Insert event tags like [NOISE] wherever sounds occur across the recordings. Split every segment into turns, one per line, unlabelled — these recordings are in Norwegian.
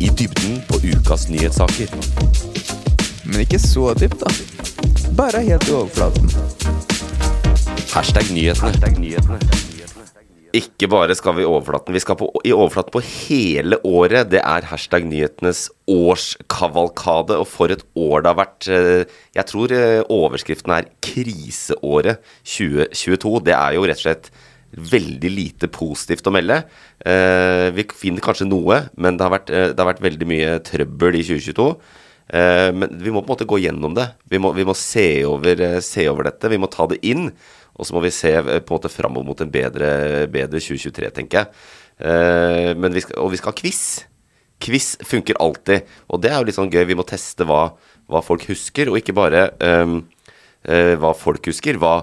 I dybden på ukas nyhetssaker.
Men ikke så dypt, da. Bare helt i overflaten.
Hashtag nyhetene. Ikke bare skal vi i overflaten, vi skal på, i overflaten på hele året. Det er hashtag nyhetenes årskavalkade, og for et år det har vært. eh, Jeg tror eh, overskriften er 'Kriseåret 2022'. Det er jo rett og slett veldig lite positivt å melde. Eh, Vi finner kanskje noe, men det har vært, eh, det har vært veldig mye trøbbel i 2022. Eh, Men vi må på en måte gå gjennom det. Vi må, vi må se, over, eh, se over dette. Vi må ta det inn. Og så må vi se eh, på en måte framover mot en bedre, bedre 2023, tenker jeg. Eh, Men vi skal, og vi skal ha quiz. Quiz funker alltid. Og det er jo litt sånn gøy. Vi må teste hva, hva folk husker, og ikke bare ehm, eh, hva folk husker. Hva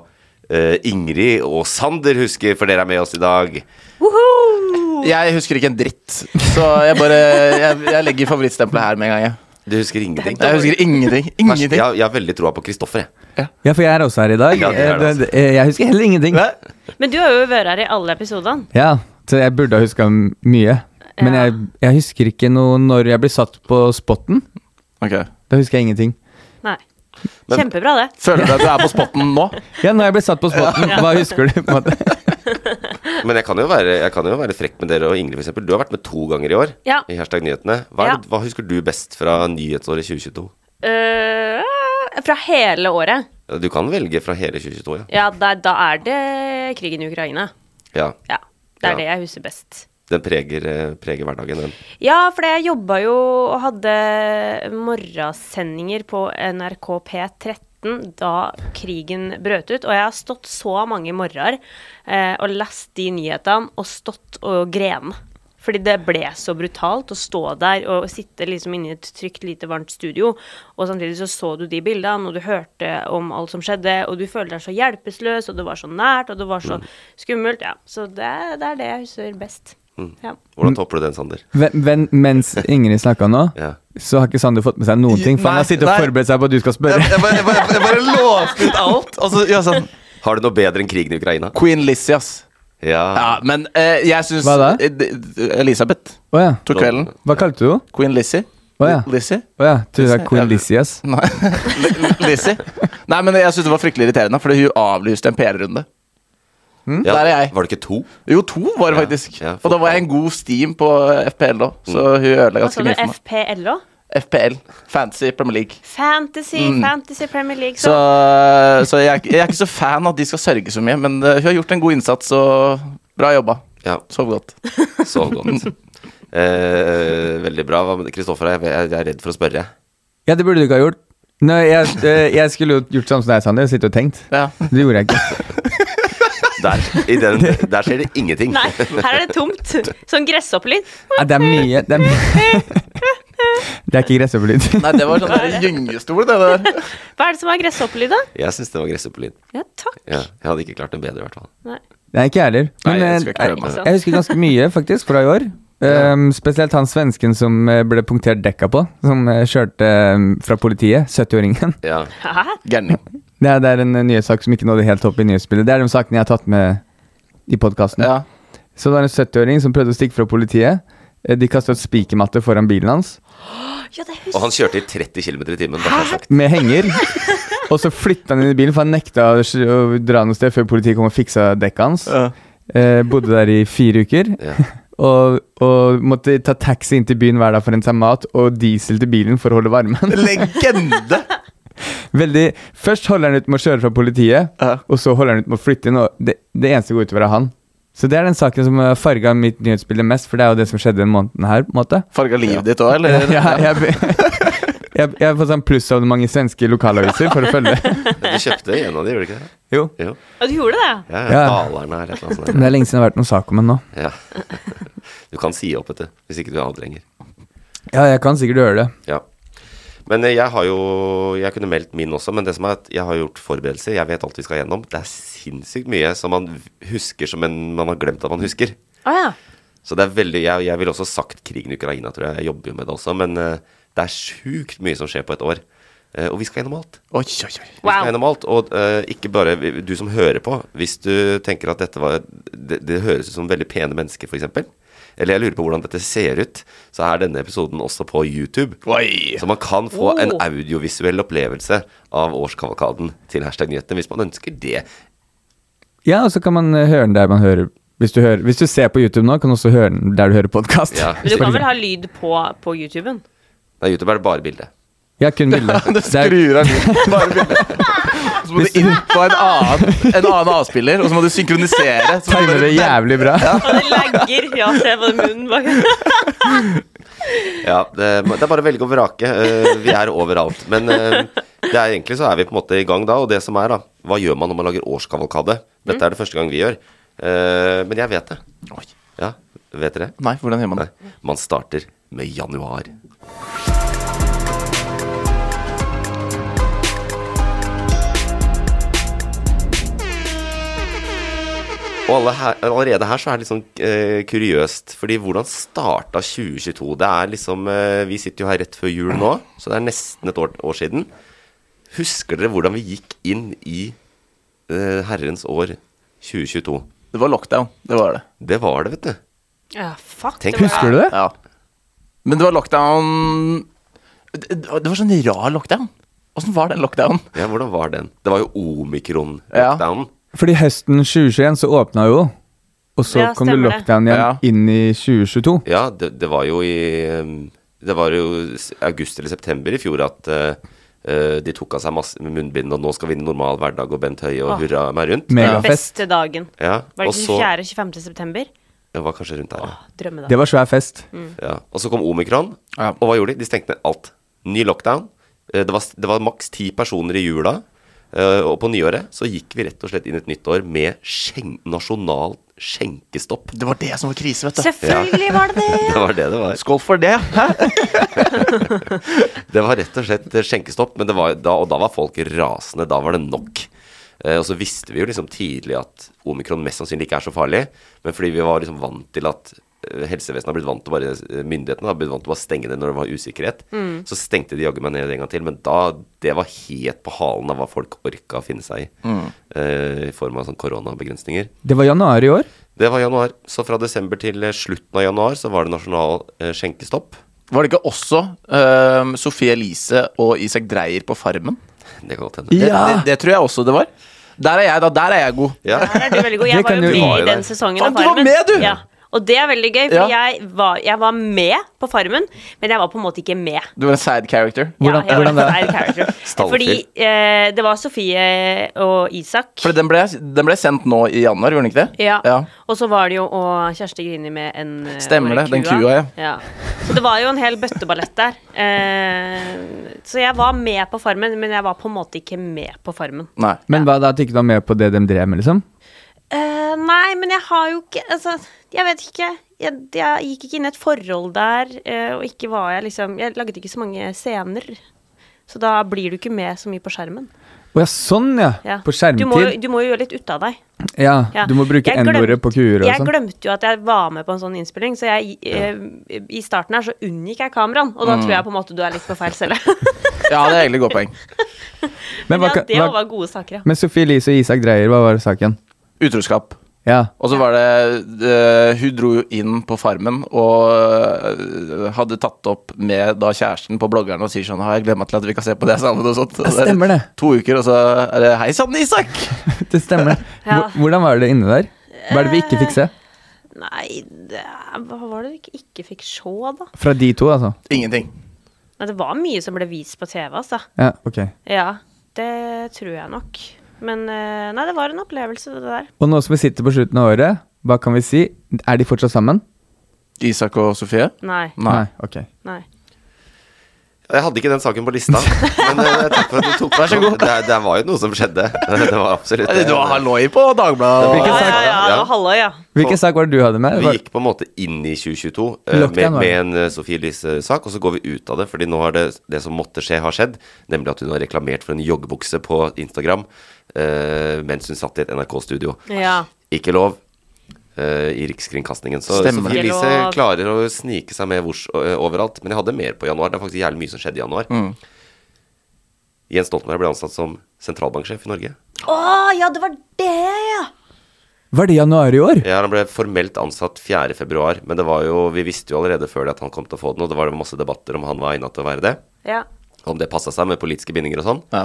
eh, Ingrid og Sander husker, for dere er med oss i dag.
Jeg husker ikke en dritt, så jeg bare Jeg, jeg legger favorittstempelet her med en gang. Jeg,
Du husker ingenting?
jeg husker
Vers-
ingenting.
Jeg,
Ingenting.
jeg har veldig troa på Kristoffer, jeg.
Ja, for jeg er også her i dag.
Ja, du er det
Eh,
også.
eh, Jeg husker heller ingenting.
Nei.
Men du har jo vært her i alle episodene.
Ja, så jeg burde ha huska mye. Men
Ja.
jeg, jeg husker ikke noe når jeg ble satt på spotten.
Ok.
Da husker jeg ingenting.
Nei.
Men-
Kjempebra, det.
Føler du at du
[LAUGHS]
er på spotten nå?
Ja, når jeg ble satt på spotten, hva husker du? på en måte?
Men jeg kan jo være, jeg kan jo være frekk med dere og Ingrid, f.eks. Du har vært med to ganger i år.
Ja.
I hashtag nyhetene. Hva,
Ja.
er, det- hva husker du best fra nyhetsåret 2022?
[LAUGHS] Øh, fra hele året.
Du kan velge fra hele 2022, ja.
Ja, da, da er det krigen i Ukraina.
ja.
Ja. Det er
Ja.
det jeg husker best.
Den preger, eh, preger hverdagen, den.
Ja, for jeg jobba jo og hadde morgensendinger på NRK P13 da krigen brøt ut. Og jeg har stått så mange morgener eh, og lest de nyhetene og stått og grene. Fordi det ble så brutalt å stå der og sitte liksom inne i et trygt, lite, varmt studio. Og samtidig så så du de bildene, og du hørte om alt som skjedde. Og du føler deg så hjelpeløs, og det var så nært, og det var så skummelt. Ja. Så det, det er det jeg husker best. Ja.
Hvordan topper du den, Sander?
Men, men, mens Ingrid snakka nå,
Ja.
så har ikke Sander fått med seg noen ting. For han har
Nei,
sittet og
nei.
forberedt seg på at du skal
Jeg,
spørre.
jeg, bare, jeg, bare, jeg bare låste ut alt. Og så, ja, sånn.
Har du noe bedre enn krigen i Ukraina?
Queen Lizzie, ass.
Ja.
Ja, men eh, jeg syns
Hva da?
eh, d- Elisabeth
Å ja.
tok kvelden.
Hva kalte du henne?
Queen Lizzie.
Å ja.
Lizzie?
Å ja. Tror du det er Queen Lizzie, ass?
Nei. Li- Lizzie. Nei, men jeg syns det var fryktelig irriterende, fordi hun avlyste en PR-runde.
Hm?
Ja,
Der er jeg.
Var det ikke to?
Jo, to var det faktisk.
ja, Mm.
og da var jeg en god steam på FPL da, så hun ødela
Hva
ganske
sa du?
mye for meg.
FPL òg?
FPL. Fancy Premier League.
Fantasy,
Mm.
Fantasy Premier League.
Så,
Så,
så jeg, er ikke- jeg er ikke så fan av at de skal sørge så mye, men eh, hun har gjort en god innsats, og bra jobba.
Ja,
[LAUGHS] Sov godt. Mm.
så godt. Eh, veldig bra. Hva med- Kristoffer, jeg, jeg jeg er redd for å spørre.
Ja, det burde du ikke ha gjort. Nei, jeg, eh, jeg skulle jo gjort sånn som deg, Sander. Sittet og tenkt.
Ja.
Det gjorde jeg ikke.
Der, i den, der skjer det
[LAUGHS]
ingenting.
Nei, her er det tomt. Sånn gressopplyd.
Ja, det er mye Det er, mye.
[LAUGHS]
Det er ikke gresshoppelyd.
Nei, det var sånn gyngestol, det der.
[LAUGHS] Hva er det som er gressopplyd, da?
Jeg syns det var gresshoppelyd.
Ja, takk.
Ja, jeg hadde ikke klart det bedre, i hvert fall.
Nei.
Nei, ikke jeg heller. Men
Nei, jeg
eh,
skal ikke prøve
meg.
jeg, jeg husker ganske mye, faktisk, fra i år. Ehm, spesielt han svensken som eh, ble punktert dekka på, som eh, kjørte eh, fra politiet. 70-åringen. [LAUGHS]
Ja.
Hæ?
Gærning.
Det, er- det er en eh, nyhetssak som ikke nådde helt opp i nyhetsbildet. Det er de sakene jeg har tatt med i podkasten.
Ja.
Så det var en 70-åring som prøvde å stikke fra politiet. Eh, De kastet spikermatte foran bilen hans
Ja, det
Og han
husker jeg.
kjørte i 30 km i timen. bare for å ha sagt.
med henger. Og så flytta han inn i bilen, for han nekta å å dra noe sted før politiet kom og fiksa dekket hans.
Ja.
Eh, bodde der i fire uker.
Ja.
Og, og måtte ta taxi inn til byen hver dag for å hente seg mat og diesel til bilen for å holde varmen.
[LAUGHS] Legende!
Veldig, Først holder han ut med å kjøre fra politiet,
Ja.
og så holder han ut med å flytte inn. Og det, det eneste som går utover, er han. Så det er den saken som har farga mitt nyhetsbilde mest, for det er jo det som skjedde den måneden her. på en måte
Farga livet ditt òg, eller?
[LAUGHS] Jeg, jeg, jeg, jeg har fått sånn plussabonnement i svenske lokalaviser
[LAUGHS]
for å følge.
Du kjøpte en av de, gjorde du ikke det?
Jo.
Jo.
Ja, du gjorde det?
Ja,
Ja.
Dalerne her, et eller annet
Men
sånt.
det er lenge siden det har vært noen sak om henne nå.
Ja. [LAUGHS] Du kan si opp, vet du. Hvis ikke du er annet lenger.
Ja, jeg kan sikkert gjøre det.
Ja. Men eh, jeg har jo Jeg kunne meldt min også, men det som er at jeg har gjort forberedelser. Jeg vet alt vi skal gjennom. Det er sinnssykt mye som man husker som en, man har glemt at man husker.
Å ja.
Så det er veldig Jeg, jeg ville også sagt krigen i Ukraina, tror jeg. Jeg jobber jo med det også. Men eh, det er sjukt mye som skjer på et år. Eh, og vi skal gjennom alt.
Oi, oi, oi.
Vi skal
Wow.
gjennom alt, og eh, ikke bare vi- du som hører på. Hvis du tenker at dette var Det, det høres ut som veldig pene mennesker, f.eks. Eller jeg lurer på hvordan dette ser ut, så er denne episoden også på YouTube.
Oi.
Så man kan få en
Oh.
audiovisuell opplevelse av årskavalkaden til hashtag nyhetene, hvis man ønsker det.
Ja, og så kan man eh, høre den der man hører hvis du, hører, hvis du ser på YouTube nå, kan du også høre den der du hører podkast.
Ja.
Men du kan vel ha lyd på, på YouTuben?
Nei, YouTube er det bare bilde.
Ja,
[LAUGHS]
kun bilder.
Du
Det er-
skrur av lyden. [LAUGHS] Bare bildet. Så må du inn på en annen, en annen avspiller, og så må du synkronisere. Så må du
Timer det jævlig bra.
Og det lagger. Ja, se på munnen
[LAUGHS]
bak.
Ja, det, det er bare å velge og vrake. eh, vi er overalt. Men eh, det er, egentlig så er vi på en måte i gang da. Og det som er, da Hva gjør man når man lager årskavalkade? Dette er det første gang vi gjør. Eh, men jeg vet det.
Oi.
Ja, vet dere?
Nei, hvordan gjør man det?
Nei. Man starter med januar. Og alle her, allerede her så er det litt sånn eh, kuriøst, fordi hvordan starta 2022? Det er liksom eh, Vi sitter jo her rett før jul nå, så det er nesten et år, år siden. Husker dere hvordan vi gikk inn i eh, herrens år 2022?
Det var lockdown. Det var det.
Det var det, vet du.
Ja, fuck.
Tenk-
var-
Husker du det?
Ja. Men det var lockdown Det, det var sånn rar lockdown. Åssen var den lockdownen?
Ja, hvordan var den? Det var jo omikron-lockdownen.
Fordi høsten 2021 så åpna jo, og så
Ja,
kom det
stemmer det.
lockdown igjen
Ja.
inn i 2022.
Ja, det, det var jo i um, Det var jo s- august eller september i fjor at eh, eh, de tok av seg masse med munnbind, og nå skal vi inn i normal hverdag, og Bent Høie og
Åh.
hurra meg rundt.
Megafest.
Beste dagen.
Ja,
Var
og
det
så
24. 25. september?
Det var kanskje rundt der, ja.
Drømmedag. Mm.
Det var svær fest.
ja. Og så kom omikron,
Ja.
og hva gjorde de? De stengte ned alt. Ny lockdown. Eh, Det var, s- det var maks ti personer i jula. eh, og på nyåret så gikk vi rett og slett inn et nytt år med skjen nasjonal skjenkestopp.
Det var det som var krise, vet du.
Selvfølgelig var
[LAUGHS]
det det!
[LAUGHS] Det var det det var.
Skål for det. Hæ?
[LAUGHS] Det var rett og slett eh, skjenkestopp, men det var, da, og da var folk rasende. Da var det nok. Eh, og så visste vi jo liksom tidlig at omikron mest sannsynlig ikke er så farlig. Men fordi vi var liksom vant til at eh, helsevesenet har blitt vant til å bare eh, myndighetene har blitt vant til å bare stenge det når det var usikkerhet.
Mm.
Så stengte de jaggu meg ned en gang til. Men da, det var helt på halen av hva folk orka å finne seg i. eh, I form av sånn koronabegrensninger.
Det var januar i år.
Det var januar. Så fra desember til eh, slutten av januar så var det nasjonal eh, skjenkestopp.
Var det ikke også um, Sofie Elise og Isak Dreyer på Farmen?
Det kan godt hende.
Det,
Ja.
det, det tror jeg også det var. Der er jeg, da. Der er jeg god.
Ja.
Der er du veldig god. Jeg
Det
var jo
kan du-
Var
med i
jo
den
det.
sesongen
Faen,
av
du var
Farmen.
med, du!
Ja. Og det er veldig gøy, for
Ja.
jeg, var, jeg var med på Farmen, men jeg var på en måte ikke med.
Du var en side character.
ja,
Hvordan-
jeg
hvordan
var
det?
en side character.
Stallfyr.
Fordi eh, det var Sofie og Isak.
For den ble, den ble sendt nå i januar, gjorde den ikke det?
Ja. Og så var det jo og Kjersti Grini med en eh,
Stemmer
var
det, den kua, ja.
Så det var jo en hel bøtteballett der. Eh, så jeg var med på Farmen, men jeg var på en måte ikke med på Farmen.
Nei.
Men hva da at du ikke var med på det de drev med, liksom?
Eh, nei, men jeg har jo ikke Altså, jeg vet ikke. Jeg, jeg gikk ikke inn i et forhold der, eh, og ikke var jeg liksom Jeg laget ikke så mange scener. Så da blir du ikke med så mye på skjermen.
Å ja, sånn ja!
Ja.
På
Du må, jo-
skjermtid.
du må jo gjøre litt ut av deg.
ja.
Ja.
Du må bruke
Jeg glem-
N-ordet på kuer og
Jeg
sånn.
glemte jo at jeg var med på en sånn innspilling, så jeg, eh, i starten her så unngikk jeg kameraen.
Mm.
Og da tror jeg på en måte du er litt på feil celle.
Ja, det er egentlig et godt poeng.
Men, [LAUGHS] hva,
ja, det
hva,
var gode saker, ja.
men Sophie Elise og Isak Dreyer, hva var saken?
Utroskap.
Ja. [LAUGHS]
Og så var det eh, Hun dro jo inn på Farmen og eh, hadde tatt opp med da kjæresten på bloggeren og sier sånn Har jeg glemt meg til at vi kan se på det sammen og sånt. Og så er
stemmer det.
To uker, og så er det Hei sann, Isak!
Det stemmer.
Ja.
Hvor- Hvordan var det inne der? Hva er det vi ikke fikk se?
Nei, det, er- hva var det vi ikke, ikke fikk se, da?
Fra de to, altså.
Ingenting.
Nei, det var mye som ble vist på TV, altså.
Ja, ok.
Ja, det tror jeg nok. Men eh, nei, det var en opplevelse, det der.
Og nå som vi sitter på slutten av året, hva kan vi si? Er de fortsatt sammen?
Isak og Sofie?
Nei.
Nei.
ok.
nei.
Jeg hadde ikke den saken på lista, men eh, takk for at du tok meg så god. Det, det var jo noe som skjedde. [LAUGHS] Det var absolutt eh,
Du har halloi på Dagbladet.
Ja,
Hvilken
ja,
sak,
ja, det var Halløy, ja.
hvilken sak var det du hadde med?
Vi
Var,
gikk på en måte inn i 2022 eh, med,
Lockdown, var det.
med en eh, Sophie Elise-sak, og så går vi ut av det. fordi nå har det, det som måtte skje, har skjedd. Nemlig at hun har reklamert for en joggebukse på Instagram eh, mens hun satt i et NRK-studio.
ja.
Ikke lov eh, i Rikskringkastingen. Så
Stemmer.
Sophie
Ikke
Elise
lov.
klarer å snike seg med hvor, eh, overalt. Men jeg hadde mer på januar. Det er faktisk jævlig mye som skjedde i januar. Jens Stoltenberg ble ansatt som sentralbanksjef i Norge.
Å, ja, det var det, ja!
var det i januar i år?
Ja, Han ble formelt ansatt 4. februar, men det var jo, vi visste jo allerede før det at han kom til å få den, og det var masse debatter om han var egnet til å være det.
Ja.
Om det passa seg med politiske bindinger og sånn.
Ja.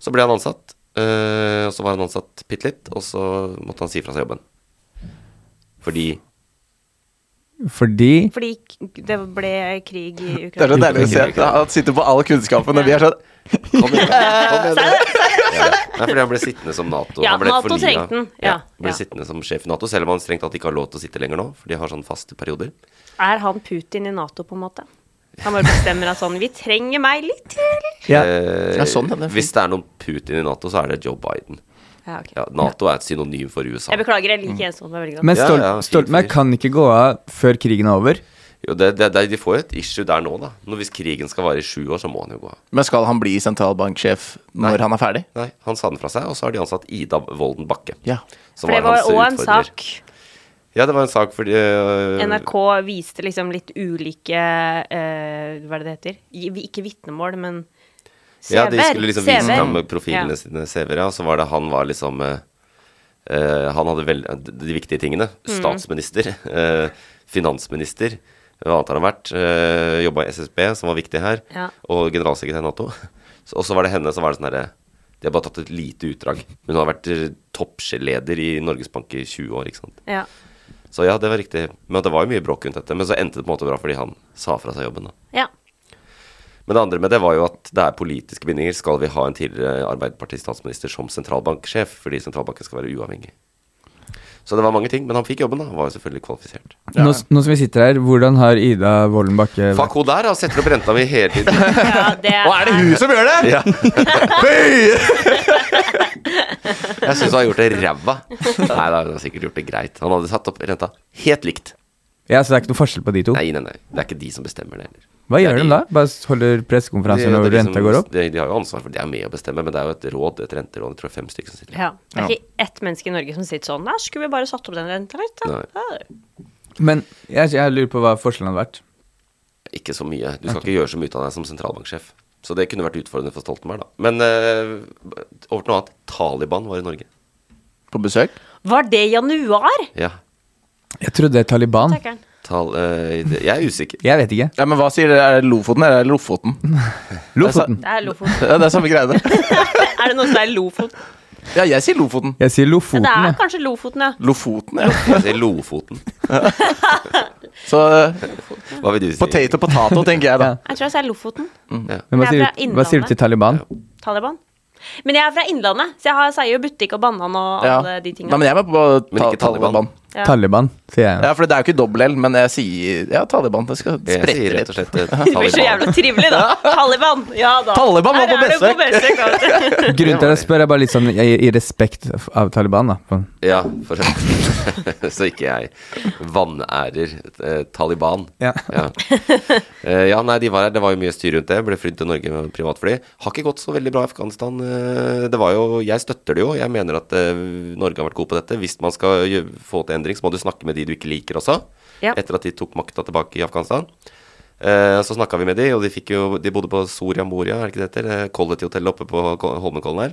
Så ble han ansatt, eh, og så var han ansatt bitte litt, og så måtte han si fra seg jobben. Fordi
Fordi
Fordi k- det ble krig i
Det er
Ukraina.
så
[LAUGHS]
deilig å se at han sitter på all kunnskapen, og vi er sånn
Kom igjen, kom igjen. [LAUGHS] Ja, ja. Nei, fordi han ble sittende som Nato.
Ja,
han ble
NATO
fornyet.
trengte den. Ja,
han ble
ja.
sittende som sjef i Nato, selv om han strengt tatt ikke har lov til å sitte lenger nå, for de har sånn faste perioder.
Er han Putin i Nato, på en måte? Han bare bestemmer at sånn Vi trenger meg litt til!
ja,
Eh,
Ja, sånn, ja, det er fint.
hvis det er noen Putin i Nato, så er det Joe Biden.
Ja, ok.
Ja, Nato er et synonym for USA.
Jeg beklager, jeg liker Jens Stoltenberg veldig godt.
Men
Sånn. Ja,
Stol
ja, fin
Stoltenberg
fyr.
kan ikke gå av før krigen er over.
Jo, det, det, det, de får jo et issue der nå, da. Nå, hvis krigen skal vare i sju år, så må han jo gå av.
Men skal han bli sentralbanksjef når han er ferdig?
Nei, han sa den fra seg, og så har de ansatt Ida Volden Bakke.
Ja.
som
For det var
hans
òg en
utfordrer.
sak.
Ja, det var en sak fordi øh,
NRK viste liksom litt ulike eh, Hva er det det heter? I- vi- Ikke vitnemål, men CV-er.
Ja, de skulle liksom vise
CV-er.
fram
Ja.
profilene sine CV-er, ja. og Så var det han var liksom eh, eh, Han hadde vel de- de viktige tingene.
Mm.
Statsminister. [LAUGHS] eh, finansminister. Hva annet har han vært? Uh, Jobba i SSB, som var viktig her.
Ja.
Og generalsekretær i Nato. [LAUGHS] Så- Og så var det henne som var det sånn herre De har bare tatt et lite utdrag. Men hun har vært eh, toppsjeleder i Norges Bank i 20 år, ikke sant.
Ja.
Så ja, det var riktig. Men det var jo mye bråk rundt dette. Men så endte det på en måte bra fordi han sa fra seg jobben, da.
ja.
Men det andre med det var jo at det er politiske bindinger. Skal vi ha en tidligere Arbeiderparti-statsminister som sentralbanksjef? Fordi sentralbanken skal være uavhengig. Så det var mange ting. Men han fikk jobben, da. Han var jo selvfølgelig kvalifisert.
Nå, s- nå som vi sitter her, hvordan har Ida Wolden Bakke
Fuck hun der, da. Setter opp renta mi hele
[LAUGHS]
tiden.
ja det
Og er det hun som gjør det?! [LAUGHS]
Ja. Jeg syns han har gjort det ræva. Nei, da har han sikkert gjort det greit. Han hadde satt opp renta helt likt.
Ja, Så det er ikke noe forskjell på de to?
Nei, nei, nei. Det er ikke de som bestemmer det heller.
Hva
Det er
gjør de
de-
da? Bare s- holder pressekonferansen
Det-
altså, når
det er de
renta
som-
går opp?
De, de har jo ansvar for det. De er med å bestemme, men det er jo et råd, et renteråd. Jeg tror det er fem stykker som sitter
Ja. Det er ikke ett menneske i Norge som sitter sånn. Nei, skulle vi bare satt opp den renta litt? Da?
Nei.
Ja.
Men jeg, jeg lurer på hva forskjellen hadde vært.
Ikke så mye. Du skal ikke gjøre så mye av deg som sentralbanksjef. Så det kunne vært utfordrende for Stoltenberg, da. Men eh, over til noe annet. Taliban var i Norge.
På besøk?
Var det i januar?
Ja.
Jeg trodde det er
[LAUGHS]
Taliban.
Takkeren.
Tal, eh, det- jeg er usikker.
Jeg vet ikke.
Ja, men hva sier dere? Er det Lofoten eller er det Lofoten?
[LAUGHS] Lofoten.
Det er
[LAUGHS]
Lofoten.
Ja, det er samme greiene.
[LAUGHS] er det noe som er Lofoten?
Ja, jeg sier Lofoten.
Jeg sier
Ja,
Lofoten.
det er
jeg.
kanskje Lofoten, ja.
Lofoten, ja.
Jeg sier Lofoten.
[LAUGHS] Så eh,
Hva vil du si?
potato, potato, tenker jeg da. Mm.
Jeg tror jeg sier Lofoten.
Men
Jeg er
hva
fra
sier, du, hva sier
Innlandet.
du til Taliban?
Taliban. Men jeg er fra Innlandet, så jeg har- sier jo butikk og banan og
Ja.
alle de
Nei,
tingene.
men jeg er med på
Men
ta
ikke Taliban.
Taliban.
Ja.
Taliban, sier jeg.
Ja, for det er jo ikke dobbel L, men jeg sier ja, Taliban. Det skal
Jeg sier
sprette
rett og
litt.
slett
[LAUGHS]
eh,
Det blir så
Taliban.
jævla trivelig,
[LAUGHS]
da. Taliban. Ja da.
Taliban var
Her
på
er du besøk.
[LAUGHS]
vet du.
Grunnen til at jeg spør, er bare litt sånn i, i respekt av Taliban, da. For-
Ja, for [LAUGHS] Så ikke jeg vanærer eh, Taliban.
Ja.
Ja. Eh, ja, nei, de var her. Det var jo mye styr rundt det. Ble flydd til Norge med privatfly. Har ikke gått så veldig bra i Afghanistan. Eh, Det var jo, jeg støtter det jo. Jeg mener at eh, Norge har vært god på dette. Hvis man skal gjø- få til endring, så må du snakke med de du ikke liker også.
Ja.
Etter at de tok makta tilbake i Afghanistan. Eh, Så snakka vi med de, og de, fikk jo, de bodde på Soria Moria, er det ikke det heter? Eh, Quality-hotellet oppe på Ko- Holmenkollen her.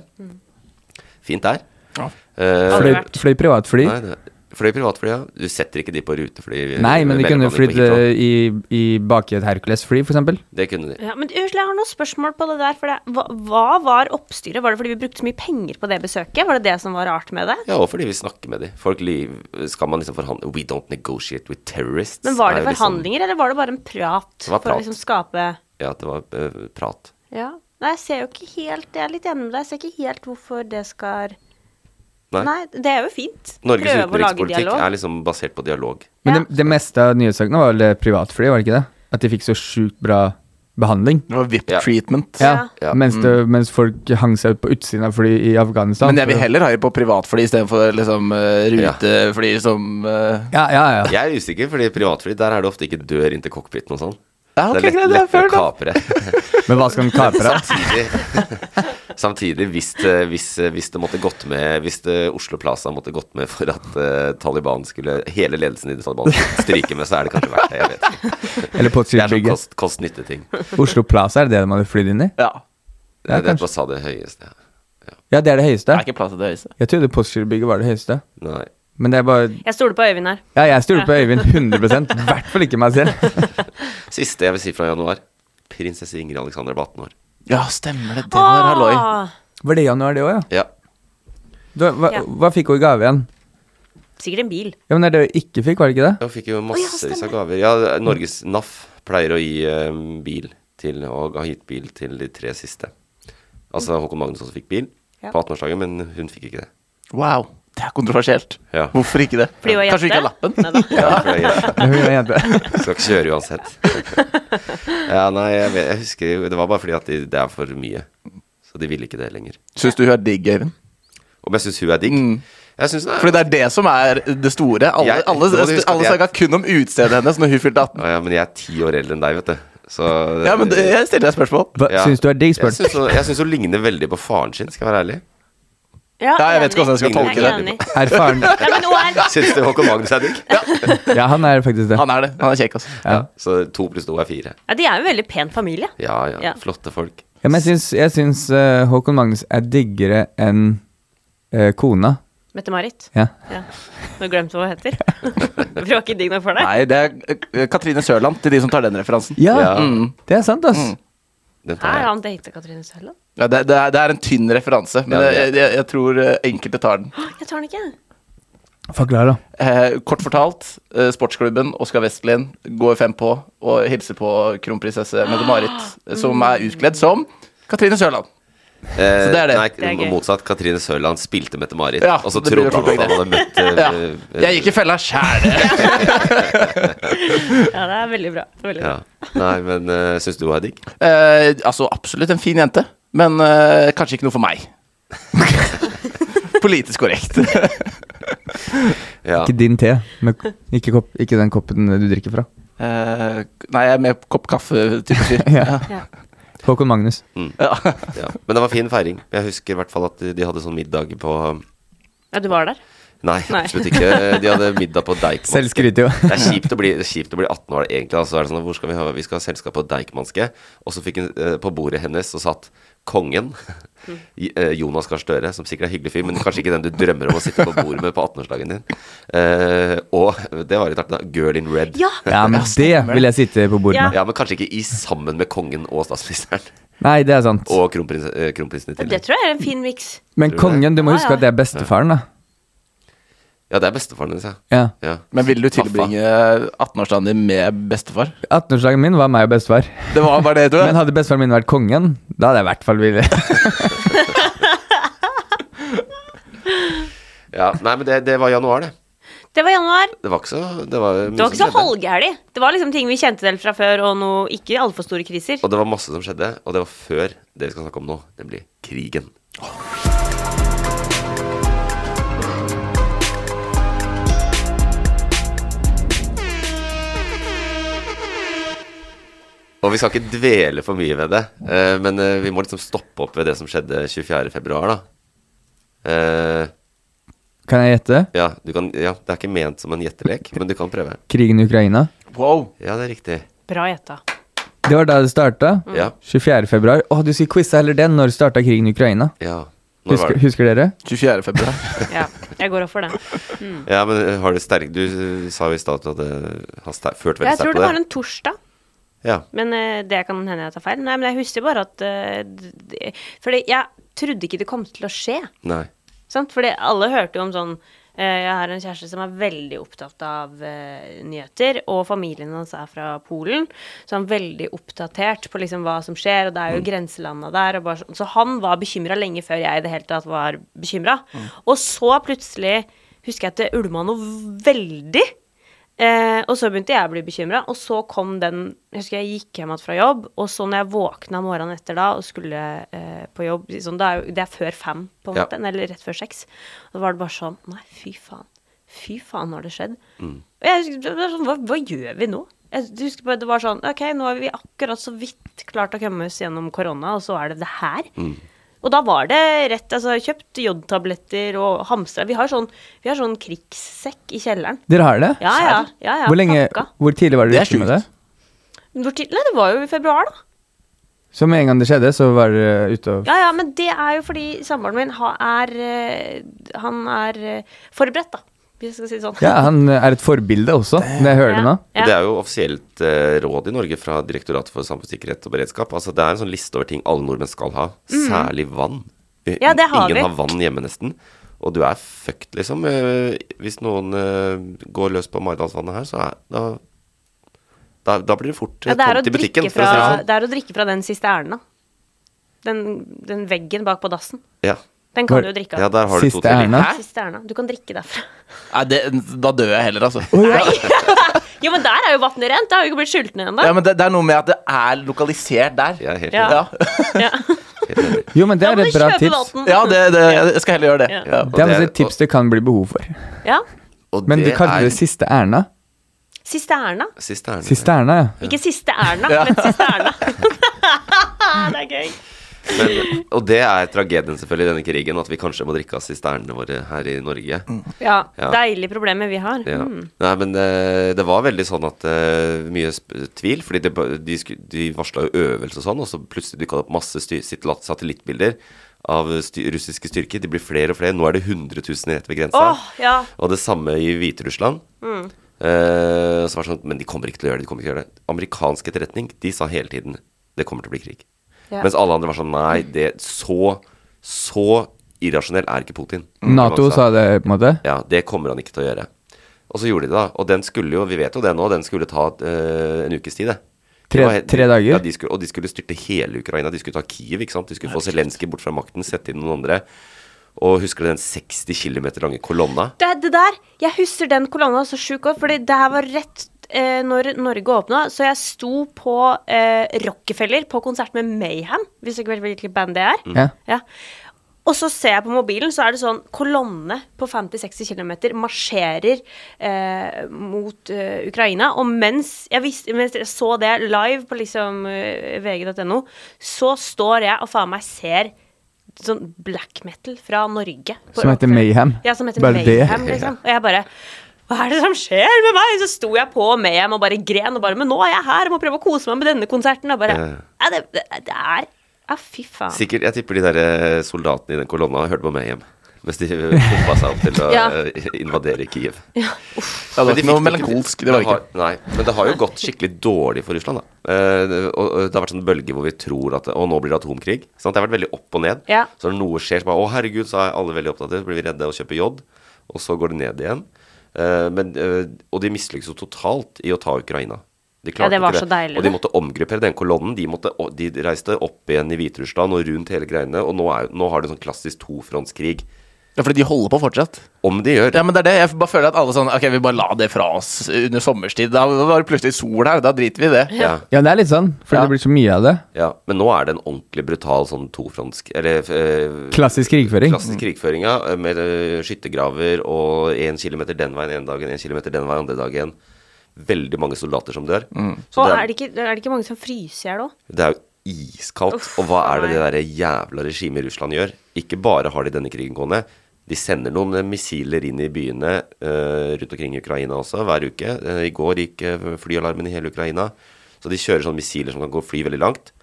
Fint der.
Ja.
Eh,
Aldri
Fløy,
vært.
fløy privatfly.
Nei, det, Fløy privatflya. Du setter ikke de på rutefly.
Nei, men de
mellomlanding
kunne
Eh, på
flydd
Heathrow.
eh, i, i baki et Hercules-fly, f.eks.
Det kunne de.
Ja, men unnskyld, jeg har noen spørsmål på det der. For det, hva, hva var oppstyret? Var det fordi vi brukte så mye penger på det besøket? Var det det som var rart med det?
Ja, og fordi vi snakker med de. Folk liv, skal man liksom forhandle We don't negotiate with terrorists.
Men var
er
det
jo liksom-
forhandlinger, eller var det bare en prat?
Det var
For å
prat.
liksom skape
Ja, det var eh, prat.
Ja. Nei, jeg ser jo ikke helt Jeg er litt enig med deg. Jeg ser ikke helt hvorfor det skal
Nei.
Nei, det er jo fint.
Norges
Prøve å lage
utenrikspolitikk
dialog.
er liksom basert på dialog.
Men
Ja.
det, det meste av nyhetssakene var vel privatfly, var det ikke det? At de fikk så sjukt bra behandling.
Det
Ja.
var VIP-treatment.
Ja,
Ja. Mm.
Mens, det, mens folk hang seg ut på utsiden av fly i Afghanistan.
Men jeg vil heller ha det på privatfly istedenfor liksom, eh,
Ja.
rutefly som eh,
Ja, ja, ja.
Jeg er usikker, fordi privatfly, der er det ofte ikke dør inntil cockpiten og sånn.
Ja, ok,
det er
greit, det er fair
lettere å
enough.
kapre. [LAUGHS]
Men hva skal de kapre?
[LAUGHS]
Samtidig, [LAUGHS] samtidig hvis, det- hvis, eh, hvis det måtte gått med Hvis det Oslo Plaza måtte gått med for at eh, Taliban skulle Hele ledelsen i Taliban skulle stryke med, så er det kanskje verdt det. Jeg vet ikke.
Eller
Det er sånn
Postgirobygget?
kost- kost-nytte-ting.
Oslo Plaza, er det det de hadde flydd inn i?
Ja.
Ja,
det
kanskje.
bare sa det høyeste.
Ja, det er det høyeste.
Det er ikke plass til det høyeste.
Jeg trodde Postgirobygget var det høyeste.
Nei.
Men det er bare
Jeg stoler på Øyvind her.
Ja, jeg stoler på Øyvind 100 I hvert fall ikke meg selv.
Siste jeg vil si fra januar. Prinsesse Ingrid Alexander var 18 år.
[LAUGHS] Ja, stemmer det. Den var halloi.
Ah,
Var det i januar, det òg, ja?
Ja.
Du, hva,
Ja.
hva fikk hun i gave igjen?
Sikkert en bil.
Ja, men det er det hun ikke fikk, var det ikke det?
Hun fikk jo
ja,
massevis av
stemmer.
gaver. Ja, Norges NAF pleier å gi eh, bil til, og har gitt bil til de tre siste. Altså Håkon Magnusson fikk bil
Ja.
på 18-årsdagen, men hun fikk ikke det.
Wow. Det er kontroversielt.
Ja.
Hvorfor ikke det?
Fordi hun er
Kanskje hun ikke har
jente?
lappen?
Neida.
Ja, for
[LAUGHS]
jeg
Hun er en jente.
skal ikke kjøre uansett.
[LAUGHS]
Ja, nei, jeg, vet, jeg husker jo Det var bare fordi at de, det er for mye. Så de ville ikke det lenger.
Syns du hun er digg, Øyvind?
Om jeg syns hun er digg?
Mm.
Jeg syns hun er
Fordi det er det som er det store. Alle,
Jeg-
alle,
nå må du huske at
alle
jeg-
snakka kun om utseendet hennes når hun fylte 18.
Å ja, men jeg er ti år eldre enn deg, vet du. Så
Ja, men det, jeg stiller deg spørsmål.
Hva
Ja.
syns du er digg,
Jeg
spør
syns hun- jeg syns hun ligner veldig på faren sin, skal jeg være ærlig.
Ja,
Ja, jeg vet ikke
enig.
hvordan jeg skal
tolke
Jeg er
det.
enig.
Erfaren
Nei, men hun er
Syns du Håkon Magnus er digg?
Ja, han er faktisk det.
Han er det. Han er kjekk, altså.
Ja.
Så to pluss to er fire.
Ja, de er jo en veldig pen familie.
Ja, ja,
Ja.
Flotte folk.
Ja, men jeg syns, jeg syns eh, Håkon Magnus er diggere enn eh, kona.
Mette-Marit.
Ja.
Ja. Nå glemte jeg hva hun heter.
[LAUGHS]
[LAUGHS] For hun var ikke digg nok for deg.
Nei, det er eh, Katrine Sørland til de som tar den referansen. Mm.
Ja,
Ja.
det er sant, ass.
Den
Er
tar jeg.
han data Katrine Sørland?
Ja, det, det, er, det er en tynn referanse, men
Ja, det er.
jeg, jeg, jeg tror eh, enkelte tar den.
Jeg tar den ikke.
Forklar, da.
Eh, kort fortalt, eh, sportsklubben Oskar Vestlien går fem på og hilser på kronprinsesse
[GASPS]
Mette-Marit, eh, som er utkledd som Katrine Sørland.
Eh,
Så det er det.
Nei,
Det er gøy.
motsatt. Katrine Sørland spilte Mette-Marit,
Ja,
og så
det blir
trodde
jo
han at han
fort
hadde møtt
[LAUGHS] Ja.
eh, eh,
Jeg gikk i fella sjæl!
Ja, det er veldig bra. Det er Veldig bra.
ja. Nei, men uh, syns du hun er digg?
Eh, altså, absolutt en fin jente, men eh, kanskje ikke noe for meg. [LAUGHS] Politisk korrekt. [LAUGHS]
Ja.
Ikke din te. Men k- ikke, kopp, ikke den koppen du drikker fra.
Eh, nei, jeg er med på kopp kaffe-type
[LAUGHS]
fyr.
Ja.
Ja.
Håkon Magnus.
Ja.
[LAUGHS] ja. Men det var fin feiring. Jeg husker i hvert fall at de- de hadde sånn middag på
ja, du var der?
Nei,
Nei.
absolutt ikke. De hadde middag på Deichmanske.
[LAUGHS] Selv skryter jo.
Det er kjipt å bli, det er kjipt å bli 18 år egentlig. Altså, er det sånn, hvor skal vi, ha, vi skal ha selskap på Deichmanske. Og så fikk hun eh, på bordet hennes så satt kongen, [LAUGHS] i- eh, Jonas Gahr Støre, som sikkert er hyggelig fyr, men kanskje ikke den du drømmer om å sitte på bordet med på 18-årsdagen din. Eh, og det var litt artig, da. Girl in red.
Ja!
Ja,
[LAUGHS]
men det vil jeg sitte på bordet
Ja.
med.
Ja, men kanskje ikke i sammen med kongen og statsministeren.
Nei, det er sant.
Og kronprins, eh, kronprinsen i
Det
tillegg.
tror jeg er en fin miks.
Men
Tror du
kongen, du må
Ja,
huske
ja.
at det er bestefaren, da.
Ja, det er bestefaren hennes, ja.
Ja.
ja.
Men ville du tilbringe 18-årsdagen din med bestefar?
18-årsdagen min var meg og bestefar.
Det var bare det, tror
[LAUGHS] Men
jeg.
hadde bestefaren min vært kongen, da hadde jeg i hvert fall ville
ja. Nei, men det, det var januar, det.
Det var januar.
Det var ikke så Det var, mye
Det var ikke
som
så
skjedde.
halvgærlig. Det var liksom ting vi kjente til fra før, og noe ikke altfor store kriser.
Og det var masse som skjedde, og det var før det vi skal snakke om nå, nemlig krigen. Og vi skal ikke dvele for mye ved det, eh, men eh, vi må liksom stoppe opp ved det som skjedde 24. februar, da. Eh,
[LAUGHS] Kan jeg gjette?
ja, du kan, ja, det er ikke ment som en gjettelek, men du kan prøve.
Krigen i Ukraina.
Wow.
Ja, det er riktig.
Bra gjetta.
Det var da det starta.
Ja,
24. februar. Å, du skulle quize heller den. Når starta krigen i Ukraina?
ja. Når var
Husker,
det?
husker
24.
dere?
[LAUGHS]
februar.
Ja, jeg går opp for det. Mm.
Ja, men har du sterk Du eh, sa jo i stad at du hadde har ster- følt veldig
Jeg
sterkt
tror
på
det var
det.
en torsdag,
Ja.
men eh, det kan hende jeg tar feil. Nei, men jeg husker bare at eh, d- d- Fordi jeg trodde ikke det kom til å skje.
Nei.
Sant? Fordi alle hørte jo om sånn eh, Jeg har en kjæreste som er veldig opptatt av eh, nyheter, og familien hans er fra Polen, så han er veldig oppdatert på liksom hva som skjer, og det er jo grenselanda der. Og bare, sånn. så han var bekymra lenge før jeg i det hele tatt var bekymra. Og så plutselig husker jeg at det ulma noe veldig. Eh, og så begynte jeg å bli bekymra, og så kom den Jeg husker jeg gikk hjem igjen fra jobb, og så når jeg våkna morgenen etter da og skulle eh, på jobb sånn, det, er jo, det er før fem, på en
Ja.
måte, eller rett før seks. Da var det bare sånn Nei, fy faen. Fy faen, nå har det skjedd. Og jeg husker, det var sånn, hva, hva gjør vi nå? Jeg husker bare, Det var sånn OK, nå har vi akkurat så vidt klart å komme oss gjennom korona, og så er det det her. Og da var det rett Altså, jeg har kjøpt jodtabletter og hamstra. Vi har sånn, vi har sånn krigssekk i kjelleren.
Dere har det?
Ja, ja. ja, ja
Hvor, lenge,
pakka.
hvor tidlig var
Det
dere
er
ute med det?
sjukt.
Hvor tid- Nei, det var jo i februar, da.
Så med en gang det skjedde, så var dere ute og
Ja, ja, men det er jo fordi samboeren min ha, er eh, Han er eh, forberedt, da, hvis jeg skal si det sånn.
Ja, han er et forbilde også, når jeg hører det nå.
Og
Ja.
Det er jo offisielt eh, råd i Norge fra Direktoratet for samfunnssikkerhet og beredskap. Altså Det er en sånn liste over ting alle nordmenn skal ha. Særlig vann. Eh,
Mhm. Ja, det har
Ingen
vi.
har vann hjemme, nesten. Og du er fucked, liksom. Eh, Hvis noen eh, går løs på Maridalsvannet her, så er da, da, da blir det fort
[LAUGHS]
eh,
Ja, det, er å
tomt i
drikke
butikken. for å
fra,
si det sånn.
det er å drikke fra den sisterna. Den, den veggen bak på dassen.
ja.
Den kan
Hvor-
du jo drikke
ja,
av.
der har du
Siste
to til.
ærend. Hæ?
Sisterna. Du kan drikke derfra. [LAUGHS]
Nei, det, da dør jeg heller, altså.
Jo, men der er jo vannet rent! Det har jo ikke blitt skyltende ennå.
[LAUGHS] Ja, men det, det er noe med at det er lokalisert der.
Jeg er helt
Ja.
enig.
Ja,
Ja.
Helt enig.
Jo, men det
Da
er
må
et
du
bra
kjøpe
tips.
vann.
ja det, det, jeg skal heller gjøre det.
Ja.
Ja.
Det er
Og
faktisk
det-
et tips det kan bli behov for.
Ja.
Og
Men du
det
kaller
er
det Siste Erna?
Sisterna.
Siste ærend.
Siste Erna, ja.
Ikke siste Erna,
Ja.
men siste Erna. [LAUGHS] det er gøy.
Men, og det er tragedien selvfølgelig i denne krigen, at vi kanskje må drikke av sisternene våre her i Norge.
Ja,
Ja.
deilig problemet vi har.
Ja.
Mm.
Nei, men eh, det var veldig sånn at eh, mye sp tvil, fordi det, ba- de, sku- de varsla jo øvelse og sånn, og så plutselig dukka det opp masse styr satellat- satellittbilder av sty russiske styrker. De blir flere og flere. Nå er det 100 000 rett ved grensa.
Åh, ja. Mm.
Og det samme i Hviterussland. Eh, så var det sånn, men de kommer ikke til å gjøre det. de kommer ikke til å gjøre det Amerikansk etterretning de sa hele tiden det kommer til å bli krig.
Ja.
Mens alle andre var sånn nei, det så, så irrasjonell er ikke Putin.
Nato sa det, på en måte.
Ja, det kommer han ikke til å gjøre. Og så gjorde de det, da. Og den skulle jo, vi vet jo det nå, den skulle ta eh, en ukes tid, det.
Tre-
Det var helt-
tre dager?
Ja, de skulle, og de skulle styrte hele Ukraina. De skulle ta Kiev, ikke sant. De skulle få Zelenskyj bort fra makten, sette inn noen andre. Og husker du den 60 km lange kolonna?
Det, det der, jeg husker den kolonna så sjukt godt, fordi det her var rett eh, når Norge åpna, så jeg sto på eh, Rockefeller på konsert med Mayhem, hvis dere vet hvilket band det er.
Ja.
Ja. Og så ser jeg på mobilen, så er det sånn kolonne på 50-60 km marsjerer eh, mot eh, Ukraina. Og mens jeg, visste, mens jeg så det live på liksom eh, vg.no, så står jeg og faen meg ser sånn black metal fra Norge. på
Som heter
Rockefeller.
Mayhem.
Ja, som heter
Bare det.
Mayhem, liksom. Og jeg bare hva er det som skjer med meg? Så sto jeg på Mayhem og bare gren. Og bare, Men nå er jeg her, jeg må prøve å kose meg med denne konserten. Og bare,
Eh.
ja, det, det, det er Ja, fy faen.
Sikkert, Jeg tipper de der eh, soldatene i den kolonna hørte på meg hjem. Mens de pumpa seg opp til å
Ja.
eh, invadere Kiev.
Ja, det
Men
var
de fikk
ikke noe
det ikke-
melankolsk. Det var ikke.
har, Nei, men det har jo gått skikkelig dårlig for Russland, da. Eh, det- og, og det har vært sånn bølge hvor vi tror at Å, nå blir det atomkrig. Sant? Det har vært veldig opp og ned.
Ja.
Så når noe skjer, så bare Å, herregud, så er alle veldig opptatt av det. Så blir vi redde og kjøper jod. Og så går det ned igjen. Eh, men, eh, og de mislykkes jo totalt i å ta Ukraina. De klarte
Ja, det var
ikke
så deilig,
Og de
det.
måtte omgruppere den kolonnen. De, måtte, og de reiste opp igjen i Hviterussland og rundt hele greiene. Og nå, er, jo- nå har du sånn klassisk tofrontskrig.
Ja, fordi de holder på fortsatt.
Om de gjør.
Ja, men det er det. Jeg bare føler at alle sånn Ok, vi bare la det fra oss under sommerstid. Da var det plutselig sol her, da driter vi i det.
Ja.
Ja, det er litt sånn, fordi
Ja.
det blir så mye av det.
Ja, men nå er det en ordentlig brutal sånn tofrontsk... Eller eh,
Klassisk krigføring.
klassisk krigføring, ja. Med eh, skyttergraver og én kilometer den veien ene dagen, én kilometer den veien andre dagen. Veldig mange soldater som dør. Så
Og
det
er
er,
det ikke, er det ikke mange som fryser i hjel òg?
det er jo iskaldt.
Uff,
og hva er det det
nei.
derre jævla regimet i Russland gjør? Ikke bare har de denne krigen gående. De sender noen eh, missiler inn i byene eh, rundt omkring i Ukraina også hver uke. Eh, I går gikk eh, flyalarmen i hele Ukraina. Så de kjører sånne missiler som kan gå fly veldig langt.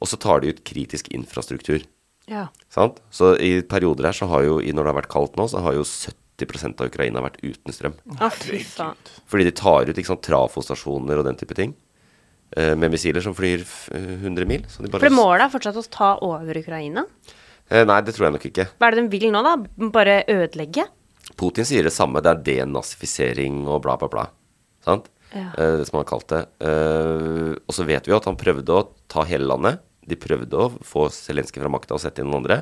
Og så tar de ut kritisk infrastruktur.
Ja.
Sant? Så i perioder her så har jo, i når det har vært kaldt nå, så har jo 70 av Ukraina vært uten strøm.
Å, fy faen.
Fordi de tar ut ikke sant, trafostasjoner og den type ting. eh, Med missiler som flyr f- 100 mil. Så de bare,
For målet er fortsatt å ta over Ukraina?
Eh, Nei, det tror jeg nok ikke.
Hva er det de vil nå, da? Bare ødelegge?
Putin sier det samme. Det er denazifisering og bla, bla, bla. Sant?
Ja.
Eh, det som han har kalt det. Eh, og så vet vi jo at han prøvde å ta hele landet. De prøvde å få Zelenskyj fra makta og sette inn noen andre.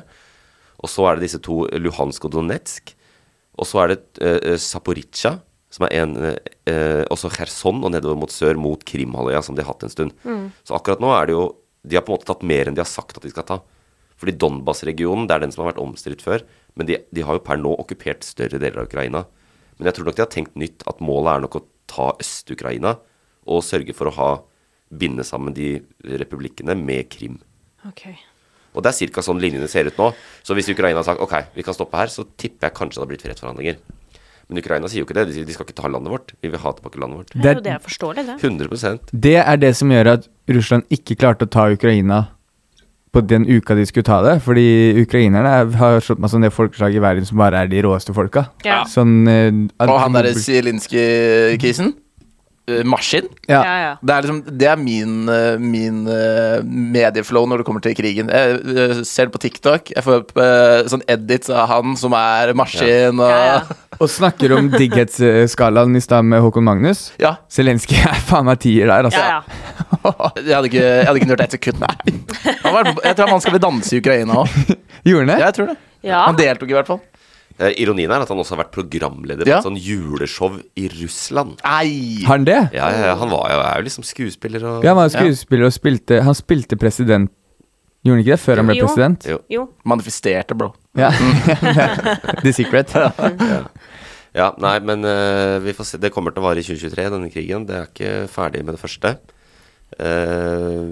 Og så er det disse to, Luhansk og Donetsk. Og så er det uh, Zaporizjzja, som er en eh, eh, Også Kherson og nedover mot sør, mot Krimhalvøya, som de har hatt en stund.
Mm.
Så akkurat nå er det jo De har på en måte tatt mer enn de har sagt at de skal ta. Fordi Donbas-regionen, det er den som har vært omstridt før, men de, de har jo per nå okkupert større deler av Ukraina. Men jeg tror nok de har tenkt nytt, at målet er nok å ta Øst-Ukraina og sørge for å ha binde sammen de republikkene med Krim.
Ok.
Og det er ca. sånn linjene ser ut nå. Så hvis Ukraina har sagt ok, vi kan stoppe her, så tipper jeg kanskje det har blitt fredsforhandlinger. Men Ukraina sier jo ikke det. De sier de skal ikke ta landet vårt. Vi vil ha tilbake landet vårt.
Det er jo det jeg forstår, det.
100
Det er det som gjør at Russland ikke klarte å ta Ukraina på den uka de skulle ta det. Fordi ukrainerne er, har slått meg som det folkeslaget i verden som bare er de råeste folka.
Ja.
Sånn eh, alt-
Og han derre Zielinski-krisen. eh, Maskin.
ja.
Ja, ja.
Det er, liksom, det er min, eh, min eh, medieflow når det kommer til krigen. Jeg eh, ser det på TikTok. Jeg får opp eh, sånn edits av han som er maskin og
Ja, ja.
Og snakker om digghetsskalaen i stad med Håkon Magnus.
Ja.
Zelenskyj er faen meg tier der, altså.
ja, ja.
[LAUGHS] Jeg hadde ikke, jeg hadde ikke nølt ett sekund. Nei. Han var, jeg tror han skal vel danse i Ukraina òg.
Gjorde han det?
Jeg tror det.
Ja.
Han deltok i hvert fall.
Eh, ironien er at han også har vært programleder
Ja.
på et sånn juleshow i Russland.
Nei!
Har han det?
Ja, ja, ja, han var jo, er jo liksom skuespiller og
Ja, han var jo skuespiller og spilte Han spilte president. Gjorde han ikke det før han ble
Jo.
president?
Jo.
Jo.
Manifesterte, bro. [LAUGHS]
Ja. The secret.
Ja, nei, men eh, vi får se. Det kommer til å vare i 2023, denne krigen. Det er ikke ferdig med det første. Eh,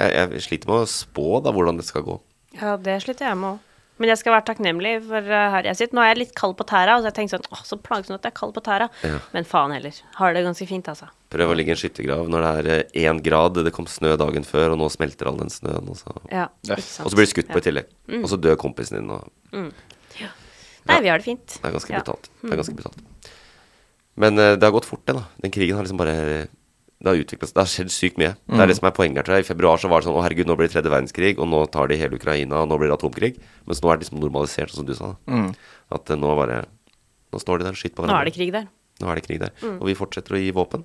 jeg, jeg sliter med å spå da hvordan det skal gå.
Ja, det sliter jeg med òg. Men jeg skal være takknemlig for eh, her jeg sitter. Nå er jeg litt kald på tæra, og så jeg tenker sånn åh, så plagsomt at jeg er kald på tæra. Men faen heller. Har det ganske fint, altså.
Prøv å ligge i en skyttergrav når det er eh, én grad. Det kom snø dagen før, og nå smelter all den snøen. Og så,
Ja,
Ja.
ikke sant. Mm.
og så blir du skutt på i tillegg. Og så dør kompisen din, og
Nei, vi har det fint.
det er ganske
Ja. Mm.
brutalt. Det er ganske brutalt. Men eh, det har gått fort, det, da. Den krigen har liksom bare Det har utviklet seg. Det har skjedd sykt mye. Det er det som er poenget her, tror jeg. I februar så var det sånn å herregud, nå blir det tredje verdenskrig, og nå tar de hele Ukraina, og nå blir det atomkrig. Mens nå er det liksom normalisert, sånn som du sa. da. At eh, nå bare Nå står de der og skyter på
Nå er
hverandre.
det krig der. Mm.
Nå er det krig der. Og vi fortsetter å gi våpen.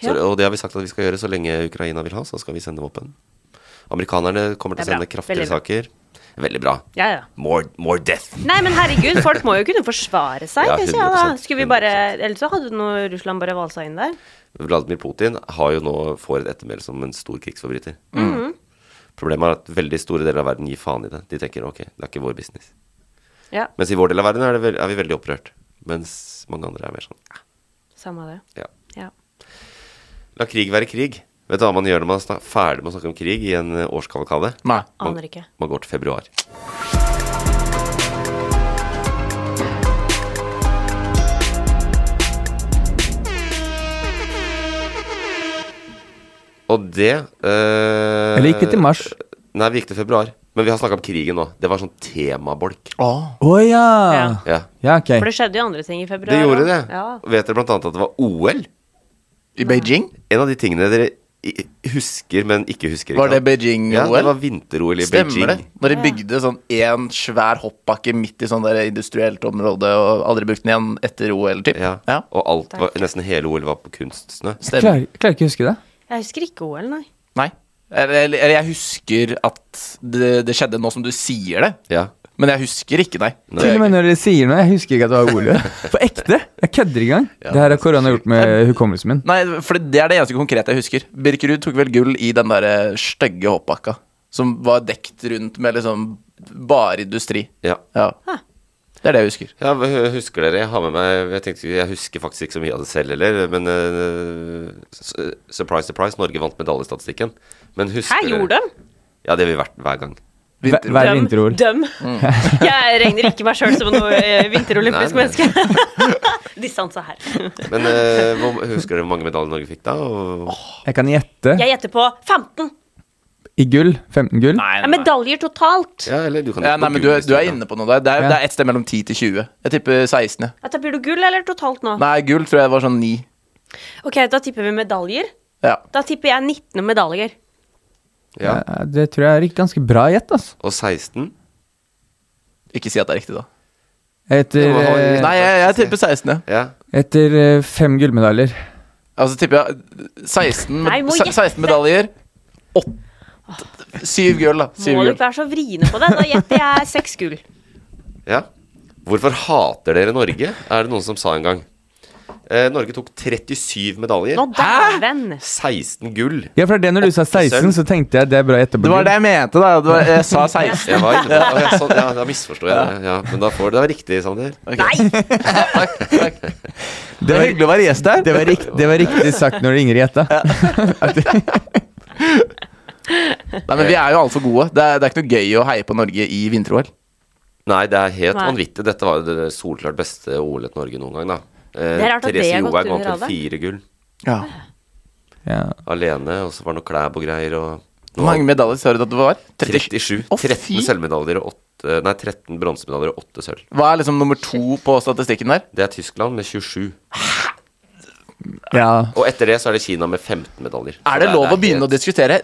Så,
Ja.
Og det har vi sagt at vi skal gjøre så lenge Ukraina vil ha, så skal vi sende våpen. Amerikanerne kommer til
Det
å
er
sende
bra.
kraftige
Veldig bra.
saker. Veldig bra.
Ja, ja.
More, more death.
Nei, men herregud, folk må jo kunne forsvare seg.
Ja,
synes jeg, da.
100%,
Skulle vi bare Ellers så hadde nå Russland bare valsa inn der.
[LAUGHS] Vladimir Putin har jo nå får et ettermæle som en stor krigsforbryter.
Mhm.
Problemet er at veldig store deler av verden gir faen i det. De tenker ok, det er ikke vår business.
Ja,
Mens i vår del av verden er, det vel, er vi veldig opprørt. Mens mange andre er mer sånn "Ah,
samme det.
ja.
Ja.
La krig være krig. Vet du hva man gjør når man er snak- ferdig med å snakke om krig i en eh, årskavalkade?
Nei.
Aner ikke.
Man går til februar. Og det eh,
Eller gikk vi til mars?
Nei, vi gikk til februar. Men vi har snakka om krigen nå. Det var sånn temabolk.
Å ja.
Ja.
Ja.
Ja, ok.
For det skjedde jo andre ting i februar.
Det gjorde
også.
det.
Ja.
Vet dere blant annet at det var OL?
I Beijing?
En av de tingene dere i- husker, men ikke husker. ikke
Var det
sant?
Beijing-OL?
Ja, det var vinter-OL i Beijing.
Stemmer det? Når de bygde sånn én svær hoppbakke midt i sånn der industrielt område, og aldri brukte den igjen etter OL, typ.
Ja.
Ja.
Og alt var, nesten hele OL var på kunstsnø.
Jeg
Stemmer.
klarer, jeg klarer ikke å huske det.
Jeg husker ikke OL, nei.
Nei. Eller, eller eller jeg husker at det, det skjedde nå som du sier det,
Ja.
men jeg husker ikke, nei. Det
Til
gjør
og
jeg
med
ikke.
når dere sier noe, jeg husker ikke at det
[LAUGHS]
var Ole. På ekte! Jeg kødder ikke engang.
Ja,
det her
det
har korona gjort med hukommelsen min.
Nei, for det det er det eneste konkrete jeg husker. Birkerud tok vel gull i den derre stygge hoppbakka, som var dekt rundt med liksom bare industri.
ja.
Ja. Det er det jeg husker.
Ja, hva hu- husker dere? Jeg har med meg Jeg tenkte, jeg husker faktisk ikke så mye av det selv heller, men eh, s- eh, Surprise, surprise, Norge vant medaljestatistikken. Men husker
Hæ, gjorde
dere-
de?
Ja, det har vi vært hver gang.
Hver hver vinterord. [LAUGHS]
Døm. Jeg regner ikke meg sjøl som noe eh, vinterolympisk
Nei, nei.
menneske. [LAUGHS] Distanse her.
Men eh, hvor, husker dere hvor mange medaljer Norge fikk da? Og,
Jeg kan gjette.
Jeg gjetter på 15.
I gull? 15 gull?
Nei,
Ja, medaljer totalt!
Ja, eller du kan
Ja,
ikke
nei,
gå
men du, er-
gulest,
du er
da.
inne på noe der. Det er,
Ja.
det er et sted mellom 10 til 20. Jeg tipper 16. ja.
Ja, Da blir du gull eller totalt nå?
Nei, gull tror jeg var sånn 9.
Ok, da tipper vi medaljer.
Ja.
Da tipper jeg 19 medaljer.
Ja.
Ja, Eh, Det tror jeg er rikt- ganske bra gjett, altså.
Og 16?
Ikke si at det er riktig, da.
Etter,
Det var-
eh,
Nei, jeg, jeg tipper 16. ja.
Ja.
etter eh, fem gullmedaljer.
Altså tipper jeg 16, med,
Nei, må
se-
gjette.
16 medaljer. 8 7 gull, da. Syv
Må du
gull.
ikke være så vriene på det? Da gjetter jeg seks gull.
ja. Hvorfor hater dere Norge? Er det noen som sa en gang. Eh, Norge tok 37 medaljer.
Nå dæven!
16 gull.
Ja, for det er det når du sa 16, så tenkte jeg det er bra gjetta.
Det var det jeg mente, da. Det var, jeg sa 16.
Jeg var inne på det. Å, ja, sånn, ja, da misforstår jeg det. Ja, men da får du det riktig, Sander.
Nei!
Takk, takk.
Det var hyggelig å være gjest der. Det var, rikt, det var riktig sagt når Ingrid gjetta. [LAUGHS]
Nei, men vi er jo altfor gode. Det er, det er ikke noe gøy å heie på Norge i vinter-OL.
Nei, det er helt
Nei.
vanvittig. Dette var jo det solklart beste OL-et Norge noen gang, da. Eh,
Det er rart at det
Therese
har gått
Johaug
under
vant vel
radaren.
fire gull
Ja.
Ja.
alene, og så var det noe klæb og greier, og
Hvor mange medaljer sa du at det var?
37.
Å,
13
fy.
sølvmedaljer og 8 Nei, 13 bronsemedaljer og 8 sølv.
Hva er liksom nummer to på statistikken der?
Det er Tyskland med 27.
ja.
Og etter det så er det Kina med 15 medaljer. Så
Er det lov å
helt-
begynne å diskutere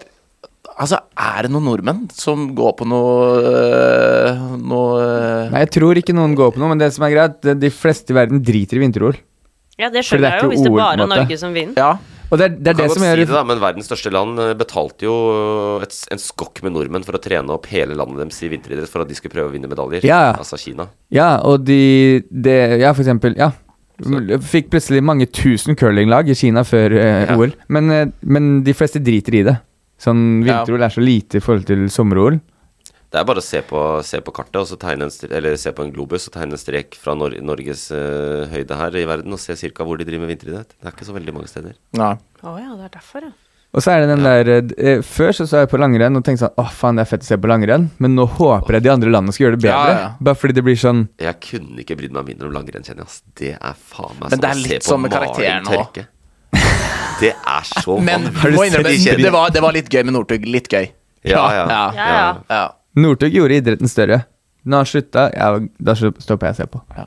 Altså, er det noen nordmenn som går på noe øh, Noe øh,
Nei, jeg tror ikke noen går på noe, men det som er greit, det- de fleste i verden driter i vinter-OL.
Ja, det
For det
skjønner jeg
er
jo,
ikke
hvis det
ord, på en
bare er
måte.
Norge som vinner.
Ja.
Og det er det, er
Kan
det
godt
som
si det,
gjør
da, men verdens største land eh, betalte jo et, en skokk med nordmenn for å trene opp hele landet deres i vinteridrett for at de skulle prøve å vinne medaljer.
Ja.
Altså Kina.
Ja, og de det, Ja, for eksempel. Ja. Fikk plutselig mange tusen curlinglag i Kina før
Ja.
eh, OL. Men, eh, men de fleste driter i det. Sånn
Ja.
vinter-OL er så lite i forhold til sommer-OL.
Det er bare å se på, se på kartet, og så tegne en stre- eller se på en globus og tegne en strek fra Nor Norges eh, høyde her i verden, og se ca. hvor de driver med vinteridrett. Det er ikke så veldig mange steder.
Nei.
Å ja, det er derfor, ja.
Og så er det den der eh, d- eh, Før så så jeg på langrenn og tenkte sånn Åh, faen, det er fett å se på langrenn, men nå håper jeg de andre landene skal gjøre det
Ja,
bedre.
ja.
Bare fordi det blir sånn
Jeg kunne ikke brydd meg mindre om langrenn, kjenner jeg. ass. Det er faen meg
Men det er litt som med
Maren
karakteren også.
tørke. Det er så
[LAUGHS] Men
vanvittig.
må innrømme,
kjedelig?
det var, det var litt gøy med Northug. Litt gøy.
Ja, ja.
ja.
Ja, ja.
ja.
Northug gjorde idretten større. Når han slutta, ja, da slutt- stopper jeg å se på.
Å,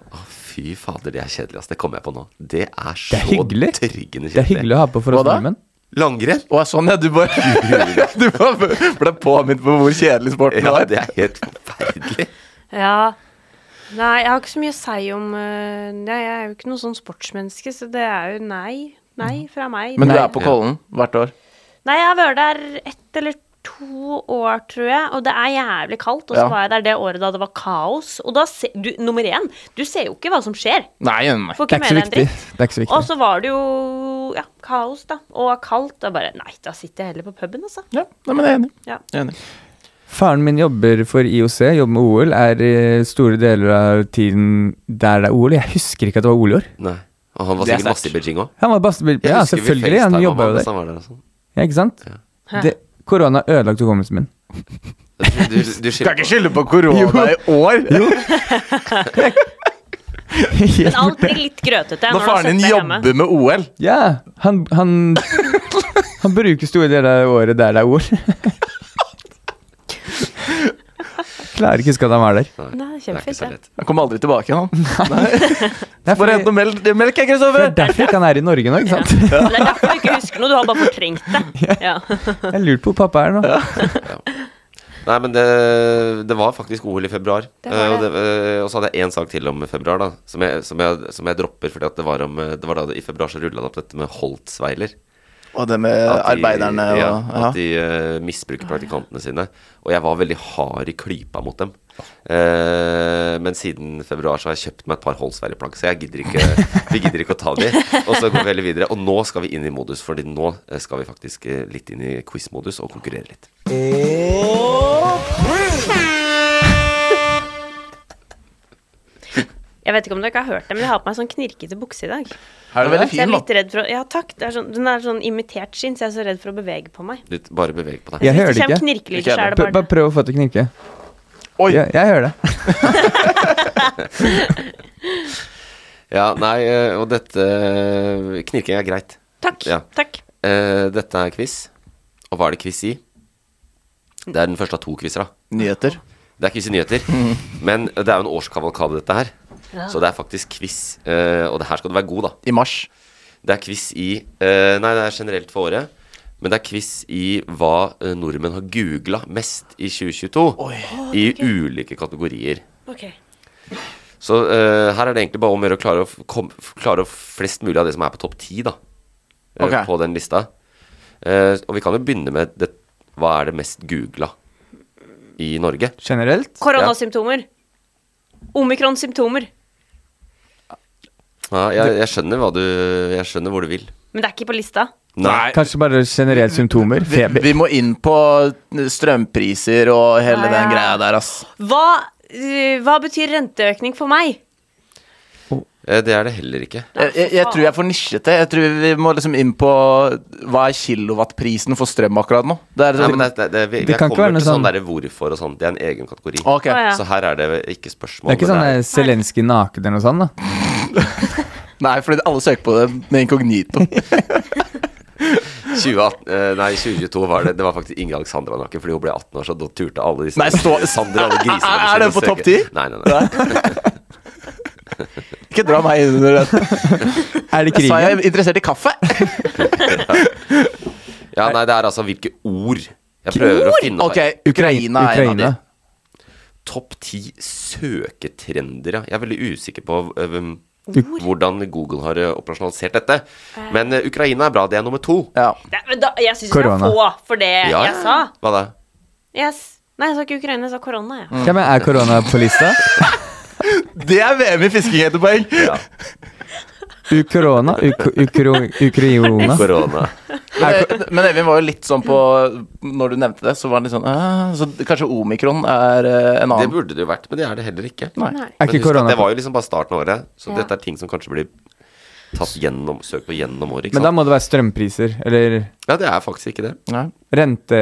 fy fader, det er kjedelig, ass. Det kommer jeg på nå. Det er så
Det er hyggelig.
tørgende
Det er hyggelig å ha på for oss
Hva da?
nordmenn.
Langrenn?
Å, sånn, ja. Du
[LAUGHS]
bare, du bare ble påminnet på hvor kjedelig sporten
Ja,
var.
det er helt forferdelig.
ja. Nei, jeg har ikke så mye å si om eh, Nei, jeg er jo ikke noe sånn sportsmenneske, så det er jo nei. Nei
Mhm.
fra meg.
Men du
Nei.
er på Kollen hvert år.
Nei, jeg har vært der ett eller to år, tror jeg, og det er jævlig kaldt. Og så
Ja.
var jeg der det året da det var kaos. Og da se, du, nummer én, du ser jo ikke hva som skjer.
Nei, nei.
Får
Det
ikke
er ikke
med
så
deg en
viktig.
dritt.
Det er ikke så
Og
viktig.
så var det jo ja, kaos, da. Og kaldt. Og bare Nei, da sitter jeg heller på puben, altså.
Ja, nei, men jeg er enig.
Ja.
Jeg er enig.
Faren min jobber for IOC, jobber med OL, er eh, store deler av tiden der det er OL. Jeg husker ikke at det var OL i år.
Nei. Og han var
Det er
sikkert
sterkt.
masse i Beijing òg.
Han var bare, ja, selvfølgelig. Han jobba jo der.
altså. sånn.
Ja, ikke sant? Det, korona ødelagte hukommelsen min.
Du, du, du skylder
Kan ikke skylde på korona i år!
Men alt
[LAUGHS]
blir litt grøtete
Når
når,
faren
du har
din
sittet hjemme.
jobber med OL.
Ja, han Han, han bruker store deler av året der det er
[LAUGHS]
OL. Klarer ikke å huske at han var der.
Nei,
på- Det er ikke
kjempefint,
så
det.
lett.
Han kommer aldri tilbake igjen, han.
Det
Bare
er fordi,
hent noe melk, melk, jeg,
det er
Kristoffer!
derfor ikke han er i Norge nå, ikke sant?
Men Det er derfor du ikke husker noe. Du har bare fortrengt det. Ja.
[LAUGHS] Jeg lurte på hvor pappa er nå.
Nei, men det, det var faktisk OL i februar.
Det var
Eh, Og,
det.
det, eh, og så hadde jeg én sak til om februar, da. Som jeg, som jeg, som jeg dropper, fordi at det var, om, eh, det var da det, i februar så rulla det opp dette med Holtzweiler.
Og det med
At de-
arbeiderne og
ja,
ja.
At de eh, misbruker praktikantene sine. Og jeg var veldig hard i klypa mot dem. Eh, men siden februar så har jeg kjøpt meg et par Holsverre-plagg, så jeg gidder ikke, vi gidder ikke å ta de. Og så går vi heller videre. Og nå skal vi inn i modus, Fordi nå eh, skal vi faktisk eh, litt inn i quiz-modus og konkurrere litt.
Oh. Jeg vet ikke om dere har hørt det, men jeg har på meg sånn knirkete bukse i dag.
Er det veldig
Så jeg er
fin,
litt
da?
redd for å Ja, takk. Det er sånn, den er sånn imitert skinn, så jeg er så redd for å bevege på meg.
Litt, bare beveg på deg.
Jeg hører
Hvis
det
kommer
ikke.
knirkelyder, så er det
P- Bare
bare
prøv å få det til å knirke.
Oi.
Jeg, jeg hører det.
[LAUGHS] Ja, nei, eh, og dette eh, Knirking er greit.
Takk.
Ja.
Takk.
Eh, dette er quiz. Og hva er det quiz i? Det er den første av to quizer, da.
Nyheter.
Det er quiz i nyheter,
[LAUGHS]
men det er jo en årskavalkade, dette her. Så det er faktisk quiz. eh, og det her skal du være god, da.
I mars.
Det er quiz i eh, Nei, det er generelt for året. Men det er quiz i hva eh, nordmenn har googla mest i 2022. I ulike kategorier.
Ok.
Så eh, her er det egentlig bare om å gjøre å klare å f- kom- f- klare å flest mulig av det som er på topp ti, da. eh,
Ok.
På den lista. Eh, og vi kan jo begynne med det, hva er det mest googla i Norge?
Generelt?
Koronasymptomer. Omikron-symptomer.
Ja, jeg, jeg skjønner hva du Jeg skjønner hvor du vil.
Men det er ikke på lista.
Nei.
Kanskje bare generelt symptomer?
Vi,
Feber?
vi må inn på strømpriser og hele
Ja,
den
ja.
greia der, ass.
Hva, eh, hva betyr renteøkning for meg?
Eh, Det er det heller ikke.
Jeg, jeg, jeg tror jeg er for nisjete. Jeg tror vi må liksom inn på hva er kilowattprisen for strøm akkurat nå. Det er
Nei,
liksom,
men det, det, det, vi,
Det
jeg
kan ikke
kommer
være noe
til sånn
sånn-
derre hvorfor og sånn. Det er en egen kategori.
Ah,
Å,
Ok.
Ah, ja.
Så her er det ikke spørsmål.
Det er ikke sånn
men
eh, Zelenskyj naken eller noe sånt, da?
Nei, fordi alle søker på det med inkognito.
2018, eh, nei, 2022 var det Det var faktisk Ingeborg Sandra Nakken, fordi hun ble 18 år, så da turte alle disse
Nei, stå-
Sander, alle grisene
Er- er- er
sine
det på
søke.
topp 10?
Nei, nei, nei.
Ikke dra meg inn under det.
[LAUGHS] Er
Jeg sa jeg
det krigen?
er interessert i kaffe. [LAUGHS]
Ja, nei, det er altså hvilke ord Jeg prøver å finne
Ok,
her.
Ukraina er en av de.
Ukraina.
Topp 10 søketrender, ja. Jeg er veldig usikker på eh, hvem-
Ord.
hvordan Google har eh, operasjonalisert dette. Men eh, Ukraina er bra, det er nummer to.
Ja.
Nei, men da, jeg syns vi skal
Korona.
få for det
Ja,
Eh, jeg sa.
Hva da?
Yes. Nei, jeg sa ikke Ukraina, jeg sa korona. Jeg.
Ja, men er korona på lista?
Det er VM i fisking, heter poeng.
Ja,
Ukorona? Uk- ukro- Ukriona?
korona.
Men men Evin var jo litt sånn på Når du nevnte det, så var han litt sånn «Ah», Så kanskje omikron er eh, en
Det
annen
burde det jo vært, men det er det heller ikke.
Nei.
Er
Men
ikke
husk at
korona
det
på
var jo liksom bare starten av året, så
Ja.
dette er ting som kanskje blir tatt gjennom, søkt på gjennom året. Ikke
Men da
sant?
må det være strømpriser, eller
Ja, det er faktisk ikke det. [LAUGHS]
Nei.
rente...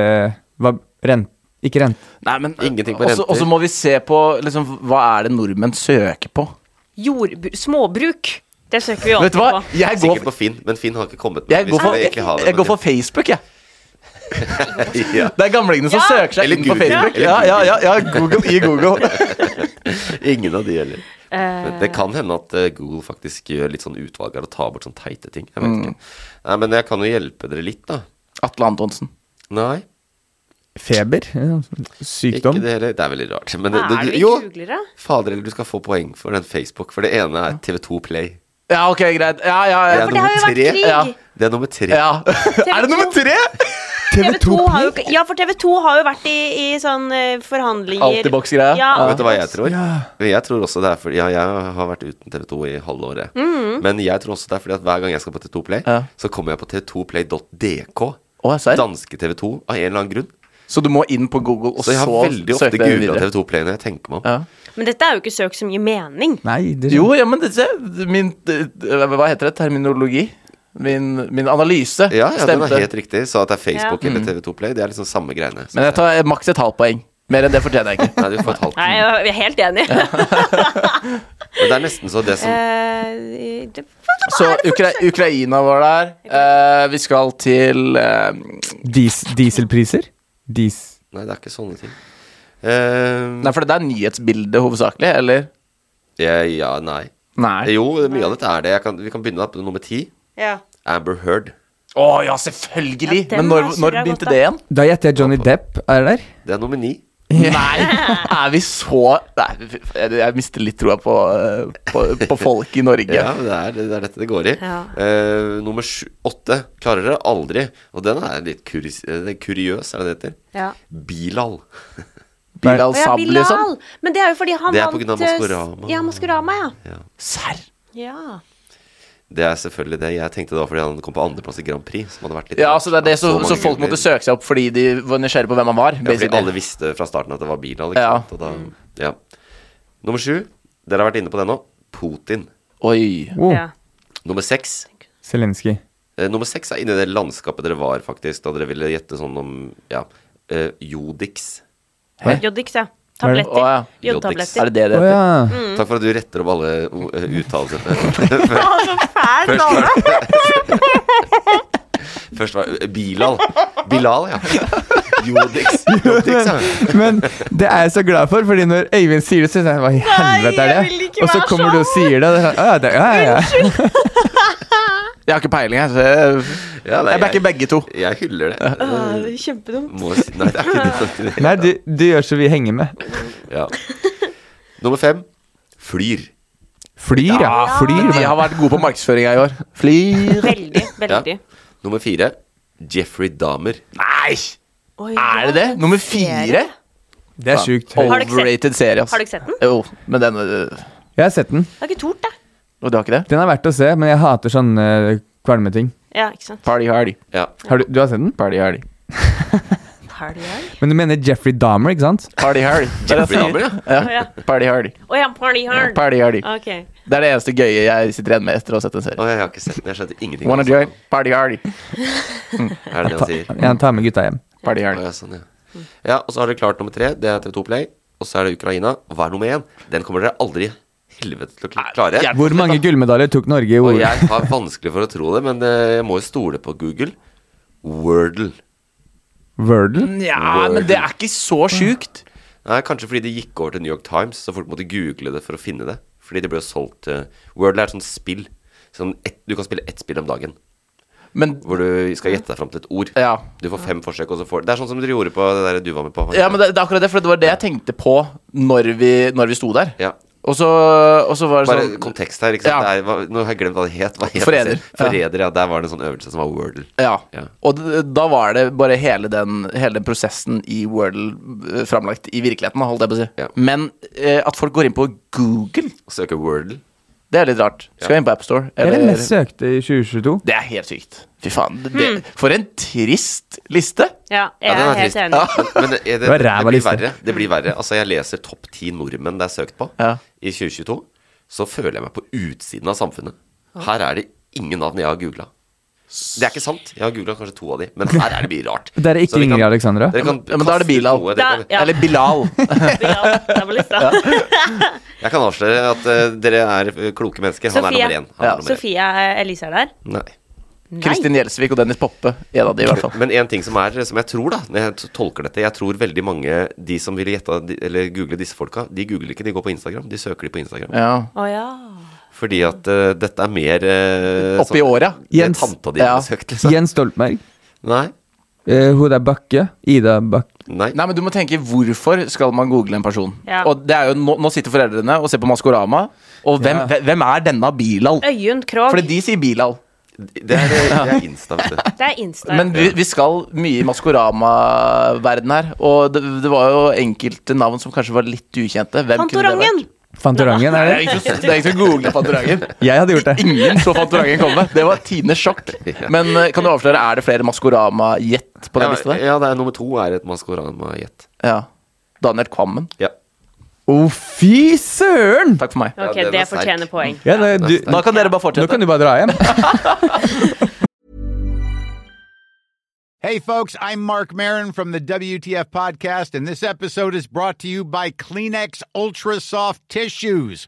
Hva, rent, ikke rente.
Nei, men
Ingenting på
også-
renter.
Og så må vi se på liksom, hva er det nordmenn søker på.
Jordbru småbruk. Det søker vi
Vet
alltid
du hva?
på.
Jeg går,
Sikkert på Finn, men Finn har ikke kommet med.
jeg
Vi
går, for,
skulle egentlig ha det,
jeg
men-
går for Facebook, jeg.
ja.
Det er gamlingene som
Ja.
søker seg
Eller
inn på
Google.
Facebook.
Eller
Ja, ja, ja, ja, Google i Google.
[LAUGHS] Ingen av de heller.
Eh,
Men det kan hende at eh, Google faktisk gjør litt sånn utvalg her og tar bort sånn teite ting. Jeg vet ikke. Nei, men jeg kan jo hjelpe dere litt, da.
Mm. Atle Antonsen.
Nei,
Feber? Ja, Sykdom?
ikke det heller. Det er veldig rart. Men det,
Hva
det,
er det vi
jo,
googler, da?
fader eller du skal få poeng for den Facebook, for det ene er TV2 Play.
Ja, ok, greit. Ja, ja,
Det
ja.
For det har
er
jo
nummer
vært
tre.
krig.
Ja.
Det er nummer tre.
ja. Er det nummer tre?
[LAUGHS] TV 2 har jo, ikke- ja, for TV 2 har jo vært i, i sånn eh, forhandlinger
Altibox-greia.
Ja,
Ja.
Vet du hva jeg tror?
Ja.
Men Jeg tror også det er fordi ja, Jeg har vært uten TV2 i halve året. Men jeg tror også det er fordi at hver gang jeg skal på TV2 Play,
Ja.
så kommer jeg på tv2play.dk.
Å, serr?
Danske TV2 av en eller annen grunn.
Så du må inn på Google og
Så jeg har veldig ofte
så søke deg
googla
videre.
TV2 Play når jeg tenker meg om.
Ja.
Men dette er jo ikke søk som gir mening.
Nei, det
Jo, ja, men det, se, min eh, Hva heter det? Terminologi? Min, min analyse
Ja, ja, den
stemte.
er helt riktig. Så at det er Facebook
Ja.
eller TV2 Play, det er liksom samme greiene. Så
Men jeg tar maks et halvt poeng. Mer enn det fortjener jeg ikke.
Nei, du får et halvt.
Nei, jeg er helt enig.
Men det er nesten så det som
[LAUGHS] Eh, det, hva er det
Så
for-
Ukra Ukraina var der. Eh, vi skal til eh,
Dis, dieselpriser? Dis...
Nei, det er ikke sånne ting. Eh,
Nei, for det er nyhetsbildet hovedsakelig, eller?
ja, ja, nei.
Nei.
Jo, mye av dette er det. Jeg kan, vi kan begynne da på nummer ti.
ja.
Amber Heard.
Å ja,
Ja,
selvfølgelig!
den
men når,
har
når
surra godt,
begynte
da.
det igjen?
Da gjetter jeg Johnny Depp er der.
Det er nummer ni.
Nei! Er vi så Nei, jeg, jeg mister litt troa på, eh, på, på folk i Norge.
Ja, det er, det er dette det går i.
Ja.
Eh, nummer sju, åtte klarer dere aldri. Og den er litt kuris, eh, det er kuriøs, er det det heter?
Ja.
Bilal.
[LAUGHS] Bilal
Å ja,
Sab, liksom.
Bilal. Men det er jo fordi han
Det er på grunn av
vant, eh,
Maskorama.
Ja, Maskorama, ja.
Serr?
ja.
Det er selvfølgelig det. Jeg tenkte det var fordi han kom på andreplass i Grand Prix. Som hadde vært litt
Ja, altså det er det så,
mange
så folk
guller.
måtte søke seg opp fordi de var nysgjerrige på hvem han var.
Ja, fordi
basically.
alle visste fra starten at det var Bilal. Ikke
Ja.
sant? Og
Mm.
da, ja. Nummer sju, dere har vært inne på det nå. Putin.
Oi.
Wow.
ja.
Nummer seks.
Zelenskyj.
Eh, nummer seks er inne i det landskapet dere var, faktisk, da dere ville gjette sånn om ja, eh, Jodix.
Hæ?
Jodix, ja.
Hva er det?
Tabletter.
Å, Mm.
ja.
Er
Jodtabletter. Mm.
det det det
Å
heter?
ja.
Takk for at du retter opp alle o- eh,
[LAUGHS]
uttalelsene.
[LAUGHS] Fæl
[LAUGHS]
dame.
Først var eh, Bilal. Bilal, ja. Jodix. Jodix, ja.
Men det er jeg så glad for, Fordi når Øyvind sier det, så sier jeg hva i helvete er
jeg vil
det?
ikke
Og så
være
kommer du og
sånn.
sier det, og det er sånn Å ja, det, ja, ja, ja.
Jeg har ikke peiling, jeg. Så jeg,
Ja, nei,
jeg backer begge to.
Jeg hyller det.
Øh, Kjempedumt.
Må si, nei, det er ikke det. det. er ikke det.
Nei, du, du gjør så vi henger med.
Ja. Nummer fem flyr.
Flyr, ja. Flyr.
men de
men-
har vært gode på markedsføringa i år. Flyr
Veldig, veldig.
Ja. Nummer fire Jeffrey Dahmer.
Nei!
Oi,
Er det det? Nummer fire?
Det er sjukt høyt.
Har du ikke sett-
Overrated serie, ass.
Har du ikke sett den?
Jo, men den øh,
Jeg har sett den.
Jeg har ikke tort det.
Og du har ikke det?
Den er verdt å se, men jeg hater sånne eh, kvalmeting.
Ja, ikke sant.
Party hardy.
Ja.
Har du, du har sett den?
Party hardy.
[LAUGHS] Party hard.
Men du mener Jeffrey Dahmer, ikke sant?
Party hardy. Det er det
Jeffrey
jeg
Dahmer,
sier.
ja.
Å ja.
Party hardy.
Å ja, party hard.
Party hardy.
Ok.
Det er det eneste gøye jeg sitter igjen med etter å ha sett en
Å,
serie.
jeg har ikke sett den. Jeg skjønte ingenting.
Wanna
av det
join? Party hardy. [LAUGHS]
han sa. Er det det han sier?
Jeg tar med gutta hjem.
Party
Å,
hardy.
ja, sånn, ja. ja, og så har dere klart nummer tre. Det er TV2 Play. Og så er det Ukraina. Og hva er nummer én? Den kommer dere aldri i helvete til å kl- klare.
Nei,
Hvor mange gullmedaljer tok Norge i
Og
OL?
jeg har vanskelig for å tro det, men eh, jeg må jo stole på Google. Wordle.
Wordle?
Nja, men det er ikke så sjukt.
Nei, kanskje fordi det gikk over til New York Times, så folk måtte google det for å finne det. Fordi det ble jo solgt eh, Wordle er et sånt spill. Sånn ett- du kan spille ett spill om dagen.
Men
Hvor du skal gjette deg fram til et ord.
Ja.
Du får fem forsøk, og så får Det er sånn som dere gjorde på det der du var med på.
Ja, men det, det er akkurat det, for det var det jeg tenkte på når vi, når vi sto der.
Ja.
Og, så, og så var det
Bare
sånn
kontekst her. ikke sant?
Ja.
Det er, hva- nå har jeg glemt hva det het. Hva het
Forræder.
det? Forræder. Ja. Der var det en sånn øvelse som var Wordle.
ja.
Ja.
Og d- da var det bare hele den, hele den prosessen i Wordle eh, framlagt i virkeligheten, holdt jeg på å si.
Ja.
Men eh, at folk går inn på Google,
Søke Wordle.
det er litt rart. Skal inn på AppStore.
Det er det mest søkte i 2022.
Det er helt sykt. Fy faen. Det, det, for en trist liste!
Ja, jeg
Ja, [LAUGHS] den
er
er
helt
trist.
enig.
Men det, det, det,
Det var ræva
blir
liste.
verre. det blir verre. Altså, jeg leser topp ti nordmenn det er søkt på
Ja.
i 2022. Så føler jeg meg på utsiden av samfunnet. Her er det ingen navn jeg har googla. Det er ikke sant. Jeg har googla kanskje to av de, men her er det mye
[LAUGHS]
rart.
Der er ikke
Så vi kan-
Ingrid Alexandra.
dere kan
Ja, men da er
kaste ut
det Bilal.
noe, dere
Da,
kan-
ja,
Eller Bilal.
[LAUGHS] Bilal, det var lista.
Jeg kan avsløre at eh, dere er eh, kloke mennesker. Han
Sofie.
er nummer én. Han er
Ja.
nummer én.
Sofia Elise er der.
Nei.
Nei.
Kristin Gjelsvik og Dennis Poppe. En av de, i hvert fall.
Men en ting som er, som jeg tror da, når jeg t- tolker dette Jeg tror veldig mange, de som ville gjette de- eller google disse folka, de googler ikke, de går på Instagram. De søker de på Instagram.
Ja.
Å ja.
Fordi at eh, dette er mer uh,
Oppi åra.
Jens.
Tanta di
Ja.
har søkt, liksom.
Jens Stoltenberg.
Nei.
Eh, hun der Bakke. Ida Bakke.
Nei.
Nei, men du må tenke hvorfor skal man google en person?
Ja.
Og det er jo, nå, nå sitter foreldrene og ser på Maskorama, og hvem, hve- hvem er denne Bilal?
Øyunn Krogh.
Fordi de sier Bilal.
Det er, det er Insta, vet du.
[LAUGHS] Det er Insta.
Men vi, vi skal mye i Maskorama-verden her, og det, det var jo enkelte navn som kanskje var litt ukjente. Hvem
Fantorangen!
Fantorangen, er
kunne det vært? Det
det?
er ingen som- det er ingen som googler Fantorangen.
[LAUGHS] Jeg hadde gjort det.
Ingen så Fantorangen komme. Det var tidenes sjokk. Men eh, kan du avsløre, er det flere Maskorama-gjett på den
Ja,
lista der?
ja, det er nummer to er et Maskorama-jet.
Ja. Daniel Kvammen.
Ja.
Å, fy søren!
Takk for meg.
Ja,
Ok,
den
det
var sterk.
fortjener
[LAUGHS]
poeng.
Ja, det, du,
Da kan dere bare
nå
fortsette.
kan du bare dra
[LAUGHS]
hjem.
Hey, folks, I'm Mark Marin from the WTF Podcast, and this episode is brought to you by Kleenex Ultra Soft Tissues,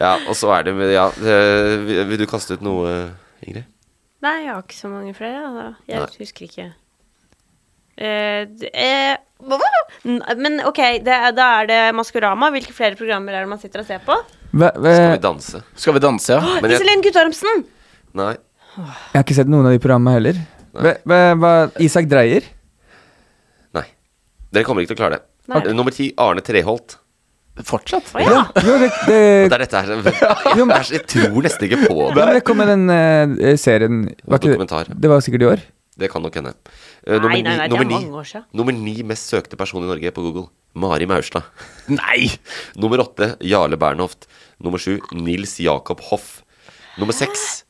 Ja, og så er det med Ja, det, vil vil du kaste ut noe, Ingrid?
Nei, jeg har ikke så mange flere. Altså. Jeg husker ikke. Eh, d- eh, hva var det? N- Men OK, det, er- da er det Maskorama. Hvilke flere programmer er det man sitter og ser på?
Hva- hva-
Skal vi danse?
Skal vi danse, ja?
Men jeg,
Iselin Guttormsen!
nei.
Jeg har ikke sett noen av de programmene heller. Hva, hva, hva, Isak Dreyer?
Nei. Dere kommer ikke til å klare det.
Nei.
Nummer ti, Arne Treholt.
Fortsatt?
Å ja!
Jo, det, det,
Det er dette her som
men-
Jeg tror nesten ikke på
Ja,
det.
men det kom med den eh, serien var ikke
Dokumentar.
Det, det var sikkert i år.
Det kan nok hende. Eh, nummer,
Nei, nei,
ni-
nei, det
nummer,
er mange år
ni,
siden.
nummer ni mest søkte person i Norge på Google. Mari Maurstad. [LAUGHS]
Nei!
Nummer åtte Jarle Bernhoft. Nummer sju Nils Jakob Hoff. Nummer seks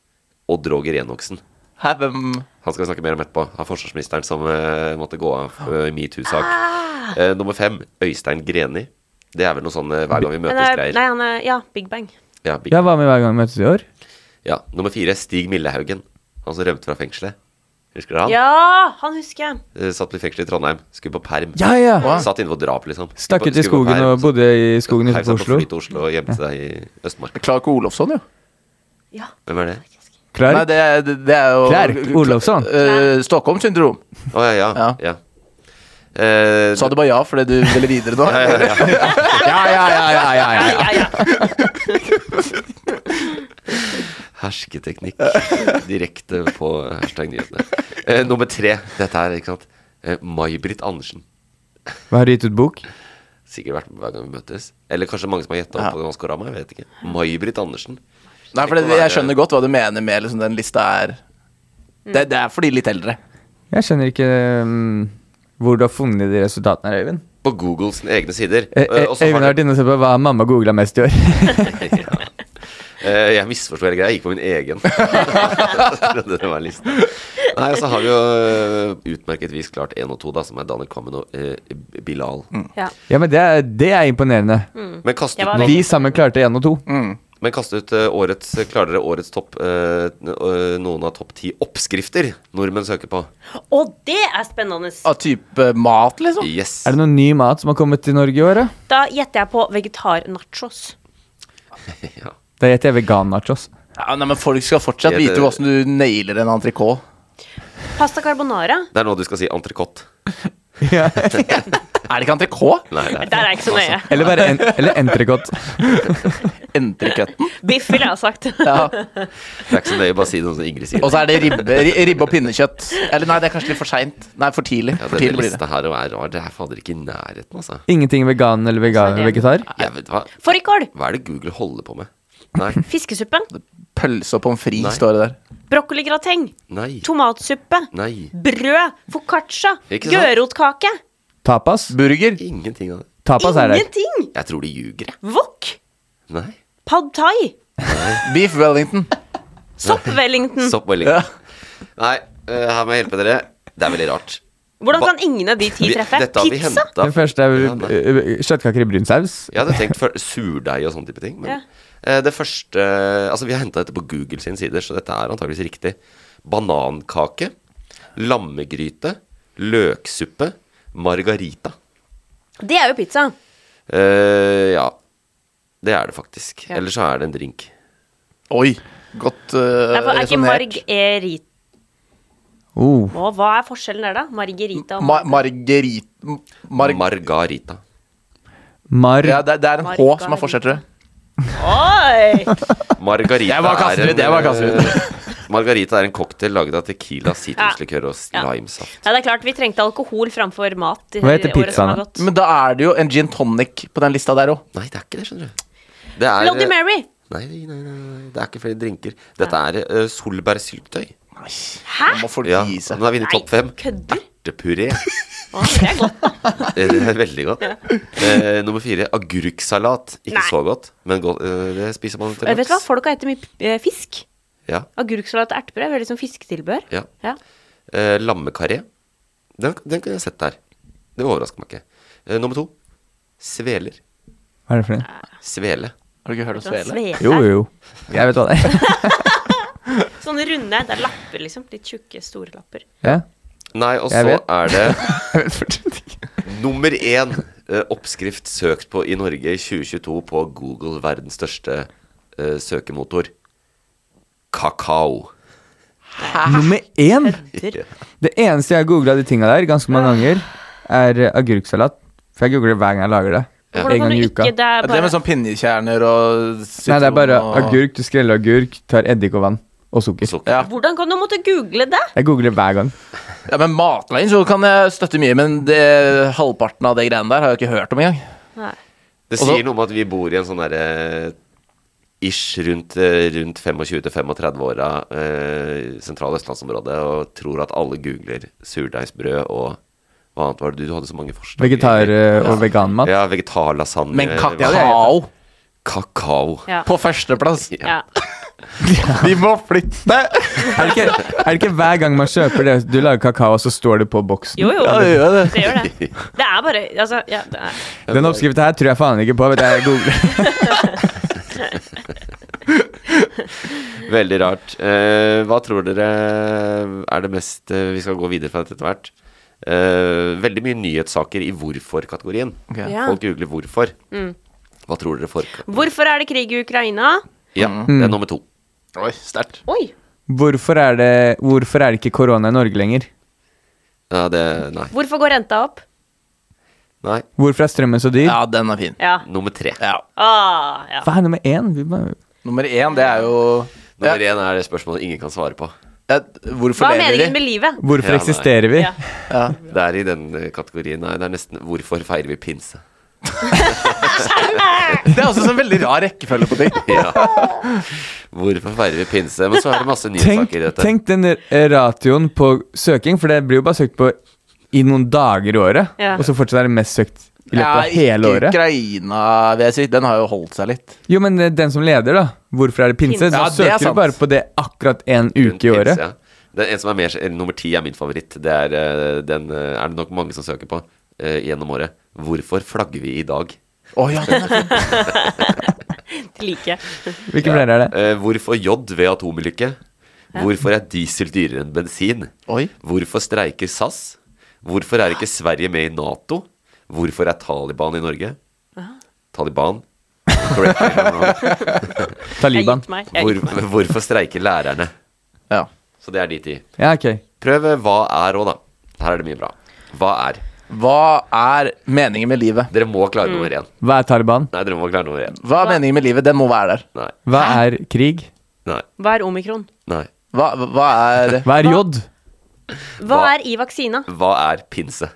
Odd Roger Enoksen.
Hæ, hvem
Han skal vi snakke mer om etterpå. Han forsvarsministeren som eh, måtte gå av eh, i metoo-sak.
Ah!
Eh, nummer fem Øystein Greni. Det er vel noe sånn eh, hver gang vi
Han
møtes
er,
greier.
nei, han er Ja, Big Bang.
Ja, big-
Jeg var med hver gang vi møttes i år.
ja. Nummer fire Stig Millehaugen. Han som rømte fra fengselet. Husker dere han?
Ja, han husker jeg.
Eh, Satt i fengsel i Trondheim. Skulle på perm.
Ja, ja!
Satt inne for drap, liksom.
Stakk ut i
Skulle på
skogen
perm,
og
så-
bodde i skogen
Heiv
utenfor
seg på
Oslo.
fly til Oslo og gjemte seg i Østmark.
Clark Olofsson, jo.
Ja.
Hvem er det?
Klar?
Nei, det, er- det er jo
Clark Olofsson.
Eh, Stockholm-syndrom.
Å ja, ja.
Ja.
ja. Eh,
Sa du bare ja fordi du ville videre
[LAUGHS]
nå?
[LAUGHS] Ja, ja, ja, ja, ja, ja.
Ja, ja.
Hersketeknikk direkte på hashtag nyhetene. Eh, nummer tre. Dette her, ikke sant. Eh, May-Britt Andersen.
Hva har du gitt ut bok?
Sikkert vært med hver gang vi møtes. Eller kanskje mange som har gjetta på Maskorama. Jeg vet ikke. May-Britt Andersen.
Nei, for det, jeg skjønner godt hva du mener med liksom, den lista er det, det er for de litt eldre.
Jeg skjønner ikke mm, hvor du har funnet de resultatene her, Øyvind.
På Googles egne sider.
Eh,
Eh,
eh,
og så har
Øyvind har vært inne og sett på hva mamma googla mest i år.
[LAUGHS]
[LAUGHS]
ja. Eh, Jeg misforsto hele greia. Jeg gikk på min egen. [LAUGHS] det var listen. Nei, og så har vi jo eh, utmerket vis klart 1 og 2, da, som er Daniel Kvammen og eh, Bilal.
Mm.
ja.
Ja, men det er, det er imponerende.
Men Mm. kast
Mm. Jeg
ut,
var
nå-
Vi sammen klarte én og to.
men kast ut eh, årets Klarer dere årets topp eh, n- eh, noen av topp ti oppskrifter nordmenn søker på?
Og det er spennende.
Av type mat, liksom.
Yes.
Er det noen ny mat som har kommet til Norge i år, da?
Da gjetter jeg på vegetar-nachos.
Ja.
Da gjetter jeg vegan-nachos.
Ja, nei, men Folk skal fortsatt
Jeg-
vite hvordan du nailer en entrecôte.
Pasta carbonara.
Det er nå du skal si
[LAUGHS]
entrecôte.
Er det ikke entrecôte?
Nei, det Altså.
Der er jeg ikke så nøye.
Eller bare en, eller
[LAUGHS]
entrecôte.
Entrecôten.
Biff ville jeg ha sagt.
Ja.
det er ikke så nøye, bare si noe som Ingrid sier.
Og så er det ribbe, ri- ribbe og pinnekjøtt. Eller nei, det er kanskje litt for seint. Nei, for tidlig.
Ja,
For
denne
tidlig blir det.
lista her og er rar. Det er fader ikke i nærheten, altså.
Ingenting vegan eller vegan vegetar.
Jeg vet, hva,
Fårikål.
hva er det Google holder på med? Nei.
Fiskesuppe.
Pølse og pommes
Nei.
frites står det der.
Brokkoligrateng.
Nei.
Tomatsuppe.
Nei.
Brød. Foccaccia.
Ikke sant?
Gørotkake.
Tapas.
Burger.
Ingenting av det.
Tapas er der.
Ingenting!
Jeg tror de ljuger, jeg.
Wok.
Nei.
Pad thai.
Beef Wellington.
Sopp-Wellington.
Stopp Welling. Nei, eh, her må jeg hjelpe dere. Det er veldig rart.
Hvordan
Ba-
kan ingen av de ti
Vi-
treffe?
Dette har vi
Pizza?
hentet-
Den første er
Ja, nei.
eh, eh, kjøttkaker i brun saus.
Jeg hadde tenkt for surdeig og sånne type ting. Men
Ja.
eh, det første Altså, vi har henta dette på Google sine sider, så dette er antageligvis riktig. Banankake. Lammegryte. Løksuppe. Margarita.
Det er jo pizza.
Eh, ja. Det er det faktisk.
Ja.
Eller så er det en drink.
Oi. Godt uh,
Eh,
Nei, for er ikke
resonnert.
margerita
Oh.
Hva er forskjellen der, da? Margarita og
Ma margerit... Mar
Margarita.
Mar...
ja, det, er- det er en H
Margarita.
som er fortsetter.
Oi!
Margarita
Jeg var
er
kastet
en
ut, jeg var kastet ut.
eh, [LAUGHS] Margarita er en cocktail laget av tequila, sitruslikør og
Ja.
limesaft.
Nei, det er klart vi trengte alkohol framfor mat. i
Hva heter
året som har
pizzaen, da?
gått.
Men da er det jo en gin tonic på den lista der òg.
Nei, det er ikke det, skjønner du. Det er
Bloody Mary.
Nei, nei, nei, nei, det er ikke flere drinker. Dette er uh, solbærsyltetøy.
啊
Nei,
Hæ?
Nå må folk
Ja,
gi
den
seg.
har vunnet
Nei,
topp fem.
kødder.
Ertepuré.
Å, det er godt, da.
Eh, [LAUGHS] Det er veldig godt. Eh, nummer fire agurksalat. Ikke
Nei.
så godt, men godt, eh, det spiser man til
Vet du hva,
luks.
folk har spist mye p- eh, fisk.
Ja,
Agurksalat og ertebrød er veldig sånn fisketilbehør.
ja.
Ja.
Eh, lammekaré. Den, den kunne jeg sett der. Det overrasker meg ikke. Eh, nummer to sveler.
Hva er det for noe?
Svele.
Har du ikke hørt om
Sånn
svele?
Ah. svele.
Jo, jo, jo. Jeg vet hva det er.
[LAUGHS]
[LAUGHS]
Sånne runde. Det er lapper, liksom. Litt tjukke, store lapper.
Ja.
Nei, og
Jeg
så
vet.
er det
[LAUGHS] Jeg vet fortsatt ikke.
nummer én eh, oppskrift søkt på i Norge i 2022 på Google, verdens største eh, søkemotor. Kakao.
Nummer én!
Kødder.
Det eneste jeg har googla de tinga der, ganske mange ganger, er eh, agurksalat. For jeg googler det hver gang jeg lager det.
Hvordan
En
kan
gang
du
i uka.
ikke Det
Er
er
det med
bare
sånn pinnekjerner og sitron
Nei, det er bare
og-
agurk. Du skreller agurk, tar eddik og vann. Og sukker.
Sukker.
Ja.
Hvordan kan du måtte google det?
Jeg googler hver gang.
ja, men matveien så kan jeg støtte mye, men det, halvparten av det greiene der har jeg jo ikke hørt om engang.
Nei.
Det
Og så-
sier noe om at vi bor i en sånn derre Ish rundt, eh, rundt 25-35-åra, eh, sentrale østlandsområdet, og tror at alle googler surdeigsbrød og hva annet var det du, du hadde så mange forslag?
Vegetar- eh, og veganmat.
Ja, vegetarlasagne.
Men
hva-
kakao
kakao.
Ja.
på førsteplass!
Ja.
De må flytte!
[LAUGHS] Er det, ikke, er det ikke hver gang man kjøper det du lager kakao, så står det på boksen?
Jo, jo.
Ja, det gjør det.
Det gjør det. Det er bare Altså, ja, det er
[LAUGHS] Den oppskrifta her tror jeg faen ikke på. Vet du, jeg googler.
[LAUGHS] Veldig rart. Eh, hva tror dere er det mest eh, Vi skal gå videre fra dette etter hvert. Eh, veldig mye nyhetssaker i hvorfor-kategorien.
Ok.
Ja.
Folk googler hvorfor. Hva tror dere for
mm. Hvorfor er det krig i Ukraina?
Ja,
Mm.
det er nummer to.
Oi, sterkt.
Oi!
Mm. Hvorfor er det, hvorfor er det ikke korona i Norge lenger?
Ja, det Nei.
Hvorfor går renta opp?
Nei.
Hvorfor er strømmen så dyr?
Ja, den er fin.
Ja.
Nummer tre.
Ja.
Ah, ja.
Hva er nummer én? Vi bare-
Nummer én, det er jo
Nummer én er det spørsmålet ingen kan svare på.
ja, Hvorfor
Hva er
lever
meningen med
vi?
livet?
Hvorfor
Ja, nei.
eksisterer vi?
Ja.
Det er i den eh, kategorien. Nei, det er nesten Hvorfor feirer vi pinse?
Det er også en veldig rar rekkefølge på ting.
[LAUGHS] Ja. Hvorfor feirer vi pinse? Men så er det masse
Tenk,
nyhetssaker i dette.
tenk den eh, ratioen på søking, for det blir jo bare søkt på i noen dager i året.
Ja.
Og så fortsatt er det mest søkt i løpet av
Ja,
hele
ikke
året.
Ukraina, vil jeg si. Den har jo holdt seg litt.
Jo, men eh, den som leder, da. Hvorfor er det pinse?
Pinse.
Så
Ja, det er
søker
sant.
du bare på det akkurat én
Rundt
uke i
pinse,
året.
ja. Det er en som er mer, eller Nummer ti er min favoritt. Det er, eh, den eh, er det nok mange som søker på eh, gjennom året. Hvorfor flagger vi i dag?
Å ja, den er fin.
[LAUGHS] Det liker jeg.
Hvilke flere er det?
Eh, hvorfor jod ved atomulykke? Hvorfor er diesel dyrere enn bensin?
Oi.
Hvorfor streiker SAS? Hvorfor er ikke Sverige med i Nato? Hvorfor er Taliban i Norge? Taliban? Correct me
[LAUGHS]
if I'm wrong.
Jeg har
Taliban.
gitt meg. Jeg har gitt meg.
Hvor, hvorfor streiker lærerne?
Ja.
Så det er de ti.
Ja, ok.
Prøv eh, hva er òg, da. Her er det mye bra. Hva er?
Hva er meningen med livet? Mm.
Dere må klare nummer én.
Hva er Taliban?
Nei, dere må klare nummer én.
Hva er meningen med livet? Den må være der.
Nei.
Hva er krig?
Nei.
Hva er omikron?
Nei.
Hva, hva er
[LAUGHS] Hva er jod?
Hva
Hva-
er i vaksina?
Hva er pinse?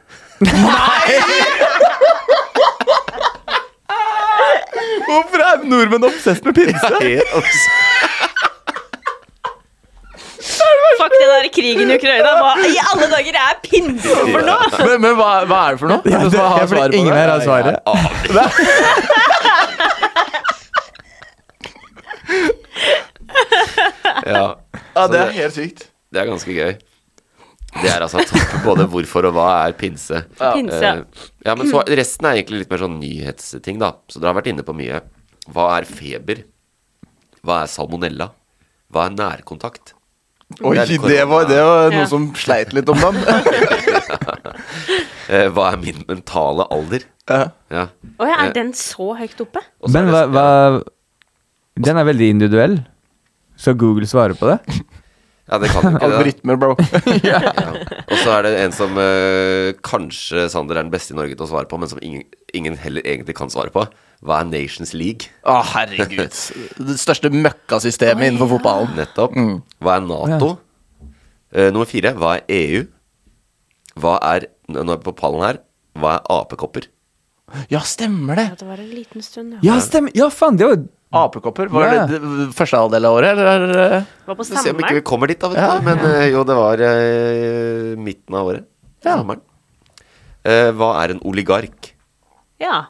Hvorfor er nordmenn obsess med pinse?
Helt obs-
[LAUGHS] Fuck det der krigen i Ukraina. Hva i alle dager er pinse for noe?
Men, men hva, hva er det for noe?
Ja,
Hva
det,
har
ja,
svaret
fordi
på
ingen
det?
her har svaret.
Ja.
Ja,
Så
det er
det-
helt sykt.
Det er ganske gøy. Det er altså topp både hvorfor og hva er pinse.
Pinse.
Eh, ja, men så, resten er egentlig litt mer sånn nyhetsting, da. Så dere har vært inne på mye. Hva er feber? Hva er salmonella? Hva er nærkontakt?
Oi,
Det er litt
det var, det var
Ja.
noe som sleit litt om dem.
Eh, hva er min mentale alder?
Ja.
Ja.
Å ja, er den så høyt oppe?
Eh,
Og så er
Men
det-
hva, hva Den er veldig individuell. Skal Google svare på det?
Ja, det kan du ikke. Det, da.
Algoritmer,
[LAUGHS]
bro.
ja. Og så er det en som eh, kanskje Sander er den beste i Norge til å svare på, men som ingen, ingen heller egentlig kan svare på. Hva er Nations League?
[LAUGHS] Å,
[LAUGHS]
herregud. Det største møkkasystemet innenfor fotballen.
Nettopp. Hva er Nato? Eh, nummer fire, hva er EU? Hva er Nå nå er jeg på pallen her. Hva er apekopper?
Ja, stemmer det.
Ja, det var en liten stund, ja.
Ja, stemmer! Ja, faen, det var
Apekopper? Var
Ja.
det d- første halvdel av året, eller? er det-
Var på
Se om ikke vi
sommeren.
kommer dit, da. Vet du. Men eh, jo, det var eh, midten av året. Sommeren. Eh, hva er en oligark?
Ja.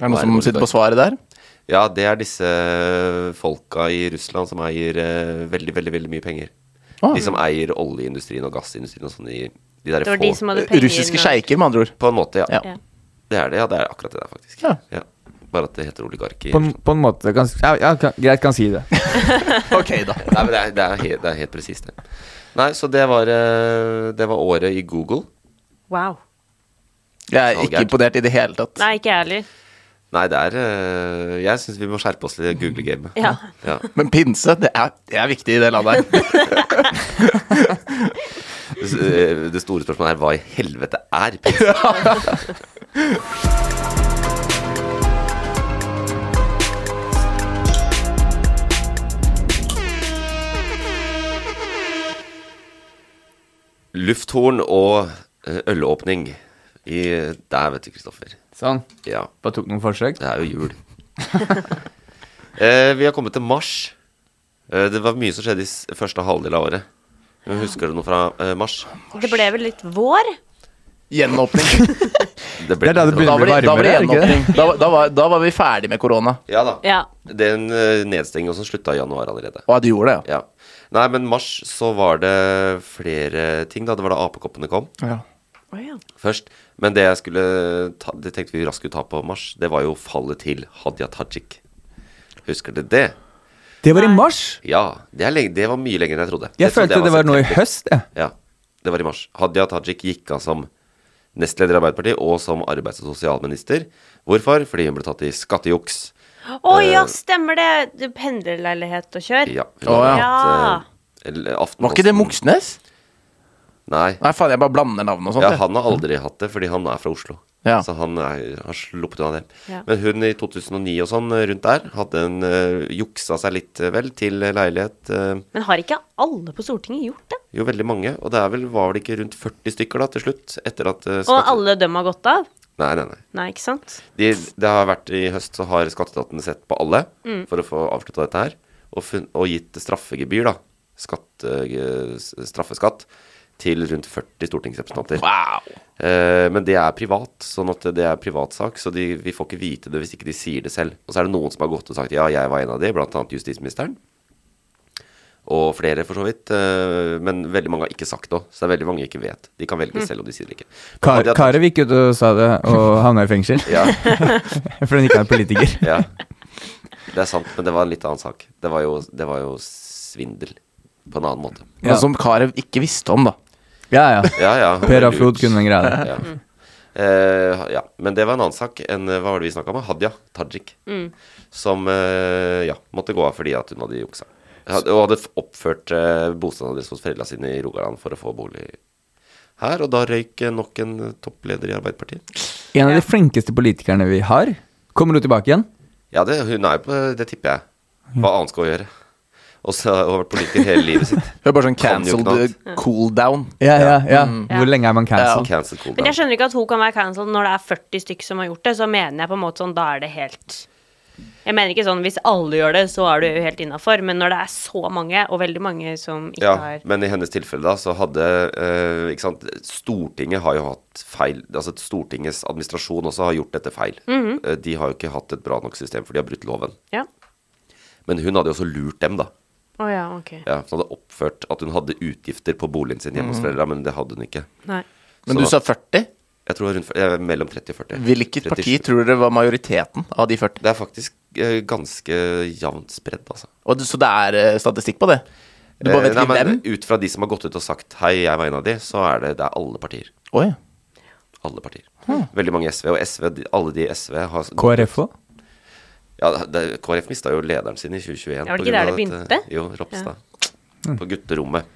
Er det noen som sitter på svaret der?
Ja, det er disse eh, folka i Russland som eier eh, veldig, veldig veldig mye penger.
Ah.
De som eier oljeindustrien og gassindustrien og sånn i de der
Det var
få
de som hadde penger
Russiske sjeiker, med andre ord.
På en måte, ja.
Ja.
Ja.
Det er det, ja. Det er akkurat det der, faktisk.
Ja.
Bare at det heter oligarki.
På en, på en måte kan, ja, ja, kan, Greit, kan si det.
Ok, da.
[LAUGHS] Nei, men det er, det er, helt, det er helt presist, det. Nei, så det var, eh, det var året i Google.
Wow.
Jeg er ikke imponert i det hele tatt.
Nei, ikke jeg heller.
Nei, det er eh, Jeg syns vi må skjerpe oss litt i Google-gamet.
Ja.
Ja.
Men pinse, det er, det er viktig i det landet her. [LAUGHS]
S- eh, Det store spørsmålet er hva i helvete er
[LAUGHS]
pinse? Lufthorn og eh, ølåpning i Der, vet du, Kristoffer.
Sånn.
Ja,
Bare tok noen forsøk.
det er jo jul. [LAUGHS] eh, vi har kommet til mars. Eh, det var mye som skjedde i s- første halvdel av året. Husker du noe fra eh, mars?
Det ble vel litt vår?
Gjenåpning.
Det er da det
Da var det, da var det
Varmere, er det ikke
gjenåpning. Da, var- da, var, da var vi ferdig med korona.
Ja da.
Ja.
Den eh, nedstengingen som slutta i januar allerede.
Å, du gjorde det,
Ja. Nei, men mars så var det flere ting, da. Det var da apekoppene kom
ja. ja.
Å ja.
først. Men det jeg skulle ta, Det tenkte vi raskt skulle ta på mars, det var jo fallet til Hadia Tajik. Husker dere det?
Det var i mars!
Ja. Det, er lenge, det var mye lenger enn jeg trodde.
Jeg
trodde
følte det var nå i
september.
høst, jeg.
Ja, det var i mars. Hadia Tajik gikk av som nestleder i Arbeiderpartiet og som arbeids- og sosialminister. Hvorfor? Fordi hun ble tatt i skattejuks.
Å ja, stemmer det. Du Pendlerleilighet og kjør.
Eh. Ja, hun
Å,
hadde
ja.
hatt, eh, eller Aftenposten
Var ikke det Moxnes?
Nei.
Nei, faen, jeg bare blander navn og sånt.
Ja,
jeg.
han har aldri hatt det, fordi han er fra Oslo.
Ja.
Så han er- har sluppet unna det.
Ja.
Men hun i 2009 og sånn, rundt der, hadde en eh, juksa seg litt, eh, vel, til leilighet. eh,
Men har ikke alle på Stortinget gjort det?
jo, veldig mange. Og det er vel, var vel ikke rundt 40 stykker da, til slutt? Etter at eh,
Og
skatte-
alle dem har gått av?
Nei, nei, nei.
Nei, ikke sant?
De, det har vært I høst så har skatteetaten sett på alle for å få avslutta dette her, og, funn- og gitt straffegebyr, da, skatt, eh, s- straffeskatt, til rundt 40 stortingsrepresentanter.
Wow.
Eh, men det er privat, sånn at det er privatsak, så de, vi får ikke vite det hvis ikke de sier det selv. Og så er det noen som har gått og sagt ja, jeg var en av de, blant annet justisministeren. Og flere, for så vidt. eh, men veldig mange har ikke sagt noe, så det er veldig mange ikke vet. De kan velge selv om de sier det ikke. Men
Kar
Hadia-
Karev gikk ut og sa det, og havna i fengsel.
Ja.
[LAUGHS] For den ikke er politiker.
Ja. Det er sant, men det var en litt annen sak. Det var jo, det var jo svindel på en annen måte.
Noe som Karev ikke visste om, da.
Ja, ja.
Ja, ja.
Altså, [LAUGHS] Per av Flod kunne den greia
[LAUGHS]
der.
Ja. Eh, ja. Men det var en annen sak enn eh, hva var det vi snakka om? Hadia Tajik. Som eh, ja, måtte gå av fordi at hun hadde juksa. Had- Og hadde f- oppført uh, bostadsadresse hos foreldra sine i Rogaland for å få bolig her. Og da røyk eh, nok en eh, toppleder i Arbeiderpartiet.
En av de flinkeste politikerne vi har. Kommer hun tilbake igjen?
Ja, det, hun er jo på Det tipper jeg. Hva annet skal hun gjøre? Og så har hun vært politiker hele livet sitt.
Det var bare sånn
Kan jo ikke
cancelled Mm.
noe
eh, cool down.
Ja, ja, ja. Hvor lenge er man cancelled?
Cancel cool
Men
down.
jeg skjønner ikke at hun kan være cancelled når det er 40 stykk som har gjort det. Så mener jeg på en måte sånn, da er det helt Jeg mener ikke sånn hvis alle gjør det, så er du jo helt innafor. Men når det er så mange, og veldig mange som ikke
Ja,
har
men i hennes tilfelle da, så hadde eh, ikke sant? Stortinget har jo hatt feil Altså Stortingets administrasjon også har gjort dette feil.
Mhm.
Eh, de har jo ikke hatt et bra nok system, for de har brutt loven.
Ja.
Men hun hadde jo også lurt dem, da.
Å ja, ok.
Ja, hun hadde oppført at hun hadde utgifter på boligen sin hjemme hos foreldra, men det hadde hun ikke.
Nei.
Mhm.
Så
Men du
da-
sa 40?
Jeg tror rundt, eh, mellom 30 og 40.
Hvilket parti
37.
tror dere var majoriteten av de 40?
Det er faktisk eh, ganske jevnt spredd, altså.
Og, du- så det er eh, statistikk på det? Du bare vet
Eh, nei,
ikke hvem?
men Ut fra de som har gått ut og sagt 'hei, jeg var en av de', så er det, det er alle partier.
Oi.
Alle partier. Veldig mange SV, og SV, de- alle de i SV har
KrF òg?
Ja, det, KrF mista jo lederen sin i 2021.
Ja, var det
på
ikke
grunn
der
av
det
dette-
begynte?
Jo, Ropstad. På gutterommet.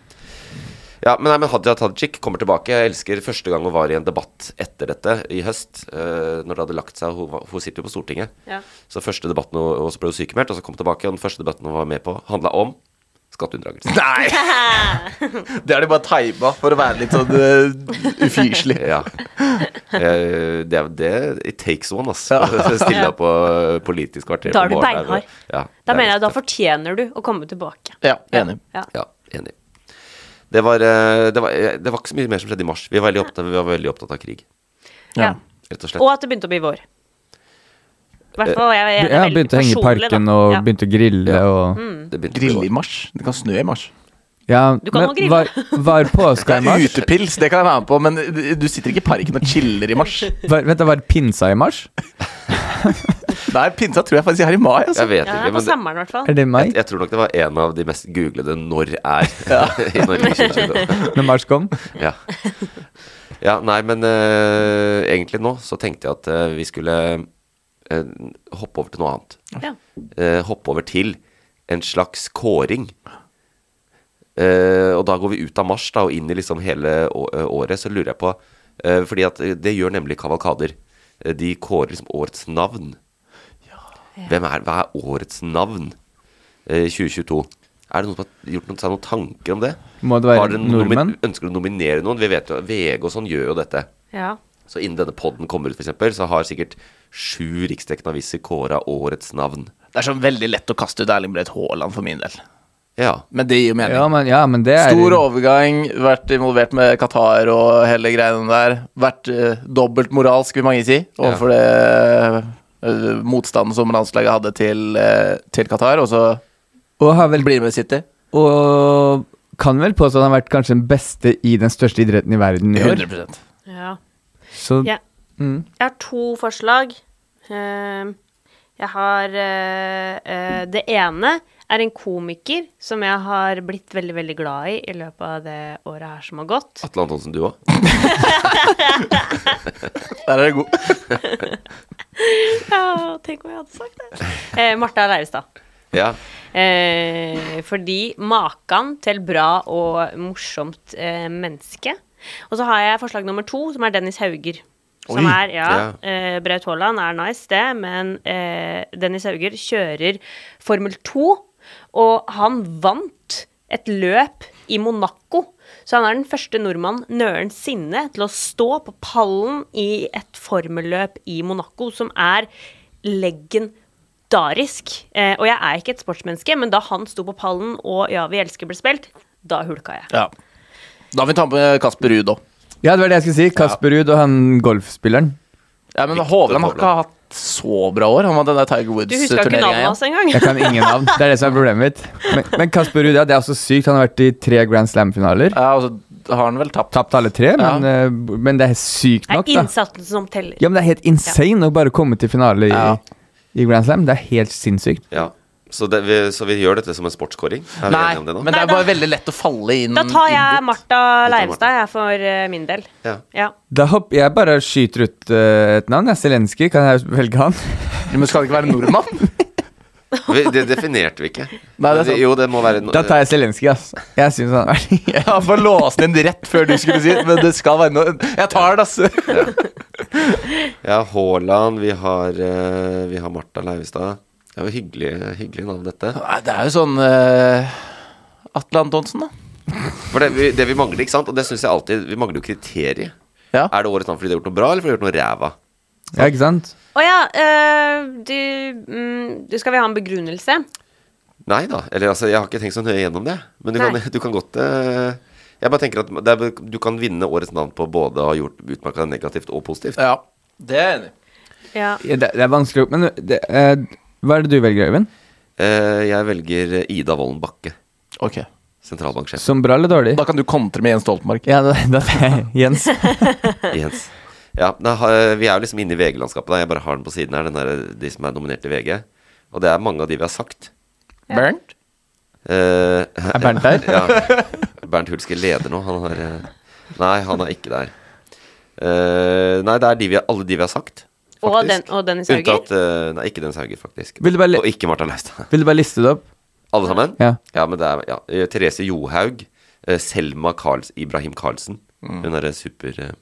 Ja, men, nei, men Hadia Tajik kommer tilbake. Jeg elsker første gang hun var i en debatt etter dette, i høst. eh, når det hadde lagt seg. Hun, var- hun sitter jo på Stortinget.
Ja.
Så første debatten hun, og så ble hun sykemeldt, og så kom hun tilbake. Og den første debatten hun var med på, handla om
[LAUGHS]
skatteunndragelse.
Nei! Det er de bare tima for å være litt sånn eh, ufyselig.
Ja. Eh, Det, er- det It takes one, ass. [LAUGHS] Stille opp på eh, Politisk kvarter.
Da er
på
du
morgenen der,
beinhard.
og- Ja,
Da
det er
mener jeg
litt
da fortjener du å komme tilbake.
Ja, enig.
Ja.
Ja, enig. Det var, eh, det, var, eh, det var ikke så mye mer som skjedde i mars. Vi var veldig opptatt, vi var veldig opptatt av krig,
Ja.
rett og slett.
Og at det begynte å bli vår. I hvert fall jeg, jeg,
Jeg begynte å henge i parken og
ja. Mm.
begynte å grille og
Det begynte å bli
Grille
vår.
i mars. Det kan snø i mars.
Ja,
Du kan
men
jo grille.
Var, var
[LAUGHS]
påska i mars?
Utepils, det kan jeg være med på, men du sitter ikke i parken og chiller i mars.
Var, vent, da, var pinsa i
[LAUGHS]
mars?
Nei, pinsa tror jeg faktisk jeg har i mai. Altså.
Jeg vet
Ja,
ikke,
på
men det,
sommeren i hvert fall.
Er det mai?
jeg, jeg tror nok det var en av de mest googlede 'når er' [LAUGHS] i Norge. i 2022.
Når mars kom?
[LAUGHS] Ja. ja, nei, men eh, egentlig nå så tenkte jeg at eh, vi skulle eh, hoppe over til noe annet.
Ja.
eh, hoppe over til en slags kåring. Eh, og da går vi ut av mars da, og inn i liksom hele å- eh, året. Så lurer jeg på eh, Fordi at det gjør nemlig kavalkader. Eh, De kårer liksom årets navn. Hvem er, hva er årets navn eh, i 2022? Er det noen som har gjort noen, seg noen tanker om det?
Må det være
Har dere nomi-
nordmenn?
Ønsker du å nominere noen? Vi vet jo, VG og sånn gjør jo dette.
Ja.
Så innen denne podden kommer ut, for eksempel så har sikkert sju riksdekkende aviser kåra årets navn.
Det er sånn veldig lett å kaste ut Erling Breit Haaland for min del.
Ja.
Men det gir jo mening.
Ja, men, ja, men det er
Stor overgang, vært involvert med Qatar og hele greiene der. Vært uh, dobbeltmoralsk, vil mange si, overfor det eh, motstanden som landslaget hadde til, eh, til Qatar, og så
Og har vel
blir med City.
Og kan vel påstå at han har vært kanskje den beste i den største idretten i verden i år.
100
ja.
Så Mm.
Ja. Jeg har to forslag. Ehm, Jeg har eh, eh, Det ene er en komiker som jeg har blitt veldig, veldig glad i i løpet av det året her som har gått. [LAUGHS]
Atle Antonsen, du òg?
[LAUGHS] Der er det god.
Ja, tenk om jeg hadde sagt det. Eh, Martha Leivestad.
[LAUGHS] Ja.
Eh, fordi makan til bra og morsomt eh, menneske. Og så har jeg forslag nummer to, som er Dennis Hauger. Som
Oi,
er, ja,
ja.
eh, Braut Haaland er nice, det, men eh, Dennis Hauger kjører Formel 2, og han vant et løp i Monaco. Så han er den første nordmann noensinne til å stå på pallen i et formelløp i Monaco, som er legendarisk. Eh, og jeg er ikke et sportsmenneske, men da han sto på pallen og Ja, vi elsker ble spilt, da hulka jeg.
Ja. Da vil vi ta med Kasper Ruud òg.
Ja, det var det jeg skulle si. Kasper Ruud og han golfspilleren.
Ja, men
Victor
Hovland har ikke
Hovland.
hatt så bra år. Han var den der Tiger
Du huska ikke
Woods-turneringa
navnet
igjen.
hans engang?
Jeg kan ingen navn. Det er det som er problemet mitt. Men, men Kasper Ruud, ja, det er også sykt. Han har vært i tre Grand Slam-finaler.
Ja, og så har han vel tapt.
Tapt alle tre, men,
Ja.
eh, b- men det er sykt
Det er
nok, da.
innsatsen som teller.
Ja, men det er helt insane å bare komme til finale i,
Ja.
i Grand Slam. Det er helt sinnssykt.
ja. Så, det, vi, så vi gjør dette som en sportskåring? Er vi
Nei,
enige om det nå?
men det er bare veldig lett å falle inn.
Da tar jeg
inn dit.
Martha
Martha.
Leivestad, jeg, for eh, min del.
Ja.
Ja.
Da hopper jeg bare skyter ut eh, et navn. Jeg Zelenskyj, kan jeg velge han?
Men skal det ikke være nordmann?
Vi, det definerte vi ikke.
[LAUGHS] Nei, det er sant.
Jo, det må være no-
Da
[LAUGHS]
tar jeg Zelenskyj, ass. Jeg syns han er [LAUGHS]
Jeg har bare låst den inn rett før du skulle si det, men det skal være noe Jeg tar det, ass.
Ja, Haaland, vi har, eh, vi har Martha Leivestad. Det er jo hyggelig, hyggelig navn, dette.
Nei, det er jo sånn eh, Atle Antonsen, da.
For det vi, det vi mangler, ikke sant, og det syns jeg alltid Vi mangler jo kriterier.
Ja.
Er det årets navn fordi de har gjort noe bra, eller fordi de har gjort noe ræva?
Ja, ikke sant?
Å ja, eh, du, mm, du Skal vi ha en begrunnelse?
Nei da. Eller altså, jeg har ikke tenkt så nøye gjennom det. Men du kan,
Nei.
[LAUGHS] du kan godt eh, Jeg bare tenker at det er, du kan vinne årets navn på både å ha gjort utmerka negativt og positivt.
Ja, det er jeg enig i.
Ja.
Ja, det, det er vanskelig å- Men det, eh, hva er det du velger, Øyvind?
Eh, jeg velger Ida Wolden Bakke,
Ok.
sentralbanksjef.
Som bra eller dårlig?
Da kan du kontre med Jens Stoltenberg.
Ja, da, da,
[LAUGHS]
Jens.
Jens. Ja, da har- vi er jo liksom inne i VG-landskapet. da. Jeg bare har den på siden her, den der, de som er nominert til VG. Og det er mange av de vi har sagt.
Bernt?
Eh,
Er Bernt der?
[LAUGHS] ja. Bernt Hulske leder nå. Han har eh, Nei, han er ikke der. Eh, nei, det er de vi, alle de vi har sagt.
Og
faktisk.
den- og Dennis Hauger?
Unntatt eh, Nei, ikke Dennis Hauger, faktisk.
Vil du bare li-
Og ikke Martha Leivstad.
Vil du bare liste det opp?
Alle sammen?
Ja.
men det er ja. Eh, Therese Johaug. eh, Selma Karls, Ibrahim Karlsen. Hun derre super... eh,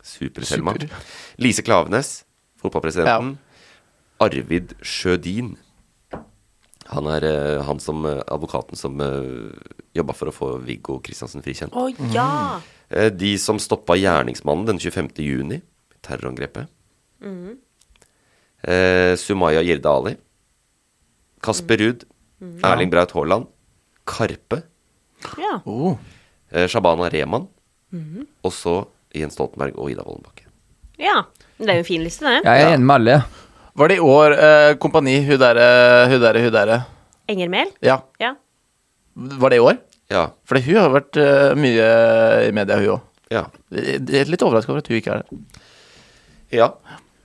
Super-Selma.
Super.
Lise Klavenes, fotballpresidenten. Arvid Sjødin. Han er eh, han som eh, advokaten som uh, jobba for å få Viggo Kristiansen frikjent.
Å ja!
Eh, De som stoppa gjerningsmannen den 25. juni, terrorangrepet. Eh, Sumaya Jirde Ali. Kasper Ruud. Erling Braut Haaland. Karpe.
ja.
Oh.
eh, Shabana Rehman. Og så Jens Stoltenberg og Ida Woldenbakke.
ja. Det er jo en fin liste, det.
Jeg er enig med alle. ja.
Var det i år eh, Kompani, hun derre, hun derre, hun derre
Engermel.
Ja.
Ja.
Var det i år?
Ja.
Fordi hun har vært eh, mye i media, hun òg.
Ja.
Litt overraska over at hun ikke er der.
ja.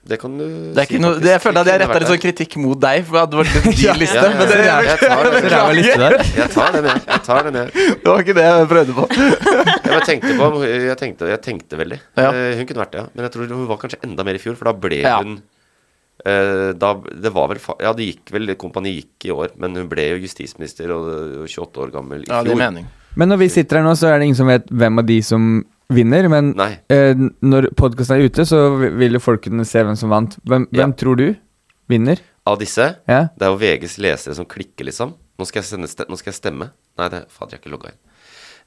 Det kan du
Det er ikke noe, det, jeg føler at jeg retta litt sånn kritikk mot deg, for det var
[LAUGHS]
litt din liste.
ja, ja.
Men det,
Ja, jeg tar det.
[LAUGHS]
Så ræva liste der.
Jeg tar den, jeg. jeg, tar den, jeg.
det var ikke det jeg prøvde på.
Jeg bare tenkte på om- Jeg tenkte, jeg tenkte veldig.
Ja.
Eh, Hun kunne vært det, ja. Men jeg tror hun var kanskje enda mer i fjor, for da ble
Ja.
hun eh, da, det var vel fa- Ja, det gikk vel Kompani gikk i år, men hun ble jo justisminister og og 28 år gammel i
Ja,
fjor.
det gir mening.
Men når vi sitter her nå, så er det ingen som vet hvem av de som vinner. Men
Nei.
eh, når podkasten er ute, så vi- vil jo folk kunne se hvem som vant. Hvem,
Ja.
hvem tror du vinner?
Av disse
Ja.
Det er jo VGs lesere som klikker, liksom. Nå skal jeg, sende, ste- nå skal jeg stemme. Nei, det, fader, jeg har ikke logga inn.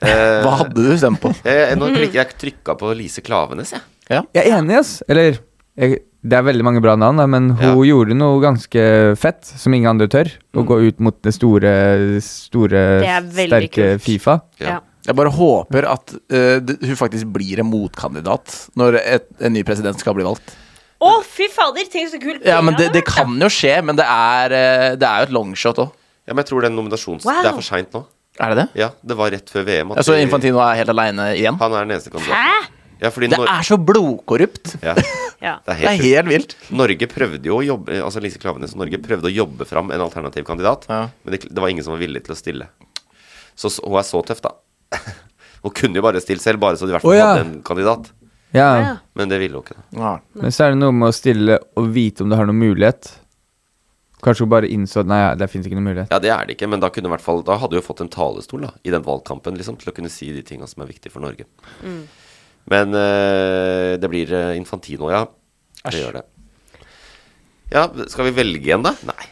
Eh,
Hva hadde du stemt på?
eh, nå klikker, [LAUGHS] jeg trykka på Lise Klavenes, jeg.
Jeg er enig, ass. Eller jeg, Det er veldig mange bra navn, da, men hun
Ja. Mm.
gjorde noe ganske fett som ingen andre tør. Å gå ut mot det store, store,
Det er veldig
sterke
kult.
Fifa.
Ja.
Ja.
Jeg bare håper at eh, det- hun faktisk blir en motkandidat når et, en ny president skal bli valgt.
Å, fy fader! Tenk så kult!
Ja, men
bilde
Det,
av
det
det.
kan jo skje, men det er, eh, det er jo et longshot òg.
Ja, men jeg tror den nominasjons...
Wow.
Det er for seint nå.
Er det det?
Ja, det var rett før VM. at
Jeg så
de-
Infantino er helt aleine igjen.
Han er den eneste kandidaten.
Hæ?
Ja, fordi
Det
Nor-
er så blodkorrupt!
ja,
Ja.
det er
[LAUGHS] Det er
helt sjukt.
helt vilt.
Norge prøvde jo å jobbe Altså Lise Klavenes og Norge prøvde å jobbe fram en alternativ kandidat,
Ja.
men det, det var ingen som var villig til å stille. Så, så hun er så tøff, da. [LAUGHS] hun kunne jo bare stilt selv, bare så de i hvert fall
Å, ja.
hadde en kandidat.
Ja.
Ja.
Men det ville hun ikke. da
Ja.
Men så er det noe med å stille og vite om du har noen mulighet. Kanskje hun bare innså at nei, det fins ikke noen mulighet.
Ja, det er det ikke, men da, kunne i hvert fall, da hadde hun fått en talestol da, i den valgkampen liksom, til å kunne si de tinga som er viktige for Norge.
Mm.
Men eh, det blir eh, Infantino, ja. Det gjør det. Ja, skal vi velge en, da? Nei.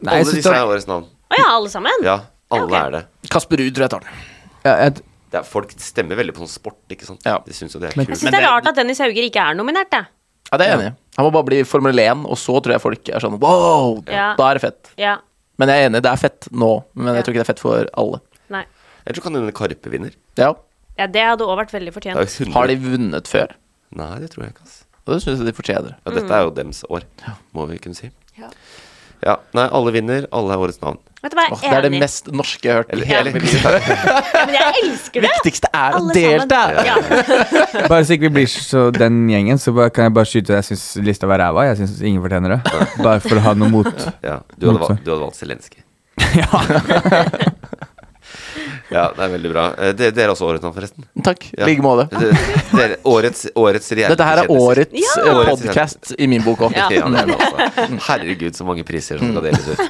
Nei, jeg
alle
synes
disse
det
er årets navn.
Å ja, alle sammen?
Ja, alle
Ja, ok.
er det.
Kasper Ruud tror jeg tar den.
Ja, jeg,
det er, folk stemmer veldig på sånn sport, ikke sant.
Ja.
De syns jo det er
Men-
kult.
Jeg syns
Men
det er
det-
rart at Dennis Hauger ikke er nominert, jeg.
Ja, det er jeg enig i. Han må bare bli Formel 1, og så tror jeg folk er sånn wow!
Ja.
Da er det fett.
Ja.
Men jeg er enig, det er fett nå. Men
Ja.
jeg tror ikke det er fett for alle.
Nei.
Jeg tror kan hende Karpe vinner.
Ja.
Ja, det hadde òg vært veldig
Det er
fortjent.
jo 100
Har de vunnet før?
Nei, det tror jeg ikke, ass.
Og det syns jeg de fortjener.
Ja, dette er jo dems år, må vi kunne si.
Ja.
Ja, Nei, alle vinner. Alle er årets navn.
Vet du hva,
Åh,
jeg er
det er det
enig.
mest norske jeg har hørt. i
Eller,
hele
eller
mitt
[LAUGHS]
liv.
Ja, men jeg elsker det!
Viktigste er å
Alle
delta!
sammen. Ja.
bare så ikke vi blir så den gjengen, så bare, kan jeg bare skyte Jeg syns lista var ræva. Jeg syns ingen fortjener det. Bare for å ha noe mot.
[LAUGHS] Ja, du hadde,
Motsatt.
valgt, du hadde valgt Zelenskyj. [LAUGHS] ja. det er veldig bra. Eh, Det, dere er også årets navn, forresten.
Takk. I
Ja.
like måte.
Det- Dere, årets årets reality
Dette her er
kjendiser.
årets
Ja.
eh, podcast i min bok òg.
Ja, det
[LAUGHS]
er det altså. Herregud, så mange priser som skal deles ut.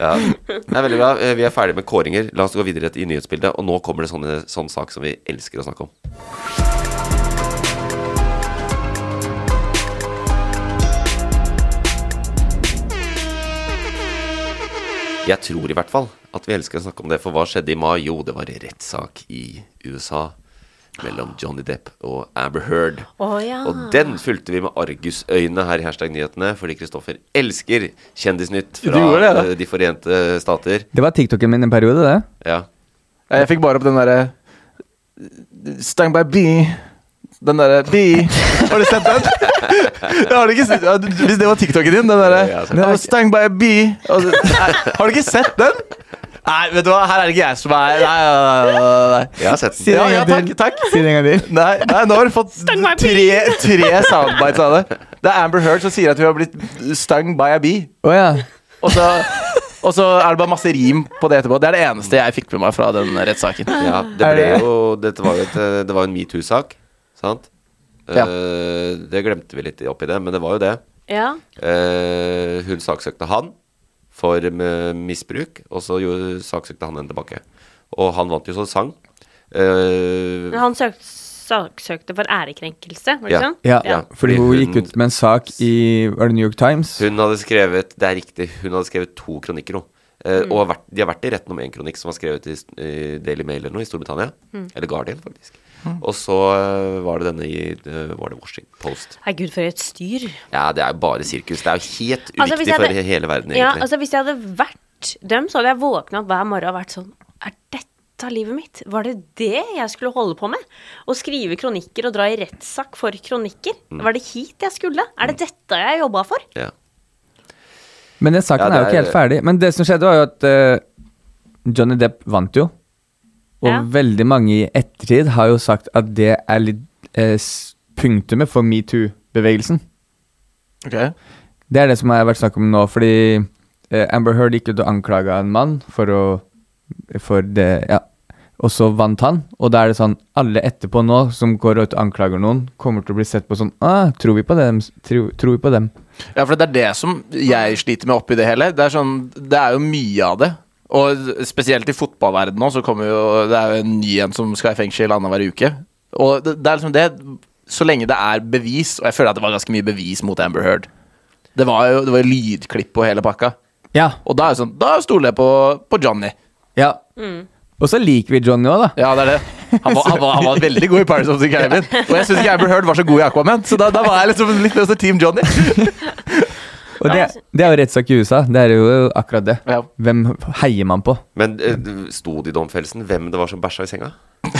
Ja. Det er veldig bra. Eh, Vi er ferdige med kåringer. La oss gå videre i nyhetsbildet. Og nå kommer det sånne, sånn sak som vi elsker å snakke om. Jeg tror i hvert fall at vi elsker å snakke om det, for hva skjedde i mai? Jo, det var rettssak i USA mellom Johnny Depp og Amber Heard.
Å ja.
Og den fulgte vi med argusøyne her i Hashtag nyhetene, fordi Kristoffer elsker Kjendisnytt fra
Du gjorde det, da.
eh, De forente stater.
Det var TikToken min en periode, det.
Ja.
Jeg fikk bare opp den eh.
[LAUGHS]
derre Stung by bee. Den derre bee. Har du sett den? [LAUGHS] Jeg har du ikke sett, ja, du- hvis det var TikToken din, den
Ja, altså. jeg har
derre
sett
I was Stung by a bee. Og så- Nei, Har du ikke sett den? Nei, vet du hva, her er det ikke jeg som er Nei, nei, nei, nei, nei.
Jeg har sett den.
det
Ja,
en
ja,
gang til.
takk, takk.
Si det en gang til.
Nei, nei, nå har du fått
by a
tre, tre soundbites av det. Det er Amber Heard som sier at hun har blitt stung by a bee.
Å ja.
Og så, og så er det bare masse rim på det etterpå. Det er det eneste jeg fikk med meg fra den rettssaken.
Ja, det
Er
ble
det-
jo Dette var jo et, eh, det var jo en metoo-sak, sant?
Ja.
Eh, det glemte vi litt oppi det, men det var jo det.
ja.
Eh, hun saksøkte han for eh, misbruk, og så jo, saksøkte han henne tilbake. Og han vant jo så det sang. Eh,
Men han søkte, saksøkte for ærekrenkelse, var det
Ja.
ikke sånn?
ja.
Ja, fordi
Fordi hun
hun-
gikk ut med en sak i Var det New York Times?
Hun hadde skrevet Det er riktig, hun hadde skrevet to kronikker hun, Eh,
Mm.
Og har vært, de har vært i retten om en kronikk som var skrevet i eh, Daily Mail eller noe i Storbritannia.
Mm.
Eller Guardian, faktisk. Og så eh, var det denne i eh, var det Washington Post.
Nei, gud, for et styr.
Ja, det er jo bare sirkus. Det er jo helt uviktig
Altså, hvis jeg
for
hadde-
he- hele verden,
Ja,
egentlig.
altså Hvis jeg hadde vært dem, så hadde jeg våkna opp hver morgen og vært sånn Er dette livet mitt? Var det det jeg skulle holde på med? Å skrive kronikker og dra i rettssak for kronikker?
Mm.
Var det hit jeg skulle? Er det dette jeg jobba for?
ja.
Men den saken
Ja, det
er jo ikke
er-
helt ferdig. Men det som skjedde, var jo at eh, Johnny Depp vant jo. Og
Ja.
veldig mange i ettertid har jo sagt at det er litt eh, s- punktumet for metoo-bevegelsen.
Ok.
Det er det som har vært snakk om nå, fordi eh, Amber Heard gikk ut og anklaga en mann for å For det, ja. Og så vant han, og da er det sånn Alle etterpå nå som går ut og anklager noen, kommer til å bli sett på sånn ah, Tror vi på dem? Tror, tror vi på dem?
Ja, for det er det som jeg sliter med oppi det hele. Det er, sånn, det er jo mye av det. Og spesielt i fotballverdenen nå, så kommer jo Det er jo en ny en som skal i fengsel annenhver uke. Og det, det er liksom det Så lenge det er bevis, og jeg føler at det var ganske mye bevis mot Amber Heard. Det var jo det var jo lydklipp og hele pakka.
Ja.
Og da er det sånn Da stoler jeg på, på Johnny.
ja. Og så liker vi Johnny òg, da.
Ja, det er det. Han var, han var, han var veldig god i Pirates of the
[LAUGHS]
Caribbean. Og jeg syns ikke Amber Heard var så god i Aquaman, så da, da var jeg liksom litt mer sånn Team Johnny.
Og det, det er jo rettssak i USA. Det er jo akkurat det.
Ja.
Hvem heier man på?
Men eh, sto det i domfellelsen hvem det var som bæsja i senga?
[LAUGHS]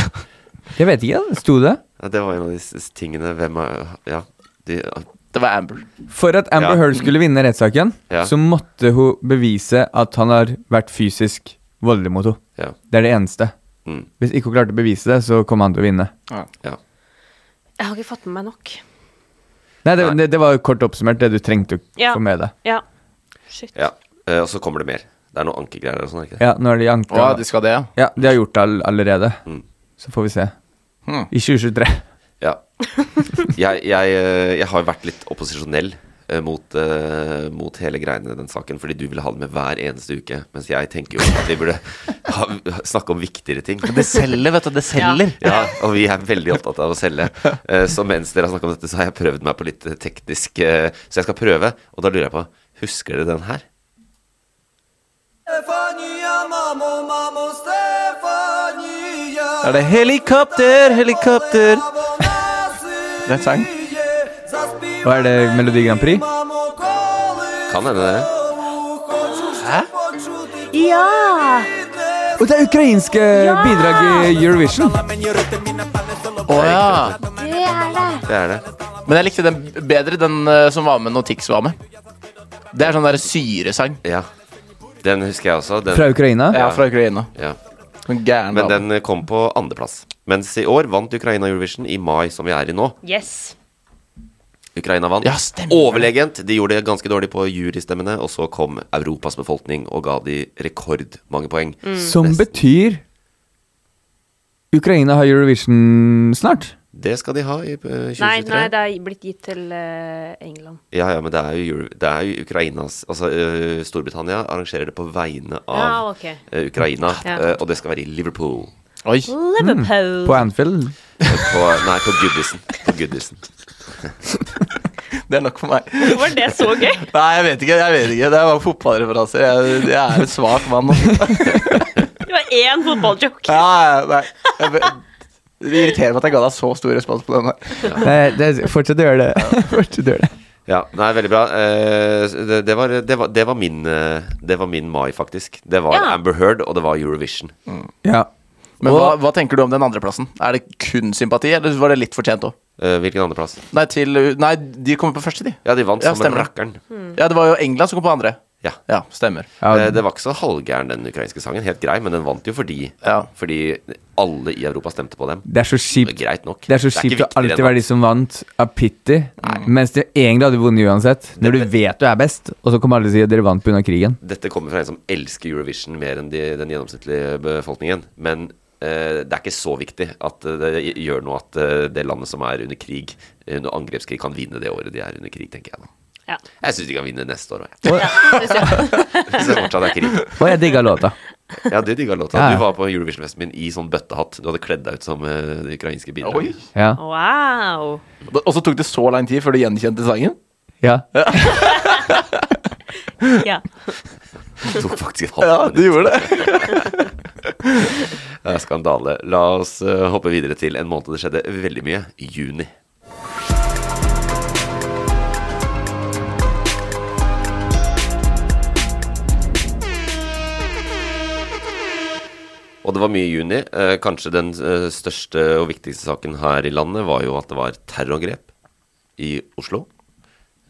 Jeg vet ikke, ja. sto det?
Ja, det var en av de s- tingene hvem er- Ja. De,
Det var Amber.
For at Amber
Ja.
Heard skulle vinne rettssaken,
Ja.
så måtte hun bevise at han har vært fysisk voldelig mot henne.
ja.
Det er det eneste.
Mm.
Hvis ikke hun klarte å bevise det, så kom han til å vinne.
ja.
Jeg har ikke fått med meg nok.
Nei, det,
Nei.
Det, det var jo kort oppsummert det du trengte å
Ja.
få med deg.
Ja. Shit.
ja. Eh, og så kommer det mer. Det er noen ankegreier eller sånn, er det ikke det?
Ja, nå er de anka.
Å,
Ja,
de skal det, ja.
de har gjort det all allerede.
Mm.
Så får vi se.
Hmm.
I 2023.
Ja. Jeg, jeg, eh, jeg har jo vært litt opposisjonell eh, mot, eh, mot hele greiene i den saken, fordi du ville ha det med hver eneste uke. Mens jeg tenker jo at vi burde ha, snakke om viktigere ting.
Det selger, vet du. Det selger.
Ja, og vi er veldig opptatt av å selge. Eh, Så mens dere har snakket om dette, så har jeg prøvd meg på litt eh, teknisk eh, Så jeg skal prøve, og da lurer jeg på Husker dere den her?
Er det helikopter, helikopter Det er en sang.
Og er det Melodi Grand Prix?
Kan hende det.
[LAUGHS]
Ja!
Og det er ukrainske
eh,
bidrag i Eurovision!
Å ja.
Det er det.
Det er det.
Men jeg likte den bedre, den eh, som var med når Tix var med. Det er sånn derre syresang.
Ja. Den husker jeg også. altså, Den,
Fra Ukraina.
Ja, fra Ukraina.
ja.
Sånn gæren
Men
dame.
den eh, kom på andreplass. Mens i år vant Ukraina Eurovision i mai, som vi er i nå.
Yes.
Ukraina vant.
Ja, stemmer.
Overlegent. De gjorde det ganske dårlig på jurystemmene, og så kom Europas befolkning og ga de rekordmange poeng.
Som betyr Ukraina har Eurovision snart.
Det skal de ha i eh, 2023.
Nei, nei, det er blitt gitt til eh, England.
Ja, ja, men det er jo, Euro- det er jo Ukrainas Altså, eh, Storbritannia arrangerer det på vegne av
Ja, Ah, ok.
eh, Ukraina,
Ja.
eh, og det skal være i Liverpool. Eh,
Oi.
Liverpool.
Mm. På Anfield.
På, nei, på Goodison. På Goodison. [LAUGHS]
[LAUGHS] Det er nok [LAUGHS] for meg.
Var det så gøy?
[LAUGHS] Nei, jeg vet ikke. jeg vet ikke Det er bare fotballreferanser. Jeg, jeg er en svak mann. [LAUGHS] altså.
Det var én fotballjoke.
Ja, ja, nei. Jeg, vet- det irriterer meg at jeg ga deg så stor respons på den. der.
Nei, det, fortsett å gjøre det. [LAUGHS] fortsett å gjøre det.
Ja, nei, veldig bra. Eh, det, det, var, det, var, det var min eh, Det var min mai, faktisk. Det var
Ja.
Amber Heard, og det var Eurovision.
Ja.
Men hva, hva tenker du om den andreplassen? Er det kun sympati, eller var det litt fortjent òg?
Eh, hvilken andreplass?
Nei, til, nei, de kommer på første, de.
Ja, de vant
Ja,
som en
stemmer.
rakkeren.
Ja, det var jo England som kom på andre.
Ja.
Ja, stemmer.
Eh, det var ikke så halvgæren, den ukrainske sangen. Helt grei, men den vant jo fordi,
Ja.
fordi alle i Europa stemte på dem.
Det er så
Det
kjipt
er greit nok.
Det er så
Det er ikke
kjipt å
viktigere
alltid
enn
være de som vant av pity, mens de egentlig hadde vunnet uansett. Når du vet du er best, og så kommer alle og sier dere vant pga. krigen.
Dette kommer fra en som elsker Eurovision mer enn de, den gjennomsnittlige befolkningen. Men eh, det er ikke så viktig at eh, det gjør noe at eh, det landet som er under krig, eh, under angrepskrig, kan vinne det året de er under krig, tenker jeg da.
Ja.
Jeg syns de kan vinne neste år òg, jeg.
Og,
[LAUGHS] Så det fortsatt er krig.
og jeg digga låta.
Ja, du digga låta.
Ja, ja.
Du var på Eurovision-festen min i sånn bøttehatt. Du hadde kledd deg ut som eh, det ukrainske
Oi.
bidraget.
Ja.
Wow.
Og så tok det så lang tid
[LAUGHS]
før du gjenkjente sangen?
ja.
Ja.
Jeg tok faktisk et
Ja,
halvt
du
minutt.
gjorde det.
[LAUGHS]
[LAUGHS]
Det er Skandale. La oss eh, hoppe videre til en måned det skjedde veldig mye. Juni. Og det var mye i juni. Eh, Kanskje den eh, største og viktigste saken her i landet var jo at det var terrorangrep i Oslo.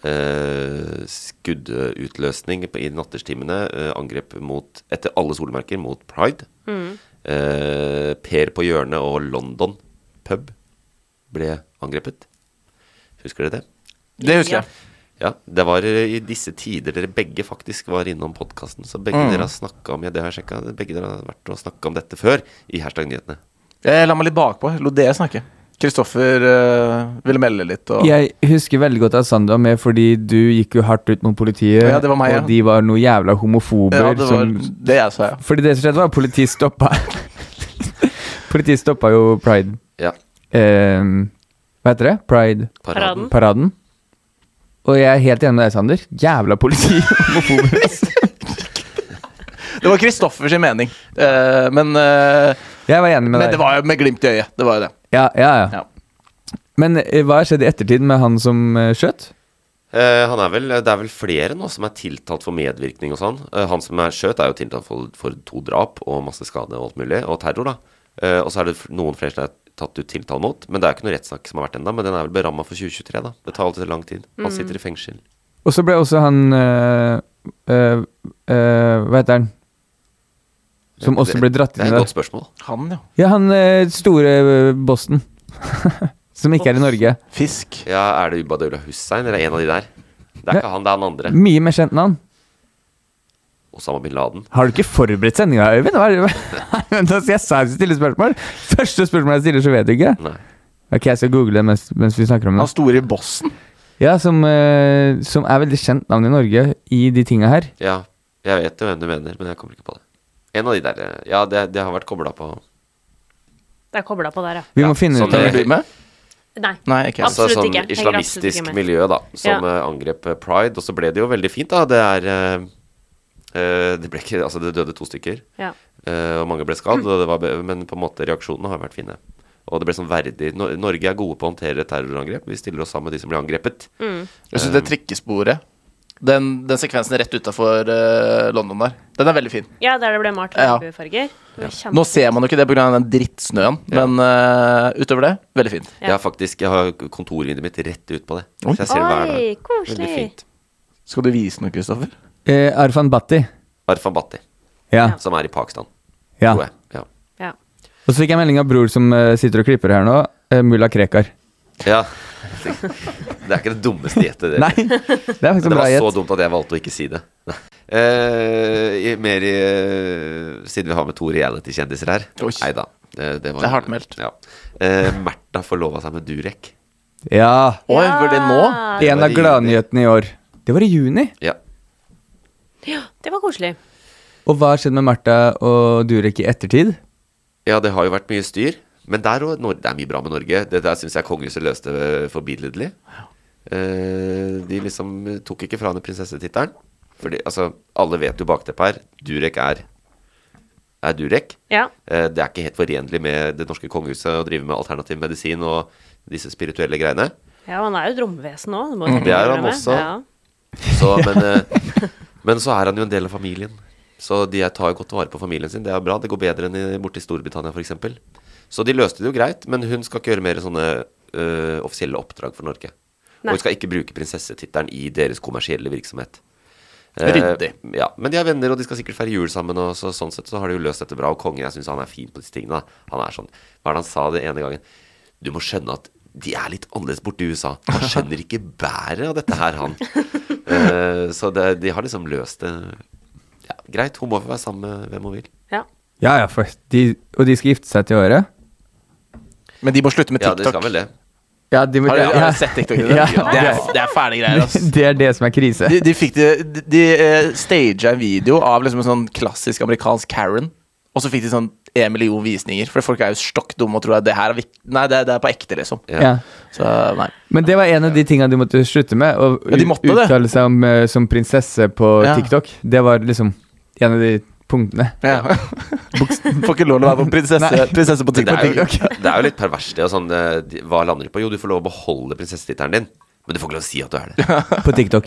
Eh, skuddutløsning på- i natterstimene. Eh, angrep mot, etter alle solmerker mot pride. Eh, per på hjørnet og London pub ble angrepet. Husker dere det?
Det husker jeg.
Ja, det var eh, i disse tider dere begge faktisk var innom podkasten. Så begge
Mm.
dere har snakka om ja, det har jeg sjekket, begge dere har vært og snakka om dette før i hashtag nyhetene.
Jeg Eh, la meg litt bakpå. Jeg Lot dere snakke. Kristoffer eh, ville melde litt. Og...
Jeg husker veldig godt at Sander var med, fordi du gikk jo hardt ut mot politiet.
Ja, det var meg, ja.
Og de var noe jævla homofober.
Ja, det var
som,
det jeg sa, ja.
fordi det som skjedde, var at politiet stoppa [LAUGHS] Politiet stoppa jo pride
Ja,
eh, Hva heter det? Pride-paraden.
paraden.
Og jeg er helt enig med deg, Sander. Jævla politi. [LAUGHS] homofober, ass.
Det var Kristoffers mening. Eh, men eh,
Jeg var enig med
men
deg.
det var jo med glimt i øyet. Det var jo det.
ja, ja, ja.
Ja.
Men eh, hva skjedde i ettertid med han som eh, skjøt?
Eh, han er vel, det er vel flere nå som er tiltalt for medvirkning og sånn. Eh, han som er skjøt, er jo tiltalt for, for to drap og masse skade og alt mulig, og terror, da. Eh, og så er det f- noen flere som er tatt ut tiltale mot, men det er ikke noe rettssak som har vært ennå. Men den er vel beramma for 2023, da. Det tar alltid så lang tid.
Mm.
Han sitter i fengsel.
Og så ble også han eh, eh, eh, Hva heter han? Som også ble dratt
Det
inn
er et
i det.
godt spørsmål.
Han, ja.
Ja, han eh, store eh, bossen. [LAUGHS] Som ikke er i Norge.
Fisk.
Ja, er det Ubadeula Hussein, eller en av de der? Det er
Ja.
ikke han, det er han andre.
Mye mer kjent navn.
Osama bin Laden.
Har du ikke forberedt sendinga, Øyvind? Hva er det- [LAUGHS] Vent, altså, jeg sa jeg skulle stille spørsmål. Første spørsmål jeg stiller, så vet du ikke.
Nei.
Ok, jeg skal google det mens, mens vi snakker om
Han
det.
store i bossen.
Ja, som, eh, som er veldig kjent navn i Norge i de tinga her.
Ja, jeg vet jo hvem du mener, men jeg kommer ikke på det. En av de der, eh, ja, det, det har vært kobla på.
Det er kobla på der, ja.
Vi
Ja,
må finne
sånn
ut av
Henger
det.
du med?
Nei.
Nei, ikke jeg.
Altså
Absolutt
sånn
ikke. Henger absolutt
islamistisk
ikke med.
miljø, da, som eh, angrep eh, pride. Og så ble det jo veldig fint, da. Det er eh, eh, Det ble ikke Altså, det døde to stykker,
Ja.
eh, og mange ble skadd, og det var be men på en måte reaksjonene har vært fine. Og det ble sånn verdig Nor Norge er gode på å håndtere terrorangrep. Vi stiller oss sammen med de som blir angrepet.
Mm.
Jeg synes det trikkesporet den, den sekvensen rett utafor London der, den er veldig fin.
ja, der det ble malt
Ja.
regnbuefarger. Det var kjempe-
Nå ser man jo ikke det pga. den drittsnøen, men eh, utover det, veldig fint.
Ja.
Jeg har faktisk Jeg har kontorvinduet mitt rett ut på det.
Oi.
Så jeg ser det hver
Oi,
dag. Veldig
koselig.
fint.
Skal du vise noe, Kristoffer?
Eh, Arfan Bhatti.
Arfan Bhatti,
Ja.
som er i Pakistan,
ja.
tror jeg. Ja.
Ja.
Og så fikk jeg melding av bror som eh, sitter og klipper her nå. eh, Mulla Krekar.
ja. Det er ikke det dummeste gjettet. det.
Nei, det er faktisk
Det
en bra
var så
gjett.
dumt at jeg valgte å ikke si det. Eh, i- mer i, eh, siden vi har med to reality-kjendiser her.
Oi.
Nei da. Det, det, var,
Det er hardt meldt.
Ja. Eh, Märtha forlova seg med Durek.
Ja.
Oi, var det nå?
Ja,
En
var
av
i
gladnyhetene i år. Det var i juni.
Ja.
det var koselig.
Og hva skjedde med Martha og Durek i ettertid?
ja, det har jo vært mye styr. Men der òg Det er mye bra med Norge. Det der syns jeg kongehuset løste eh, forbilledlig. Eh, de liksom tok ikke fra henne prinsessetittelen. Fordi altså, alle vet jo bakteppet her. Durek er, er Durek.
Ja.
Eh, Det er ikke helt forenlig med det norske kongehuset å drive med alternativ medisin og disse spirituelle greiene.
ja, han er jo et romvesen òg. Det må du
Mm. Det er han
innrømme.
også.
Ja.
Så, men, eh, men så er han jo en del av familien. Så de tar jo godt vare på familien sin. Det er bra. Det går bedre enn i- borte i Storbritannia f.eks. Så de løste det jo greit, men hun skal ikke gjøre mer sånne eh, offisielle oppdrag for Norge. Og
Nei.
hun skal ikke bruke prinsessetittelen i deres kommersielle virksomhet.
Ryddig.
Eh, ja, men de er venner, og de skal sikkert feire jul sammen. Og så, sånn sett så har de jo løst dette bra. Og kongen, jeg syns han er fin på disse tingene. da. Han er sånn Hva er det han sa den ene gangen? Du må skjønne at de er litt annerledes borte i USA. Han skjønner ikke bæret av dette her, han. Eh, så det, de har liksom løst det ja, greit. Hun må få være sammen med hvem hun vil.
Ja.
Ja, ja, for de, Og de skal gifte seg til året?
Men de må slutte med
Ja, de skal
TikTok.
vel det.
Ja, de må,
Har du, har
ja.
du sett [LAUGHS] TikTok? Det,
Ja.
det, er, det er fæle greier, ass.
[LAUGHS] Det er det som er krise.
De, de fikk det De, de eh, staga en video av liksom en sånn klassisk amerikansk Karen, og så fikk de sånn en million visninger. For folk er jo stokk dumme og tror at det her er vik Nei, det, er- det er på ekte, liksom.
Ja.
Så nei.
Men det var en av de tinga de måtte slutte med. Å
Ja, de måtte det.
uttale seg om, eh, som prinsesse på
Ja.
TikTok. Det var liksom en av de punktene.
[LAUGHS] Ja. Buks- Får ikke lov til å være på prinsesse,
Nei.
prinsesse på
Det er, jo,
TikTok.
det er jo litt pervers, det. Og sånn, eh, de- hva lander du på? Jo, du får lov å beholde prinsessetittelen din, men du får ikke lov å si at du er det.
[LAUGHS] På TikTok.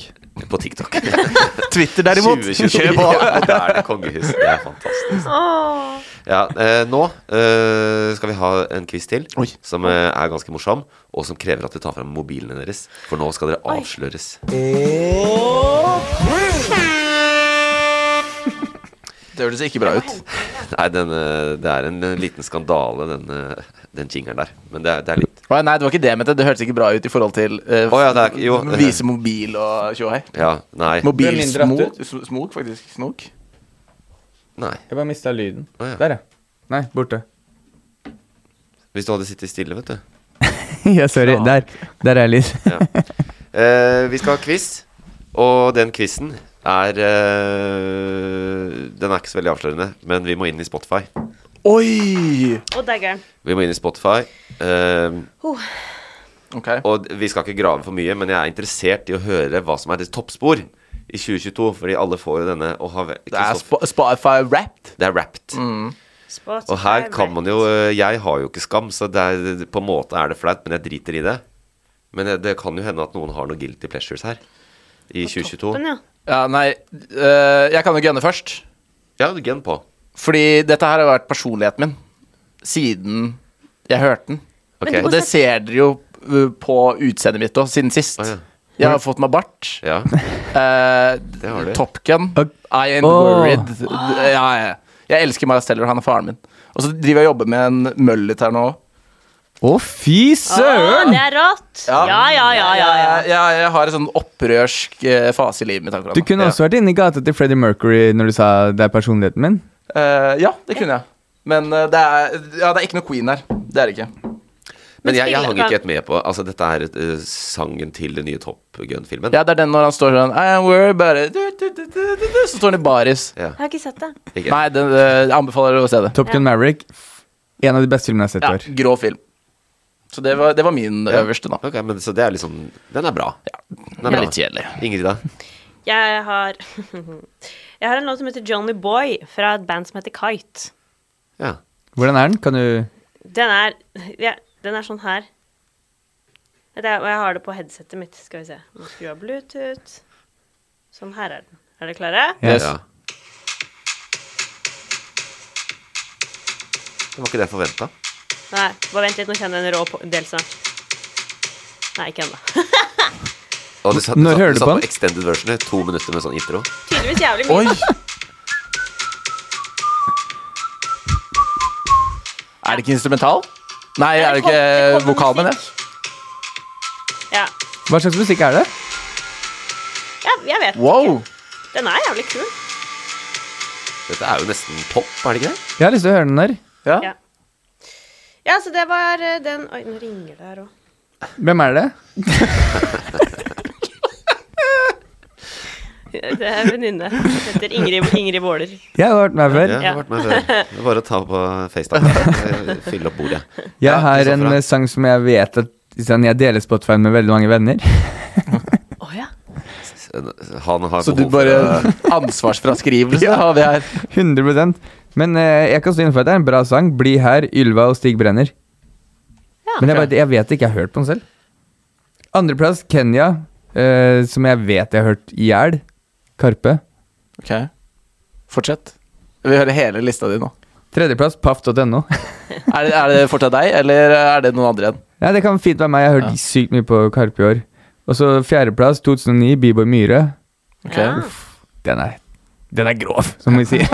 På TikTok.
[LAUGHS] Twitter derimot,
2022.
[LAUGHS] kjør på.
Ja, da er det kongehus. Det er fantastisk. Ja, eh, nå eh, skal vi ha en quiz til
Oi.
som eh, er ganske morsom, og som krever at dere tar fram mobilene deres. For nå skal dere avsløres.
Det høres ikke bra ut.
Nei, den, eh, det er en eh, liten skandale, den, eh, den jingeren der. Men det er, det er litt
Å, nei, det var ikke det jeg mente. Det hørtes ikke bra ut i forhold til eh,
Å ja, det er ikke- jo.
vise mobil og tjohei.
Ja, nei.
Det
Mobil
er mindre
smok,
aktuelt.
s- smok, faktisk. Snok.
nei.
Jeg bare mista lyden.
Å, ja.
Der, ja. Nei, borte.
Hvis du hadde sittet stille, vet du.
ja, sorry. Der. Der er jeg lyd.
Ja. Eh, vi skal ha quiz, og den quizen er eh, Den er ikke så veldig avslørende, men vi må inn i Spotify.
Oi!
eh,
[LAUGHS] Å, daggeren.
Vi må inn i Spotify. eh,
Ok.
og d- vi skal ikke grave for mye, men jeg er interessert i å høre hva som er ditt toppspor i 2022. Fordi alle får jo denne. Og har,
Det er Sp- Spotify Wrapped. Mm.
det er wrapped.
Spot.
Og her kan man jo eh, Jeg har jo ikke skam, så det er, på en måte er det flaut, men jeg driter i det. Men eh, det kan jo hende at noen har noen guilty pleasures her. I 2022.
Toppen, ja.
Ja, nei, eh, jeg kan jo gunne først.
Ja, gun på.
Fordi dette her har vært personligheten min siden jeg hørte den.
Ok.
Og det ser dere jo uh, på utseendet mitt òg, siden sist.
Å, ja.
Jeg har fått meg bart.
[LAUGHS]
Ja.
[LAUGHS] Eh,
har du.
Top Gun.
Ok.
I ain't
Åh.
worried. D- Ja, ja. Jeg elsker Miles Teller, han er faren min. Og så driver jeg og jobber med en mullet her nå.
Å, fy
Å,
søren!
det er rått! Ja, ja, ja. ja, ja,
Jeg, jeg, jeg har en sånn opprørsk eh, fase i livet mitt akkurat
Du
nå.
kunne også vært inne i gata til Freddie Mercury når du sa det er personligheten min.
Eh, ja, det kunne jeg. Men eh, det, er, ja, det er ikke noe queen her. Det er det ikke.
Men jeg, jeg hang
spiller-
ikke helt med på Altså, dette er eh, sangen til den nye Top Gun-filmen.
Ja, det er den når han står sånn I am worried about it. Du, du, du, du, du, du, Så står han i baris.
Jeg har ikke sett det.
Ikke?
Nei, den, eh, jeg anbefaler dere å se det.
Top Gun Maverick. En av de beste filmene jeg har
Ja,
sett i år.
grå film. Så det var, det var min øverste, da.
Ok, men Så det er liksom Den er bra. Den
Det
er
er
bra.
litt kjedelig.
Ingrid, da?
Jeg har [LAUGHS] Jeg har en låt som heter Johnny Boy, fra et band som heter Kite.
Ja.
Hvordan er den? Kan du
Den er ja, Den er sånn her. Vet jeg- Og jeg har det på headsetet mitt. Skal vi se. Må skru av Bluetooth. Sånn, her er den. Er dere klare?
Yes.
Ja. Det var ikke det jeg forventa.
Nei, bare vent litt, nå kjenner jeg en rå på- del snart. Nei, ikke ennå. [LAUGHS]
Og du satt,
Når
satt,
hører du
satt
på den?
extended version i to minutter med sånn intro.
Tydeligvis jævlig mye.
Oi! Er det ikke instrumental? Nei, er det
kom-
ikke
det
vokal,
kommer
mener jeg?
musikk. Ja.
Hva slags musikk er det?
[LAUGHS] ja. Jeg vet
Wow!
ikke. Den er jævlig kul.
Dette er jo nesten pop, er det ikke det?
Jeg har lyst til å høre den der.
Ja.
Ja. Ja, så det var eh, den Oi, nå ringer det her òg.
Hvem er det?
[LAUGHS] Det er en venninne. Heter Ingrid, Ingrid Våler.
Jeg har hørt den her før.
Ja, jeg har vært
[LAUGHS]
med før. Det er Bare å ta på FaceTime. Fylle opp bordet. Ja,
Jeg har en
Kristoffer, ja.
eh, sang som jeg vet at sånn, Jeg deler Spotify med veldig mange venner.
Å ja.
Han har
Så du
behov for
bare
å-
[LAUGHS] Ansvarsfraskrivelse har vi her.
100 Men eh, jeg kan stå innenfor at det er en bra sang. 'Bli her', Ylva og Stig Brenner.
Ja.
Men jeg, bare, jeg vet ikke, jeg har hørt på den selv. Andreplass Kenya, eh, som jeg vet jeg har hørt i hjel. Karpe.
Ok, Fortsett. Vi hører hele lista di nå.
Tredjeplass paff.no.
[LAUGHS] Er det, er det fortsatt deg, eller er det noen andre igjen?
ja, det kan fint være meg, jeg har hørt sykt mye på Karpe i år. Og så fjerdeplass 2009, Bieber Myhre.
Ok.
ja.
Den er, den er grov, som vi sier.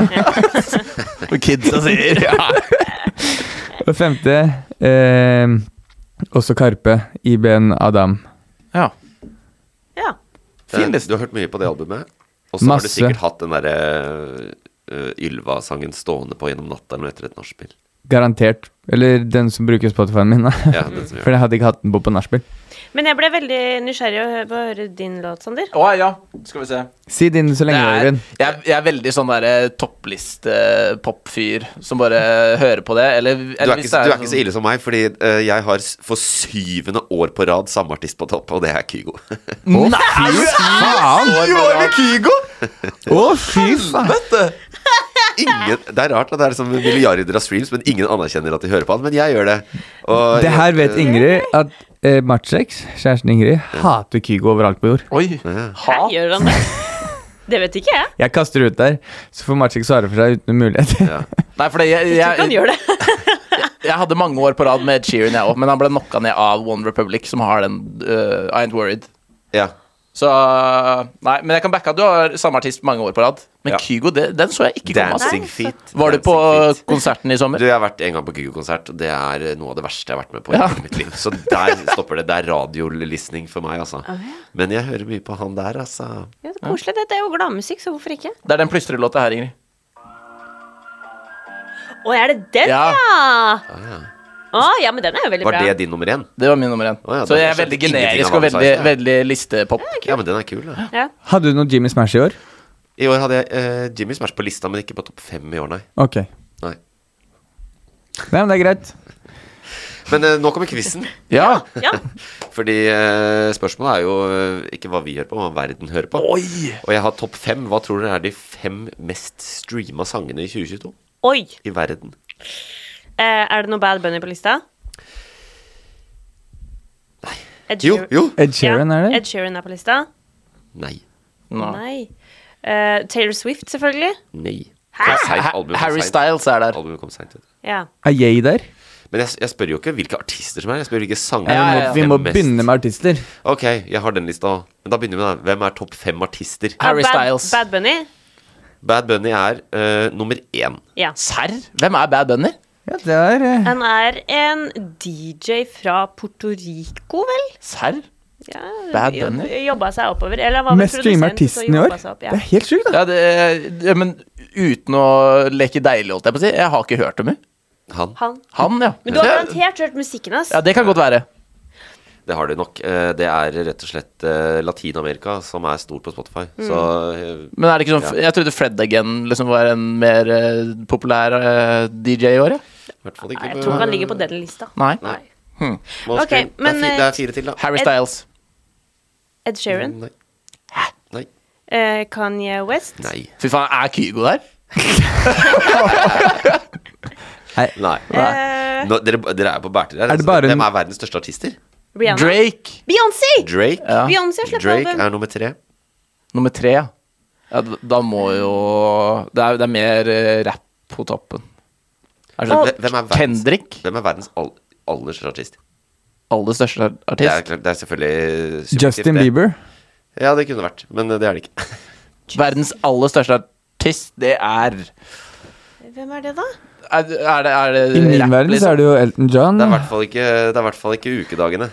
Og Kidsa
[LAUGHS]
sier ja.
Og femte, eh, også Karpe, Iben Adam.
ja.
ja.
Fin
Eh,
liste.
Du har hørt mye på det albumet. Og så har du
Masse.
sikkert hatt den derre eh, Ylva-sangen stående på gjennom natta nå etter et nachspiel.
Garantert. Eller den som bruker Spotify-en min, da.
Ja, den som gjør
For jeg hadde ikke hatt den på på nachspiel.
Men jeg ble veldig nysgjerrig å hø- på å høre din låt, Sander.
Å ja, skal vi se.
Si din så lenge,
Det er-
Øyvind.
jeg, jeg er veldig sånn derre toppliste-popfyr eh, som bare hører på det. Eller,
Du
eller
er,
hvis
ikke, du er
sånn-
ikke så ille som meg, fordi eh, jeg har s- for syvende år [LAUGHS] på rad samme artist på topp, og det er Kygo.
Nei!
Faen!
Kygo!
Å, fy faen!
Ingen, det er rart at det er liksom milliarder av streams, men ingen anerkjenner at de hører på han. Men jeg gjør det. Og
Det her vet
jeg,
Ingrid at eh, Matseks, kjæresten Ingrid, hater Kygo overalt på jord.
Oi!
Hæ, gjør han det?
[LAUGHS]
Det vet ikke jeg.
Jeg kaster det ut der, så får Matseks svare for seg uten mulighet.
Nei, for det,
Jeg tror
jeg,
ikke
jeg,
han
jeg,
gjør
[LAUGHS]
det.
hadde mange år på rad med Ed Sheeran, jeg òg, men han ble knocka ned av One Republic, som har den øh, I Ain't Worried.
ja.
Så Nei, men jeg kan backe at du har samme artist mange år på rad. Men
Ja.
Kygo, det, den så jeg ikke komme. ass.
Dancing Feet.
Var du på eh,
Dancing Feet.
konserten i sommer?
Du, Jeg har vært en gang på Kygo-konsert, og det er noe av det verste jeg har vært med på i
Ja.
hele mitt liv. Så der stopper det. Det er radiolisting for meg, altså. Men jeg hører mye på han der, altså.
Ja, det er koselig. Dette er jo gladmusikk, så hvorfor ikke?
Det er den plystrelåta her, Ingrid.
Å, er det den,
Ja.
ja? Å, ja, men den er jo veldig
Ah, Var
bra.
det din nummer én?
Det var min nummer én.
Å ja,
så
da
jeg er
skjønte
veldig
jeg ingenting av
generisk
hva
og
du sa i
veldig,
sted.
veldig listepop.
Ja, men den er kul, da.
Ja.
[LAUGHS] Hadde du noe Jimmy Smash i år?
I år hadde jeg eh, Jimmy Smash på lista, men ikke på topp fem i år, nei.
Ok. Nei,
nei.
men det er greit.
Men eh, nå kommer quizen.
[LAUGHS] Ja.
ja.
[LAUGHS] Fordi eh, spørsmålet er jo eh, ikke hva vi gjør på, men hva verden hører på.
Oi!
Og jeg har topp fem. Hva tror dere er de fem mest streama sangene i 2022
Oi!
i verden?
Eh, er det noe Bad Bunny på lista? Ed
Jo,
Sheeran-
jo!
Ed Sheeran,
ja.
er det?
Ed Sheeran er på lista?
Nei.
Nå.
Nei. Eh, Taylor Swift, selvfølgelig.
Nei. Det er seint.
Ha-
Albumet kom
Harry
seint.
Styles er der.
Albumet kom seint. vet du.
Ja.
Er Yay der?
Men jeg, jeg spør jo ikke hvilke artister som er, jeg spør hvilke sanger.
Ja,
ja,
vi
ja.
må, vi må begynne med artister.
Ok, jeg har den lista òg. Men da begynner vi med den. Hvem er topp fem artister?
Harry
ja, Ah, Bad,
Styles.
Bad Bunny?
Bad Bunny er eh, nummer én.
Ja.
Serr? Hvem er Bad Bunny?
Ja, det er eh,
Han er en DJ fra Puerto Rico, vel?
Serr?
Ja,
Bad
jo-
Bunny?
Jobba seg oppover. Eller han var vel
Mest streamer
produsent, så
artisten i år.
jobba seg opp,
Det
ja.
er helt sjukt, da.
Ja, det, ja, men uten å leke deilig, holdt jeg på å si. Jeg har ikke hørt dem, jo.
Han.
Han.
Han, ja.
Men du har
Ja.
garantert hørt musikken hans.
Ja, det kan godt være.
Det har du nok. Eh, det er rett og slett eh, Latin-Amerika som er stort på Spotify.
Mm.
Så eh,
Men er det ikke sånn Jeg trodde Fred Again liksom var en mer eh, populær eh, DJ i år, ja.
i hvert fall ikke
Nei, jeg
på-
tror han ligger på den lista.
Nei.
Nei.
Hmm.
Mål
Ok,
screen.
men,
det, er fi,
eh,
det er fire til, da.
Harry
Ed-
Styles.
Ed Sheeran.
Nei. Nei.
Eh, Kanye West.
Nei.
Fy faen, er Kygo der?
Nei.
Eh,
Nå, dere, dere er på bærtur her. altså.
Er det bare en-
Hvem er verdens største artister?
Rihanna.
Drake.
Beyoncé!
Drake.
Beyoncé har sluppet
Drake
album.
er nummer tre.
Nummer tre, ja. ja d- da må jo Det er, det er mer eh, rap på toppen. Er det
Altså, Hvem
sånn-
hvem er verdens,
Kendrick,
hvem er verdens all, aller største artist?
aller største
Det er,
artist.
klart- det er selvfølgelig subjektivt,
Justin
det.
Bieber.
Ja, det kunne vært, men eh, det er det ikke.
Verdens aller største artist, det er
Hvem er det, da?
Er, er det, er det
I min verden så er det jo Elton
liksom.
John.
Det er i hvert fall ikke, det er i hvert fall ikke ukedagene.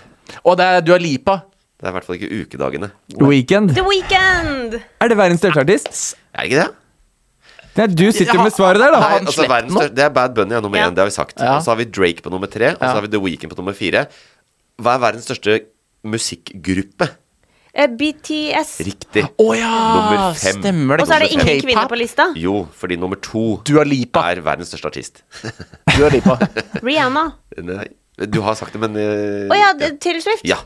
Og det er Dua Lipa.
Det er i hvert fall ikke ukedagene.
Weekend.
The Weeknd!
Er det verdens største artist?
Er det ikke det?
Nei, du sitter jo med svaret der,
Nei,
da.
han
altså
sletten
verdens
nå?
største Det er Bad Bunny er nummer
Ja.
én, det har vi sagt.
Ja.
Og så har vi Drake på nummer tre, og så
Ja.
har vi The Weeknd på nummer fire. Hva er verdens største musikkgruppe?
Eh, BTS.
Riktig.
Å ja!
Nummer fem.
Stemmer det.
Og så er det ingen
K-pop.
kvinner på lista.
Jo, fordi nummer to
Dua Lipa.
er verdens største artist.
[LAUGHS] Dua Lipa.
[LAUGHS] Rihanna.
[LAUGHS] Nei, du har sagt det, men eh,
Å ja, det- Taylor Swift.
Ja.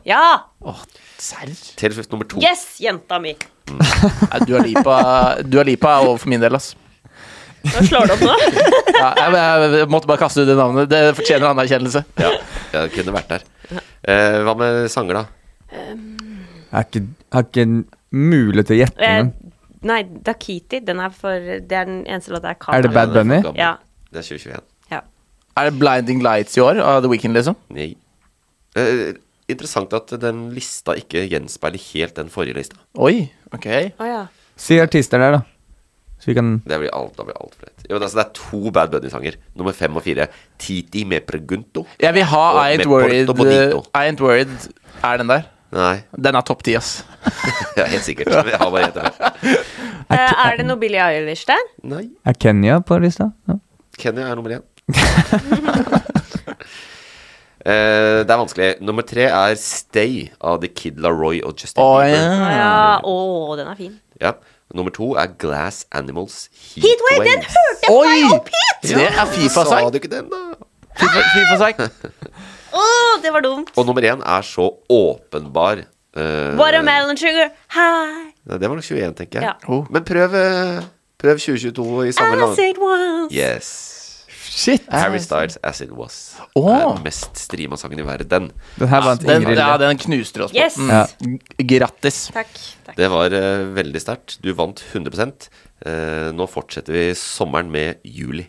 Åh, Serr?
Taylor Swift nummer to.
Yes, jenta mi.
Nei, Dua Lipa, Dua Lipa er over for min del, ass.
Nå slår det opp nå.
Ja, jeg, jeg, jeg måtte bare kaste ut det navnet. Det fortjener anerkjennelse.
Ja, jeg kunne vært der. Eh, hva med sanger, da?
Jeg har ikke, jeg har ikke en mulighet til å gjette
Eh,
engang.
nei, Dakiti. Den er for Det er den eneste låta jeg kan.
Er det Bad
Den er
Bunny?
for gammel.
Ja.
Det er 2021.
ja.
Er det Blinding Lights i år av The Weeknd, liksom?
Nei. Eh, interessant at den lista ikke gjenspeiler helt den forrige lista.
Oi, ok.
Å ja.
Si artister der, da. Så vi kan
Det blir alt, da blir alt for lett. Jo, men altså, det er to Bad Bunny-sanger. Nummer fem og fire. Titi med pregunto.
Jeg vil ha
Og
I Ain't
med
Worried. eh,
Porto Bonito.
I Ain't Worried er den der.
Nei,
Den er topp ti, ass.
ja, helt sikkert. Jeg har bare ett her.
Eh, er det noe Billie Eilish der?
Nei.
Er Kenya på lista? Ja.
Kenya er nummer én. [LAUGHS] Eh, det er vanskelig. Nummer tre er Stay av The Kid Laroi og Justin
Å,
Bieber.
Å
ja.
ja. Å, den er fin.
Ja. Nummer to er Glass Animals
Heatwave, den hørte jeg på vei
Oi!
opp hit!
Det er
Sa
Fifa-sang.
du ikke den, da?
Fifa-sang.
[LAUGHS]
Å, det var dumt.
Og nummer én er så åpenbar Eh,
Watermelon sugar high.
det var nok 21, tenker jeg.
Ja.
Oh.
Men prøv, eh, prøv 2022 i samme land.
Acid once.
Yes.
Shit!
Harry Styles, As It Was.
Åh.
Er den mest streama sangen i verden. Ah,
Den her vant
Den,
Ingrid.
ja, den knuste oss på.
Yes.
Mm. G- Grattis.
Takk. takk.
Det var eh, veldig sterkt. Du vant 100 Eh, Nå fortsetter vi sommeren med juli.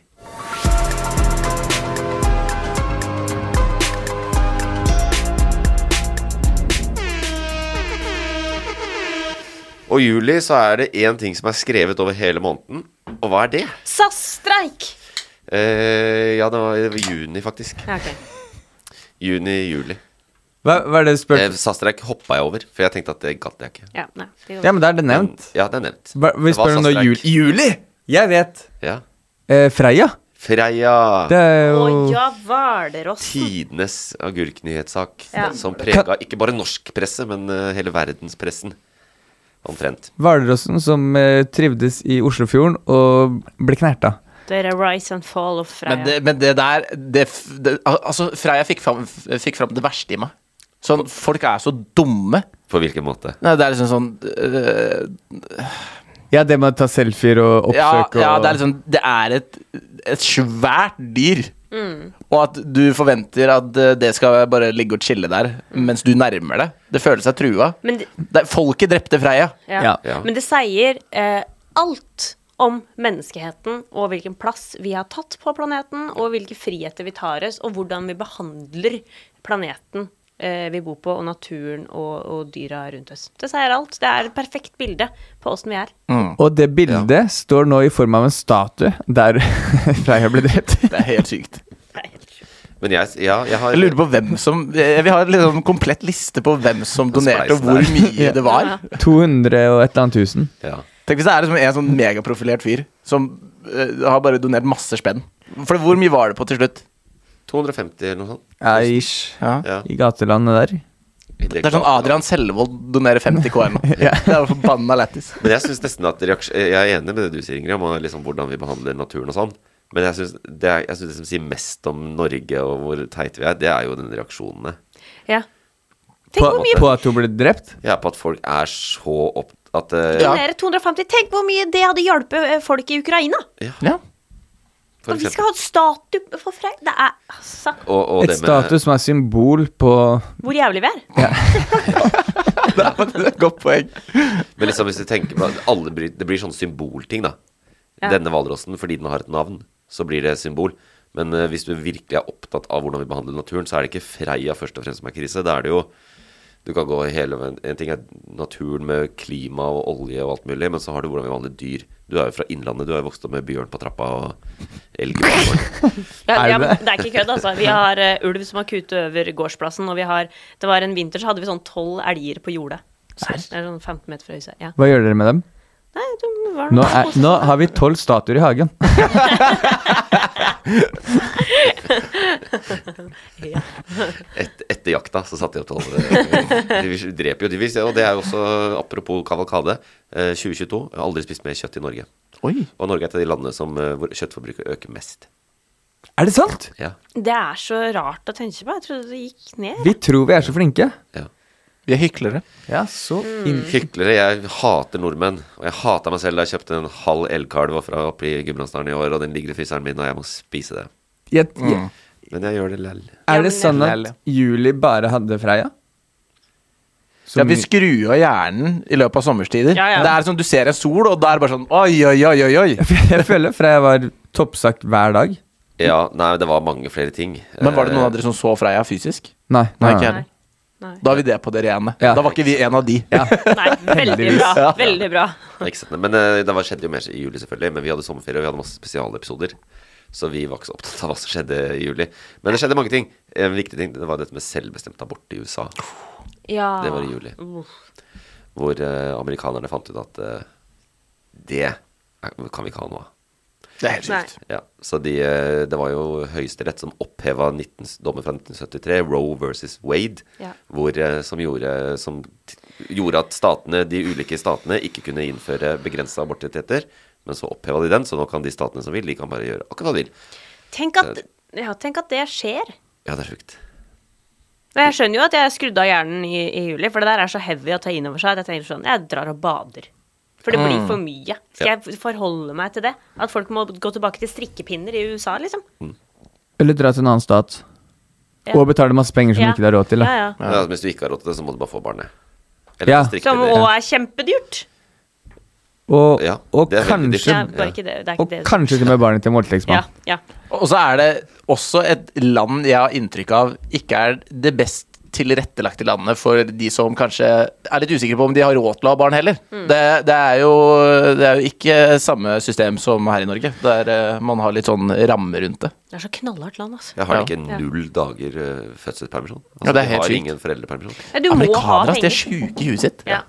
Og juli så er det én ting som er skrevet over hele måneden. Og hva er det?
SAS-streik!
Eh, ja, det var i juni, faktisk.
Ja, ok.
Juni-juli.
Hva, hva er det du spør?
Eh, Sastreik hoppa jeg over, for jeg tenkte at det gadd jeg ikke.
Ja, nei, det går
Ja, men da er det nevnt.
Ja, det er nevnt.
Hva, vi
Det var
spør om noe
Sastreik.
jul. Juli! Jeg vet.
Ja.
Eh, Freia.
Freia.
Det er
bra.
jo
Å ja, Hvalrossen.
tidenes agurknyhetssak
Ja.
som prega ikke bare norsk presse, men eh, hele verdenspressen. Omtrent.
Hvalrossen som eh, trivdes i Oslofjorden og ble knerta.
Det er rise and fall of Freia.
Men det, men det der det, f- det, al- Altså, Freia fikk fram, fikk fram det verste i meg. Sånn, folk er så dumme.
På hvilken måte?
Nei, det er liksom sånn øh,
Ja, det med å ta selfier og
ja,
oppsøke
ja,
og
det er liksom Det er et, et svært dyr.
Mm.
Og at du forventer at øh, det skal bare ligge og chille der mens du nærmer deg. Det føles seg trua.
Mm. Men det-
Det, er- folket drepte Freia.
Ja.
Ja.
Ja.
Men det sier eh, alt om menneskeheten og hvilken plass vi har tatt på planeten, og hvilke friheter vi tar oss, og hvordan vi behandler planeten eh, vi bor på, og naturen og, og dyra rundt oss. Det sier alt. Det er et perfekt bilde på åssen vi er.
mm.
Og det bildet står nå i form av en statue der [LAUGHS] Freia ble drept.
Det er helt sykt.
Men jeg, ja, jeg har
Jeg lurer på hvem som eh, Vi har liksom en komplett liste på hvem som donerte, og hvor
[LAUGHS]
mye det var.
200 og et eller annet tusen.
ja.
Tenk hvis det er liksom en sånn megaprofilert fyr som eh, har bare donert masse spenn. For hvor mye var det på til slutt?
250 eller noe sånt.
Ja, ish.
Ja.
I gatelandet der.
Det er sånn Adrian Selvold donerer 50
[LAUGHS]
K nå. Det er jo forbanna lættis.
Men jeg synes nesten at reaks- Jeg er enig med det du sier, Ingrid, om eh, liksom hvordan vi behandler naturen og sånn. Men jeg syns det, er- jeg synes det som sier mest om Norge og hvor teite vi er, det er jo den reaksjonene.
Ja.
På,
Tenk hvor mye
på at hun ble drept?
Jeg er på at folk er så opp... At eh,
Ja.
donerer 250 Tenk hvor mye det hadde hjulpet eh, folk i Ukraina!
Ja.
for
Og vi
eksempel-
skal ha et statue for Freia. Det er altså
og, og
Et
det med-
status som er symbol på
Hvor jævlig vi er.
[LAUGHS] Det er faktisk et godt poeng.
Men liksom hvis du tenker på at alle blir, Det blir sånn symbolting da Denne valrossen, fordi den har et navn Så blir det symbol Men eh, hvis du virkelig er opptatt av hvordan vi behandler naturen Så er det ikke Freia først og fremst som er krise Da er det jo Du kan gå hele veien En ting er naturen med klima og olje og alt mulig Men så har du hvordan vi behandler dyr Du er jo fra innlandet Du er jo vokst opp med bjørn på trappa Og elg på gården.
[LAUGHS] Ja,
Er
ja,
det?
men det er ikke kødd, altså. Vi har eh, ulv som har kutet over gårdsplassen, og vi har Det var en vinter så hadde vi sånn tolv elger på jordet. Det er sånn 15 meter fra huset. Ja.
Hva gjør dere med dem?
Nei, det var
Nå, er, nå har vi tolv statuer i
[LAUGHS]
hagen.
[LAUGHS]
Et, Etter jakta så satt de opp til De dreper jo de vil- Og det er jo også apropos kavalkade eh, 2022 Jeg har aldri spist mer kjøtt i Norge
Oi.
Og Norge er et av de landene som, eh, hvor kjøttforbruket øker mest.
Er det sant?
Ja,
Det er så rart å tenke på. Jeg trodde det gikk ned.
Vi tror vi er så flinke.
ja. Mm.
Vi er hyklere.
Ja, så inn...
Hyklere. Jeg hater nordmenn. Og jeg hata meg selv da jeg kjøpte en halv elgkalv fra oppe i Gudbrandsdalen i år, og den ligger i fryseren min, og jeg må spise det.
Jeg, jeg,
Mm.
Men jeg gjør det lell.
er det sånn at
Lelle.
Juli bare hadde Freia?
Ja,
Som-
vi skrur av hjernen i løpet av sommerstider.
Ja, ja.
Det er sånn, Du ser en sol, og da er det bare sånn oi, oi, oi, oi, oi.
[LAUGHS] Jeg føler Freia var toppsak hver dag.
Ja, nei, det var mange flere ting.
Men var det noen av dere som så Freia fysisk?
Nei.
Nei, ikke heller.
Nei.
Da har vi det på det rene.
Ja.
Da var ikke vi en av de. [LAUGHS]
Nei, veldig
Heldigvis.
bra. Veldig bra.
[LAUGHS] Ikke sant? Men eh, det var, skjedde jo mer i juli, selvfølgelig. Men vi hadde sommerferie, og vi hadde masse spesialepisoder. Så vi var ikke så opptatt av hva som skjedde i juli. Men det skjedde mange ting. En viktig ting det var dette med selvbestemt abort i USA.
Ja.
Det var i juli. Hvor eh, amerikanerne fant ut at eh, det er- kan vi ikke ha noe av.
Det er helt
Nei.
sykt.
Ja, så de, eh, Det var jo Høyesterett som oppheva 19, dommen fra 1973, Roe versus Wade,
Ja.
hvor, eh, som, gjorde, som t gjorde at statene, de ulike statene ikke kunne innføre begrensa abortrettigheter. Men så oppheva de den, så nå kan de statene som vil, de kan bare gjøre akkurat hva de vil.
Tenk at, ja, tenk at det skjer.
Ja, det er sjukt.
Men Jeg skjønner jo at jeg skrudde av hjernen i, i juli, for det der er så heavy å ta inn over seg at jeg tenker sånn Jeg drar og bader. For det
Mm.
blir for mye. Skal jeg forholde meg til det? At folk må gå tilbake til strikkepinner i USA, liksom?
Eller dra til en annen stat.
Ja.
Og betale masse penger som du ikke har råd til. Da.
Ja, ja.
Men altså, hvis du ikke har råd til det, så må du bare få barnet.
Ja.
strikke
Som
det.
òg er kjempedyrt.
Og,
Ja,
og
det er veldig
kanskje
Ja,
dyrt.
bare ikke det. Det er
Og
ikke det.
kanskje til og med barnet til en voldtektsmann.
Ja, ja.
Og så er det også et land jeg har inntrykk av ikke er det best tilrettelagte landet for de som kanskje er litt usikre på om de har råd til å ha barn heller.
Mm.
Det, det, er jo, det er jo ikke samme system som her i Norge, der eh, man har litt sånn ramme rundt det.
Det er så knallhardt land, altså.
Jeg har
Ja.
ikke null dager eh, fødselspermisjon. Altså,
Ja, det er
jeg
helt
har
sykt.
ingen foreldrepermisjon.
Ja, Du må ha
altså,
Amerikanere ass, de er
penger.
sjuke i huet sitt.
Ja,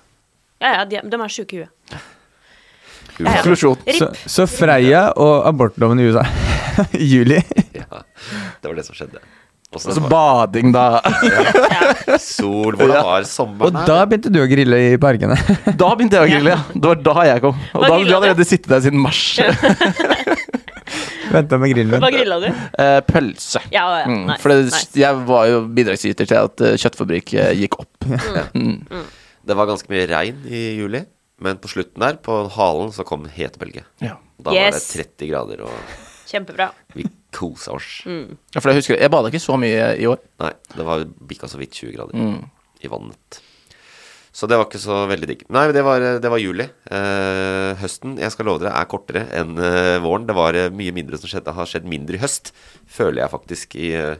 ja, ja de, de er sjuke i huet.
USA.
Konklusjon.
Ripp.
Så, så Freia og abortloven i USA [LAUGHS] i juli.
Ja, det var det som skjedde. Og
Altså bading, da.
sol, hvordan var sommeren
Og
her?
da begynte du å grille i parkene. [LAUGHS]
Da begynte jeg å grille, ja. Det var da jeg kom. Og
Hva
da hadde
grillet
du
du?
allerede sittet der siden mars. [LAUGHS]
Venta med grillen.
Hva grilla du?
Eh, Pølse.
Ja, ja.
Mm,
Nei.
for det,
nei.
jeg var jo bidragsyter til at eh, kjøttfabrikk eh, gikk opp.
Mm.
Det var ganske mye regn i juli, men på slutten der, på halen, så kom hetebølge.
Ja.
Da
Yes.
var det 30 grader, og
Kjempebra. Mm.
vi kosa oss.
[LAUGHS] Ja, for jeg husker Jeg bada ikke så mye i år. Mm.
Nei, det var bikka så vidt 20 grader i vannet. Så det var ikke så veldig digg. Nei, men det var, det var juli. Eh, høsten, jeg skal love dere, er kortere enn eh, våren. Det var eh, mye mindre som skjedde, har skjedd mindre i høst, føler jeg faktisk i, eh,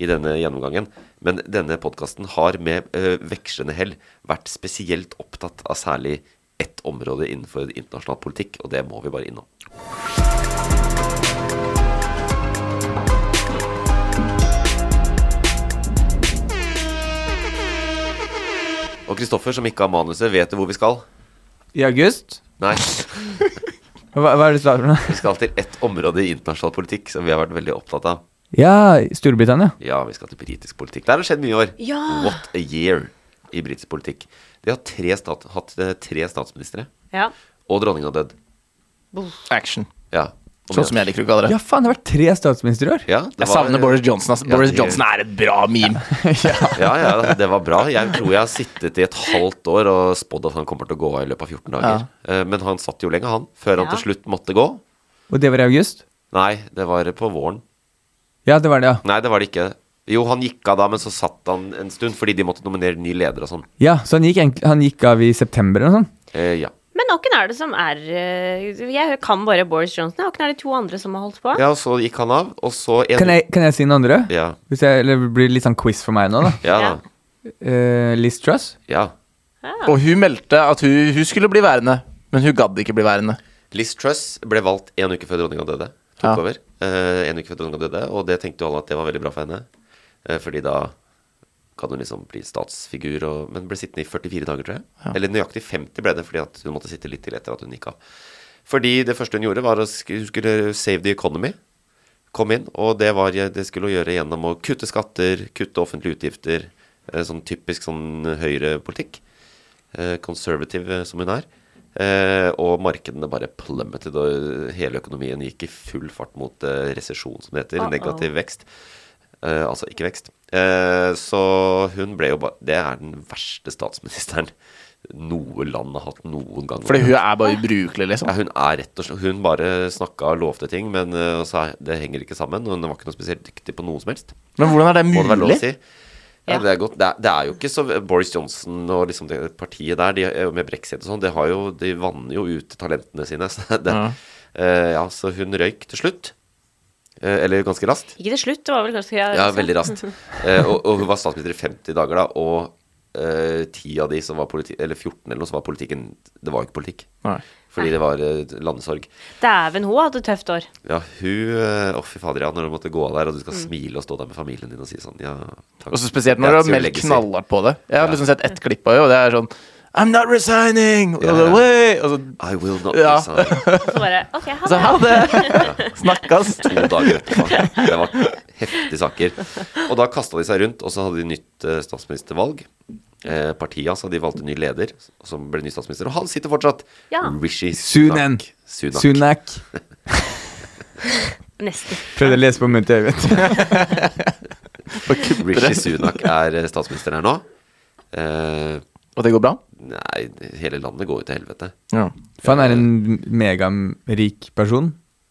i denne gjennomgangen. Men denne podkasten har med eh, vekslende hell vært spesielt opptatt av særlig ett område innenfor internasjonal politikk, og det må vi bare innom. Og Kristoffer, som ikke har manuset, vet du hvor vi skal?
I august?
Nei.
[LAUGHS] Hva, hva er det du sa for noe?
Vi skal til ett område i internasjonal politikk som vi har vært veldig opptatt av.
Ja, Storbritannia.
Ja, vi skal til britisk politikk. Der har det skjedd mye i år.
Ja.
What a year i britisk politikk. De har tre stat hatt eh, tre statsministre,
Ja.
og dronninga dødd.
Action.
Ja. Og
Sånn som jeg liker å kalle det.
Ja, faen, det har vært tre statsministre i år.
Ja, det
Jeg
var-
savner Boris Johnson. ass.
Ja,
Boris
det-
Johnson er et bra
[LAUGHS]
meme.
Ja, ja, det var bra. Jeg tror jeg har sittet i et halvt år og spådd at han kommer til å gå av i løpet av 14 dager. Eh, Men han satt jo lenge, han, før han
Ja.
til slutt måtte gå.
Og det var i august?
Nei, det var på våren.
Ja, det var det, ja.
Nei, det var det ikke. Jo, han gikk av da, men så satt han en stund fordi de måtte nominere ny leder og sånn.
Ja, Så han gikk, egentlig- han gikk av i september eller noe sånt?
Eh, ja.
Men hvem er det som er eh, Jeg kan bare Boris Johnson. Hvem er de to andre som har holdt på?
ja, og så gikk han av, og så en...
Kan jeg, kan jeg si noen andre?
Ja.
Hvis jeg, eller det blir litt sånn quiz for meg nå, da.
Ja,
Ja.
da.
Eh, Liz Truss?
ja.
Ah.
Og hun meldte at hun, hun skulle bli værende, men hun gadd ikke bli værende.
Liz Truss ble valgt en uke før dronninga døde. Tok
Ja.
over eh, en uke før dronninga døde, og det tenkte jo alle at det var veldig bra for henne. Eh, fordi da kan hun liksom bli statsfigur, og, men ble sittende i 44 dager, tror jeg. Eller nøyaktig 50 ble det, fordi at hun måtte sitte litt til etter at hun gikk av. Fordi det første hun gjorde, var å sk hun skulle save the economy. Kom inn, og det, var, det skulle hun gjøre gjennom å kutte skatter, kutte offentlige utgifter. eh, Sånn typisk sånn høyrepolitikk. eh, Conservative eh, som hun er. Eh, og markedene bare plummetet, og hele økonomien gikk i full fart mot eh, resesjon, som det heter. Negativ vekst. Eh, altså ikke vekst. Eh, så hun ble jo bare Det er den verste statsministeren noe land har hatt noen gang.
Fordi hun er bare ubrukelig, liksom.
Ja, hun er rett og slett Hun bare snakka og lovte ting, men eh, og sa, det henger ikke sammen. og Hun var ikke noe spesielt dyktig på noe som helst.
Men hvordan er det
Må det være lov
mulig?
å si? Ja,
Ja.
det, er godt. Det, er, det er jo ikke så Boris Johnson og liksom det partiet der, de, med brexit og sånn, det har jo, de vanner jo ut talentene sine. [LAUGHS] Så, det,
Ja.
eh, ja, så hun røyk til slutt. Eh, eller ganske raskt.
Ikke til slutt, det var vel kanskje altså.
Ja, veldig
sånn. [LAUGHS]
raskt. Eh, og, og hun var statsminister i 50 dager da, og eh, 10 av de som var politi eller 14 eller noe, som var politikken Det var jo ikke politikk.
Nei.
Fordi det var eh, landesorg.
Dæven, hun hadde et tøft år.
Ja, hun eh, Å, fy fader, ja. Når du måtte gå av der, og du skal smile og stå der med familien din og si sånn Ja, takk.
Og så spesielt når du
That's
har
your
meldt
legacy.
knallhardt på det. Jeg har liksom sett ett klipp av det, og det er sånn I'm not resigning! Og
Ja, ja.
så, «Way!» og så,
I will not
Ja.
resign.
Og [LAUGHS] så bare OK, ha
så
det.
ha det!
[LAUGHS]
[LAUGHS] Snakkes!
To dager
[LAUGHS]
etterpå. Det var heftige saker. Og da kasta de seg rundt, og så hadde de nytt eh, statsministervalg. Eh, partiet, altså. De valgte ny leder, som ble ny statsminister. Og han sitter fortsatt.
Ja.
Rishi
Sunak.
Sunak. Sunak.
Sunak.
[LAUGHS] Nesten.
[LAUGHS]
Prøvde å lese på munnen til Øyvind.
Rishi Sunak er eh, statsminister her nå. Eh,
Og det går bra?
nei, hele landet går jo til helvete.
Ja.
For han er en megarik person.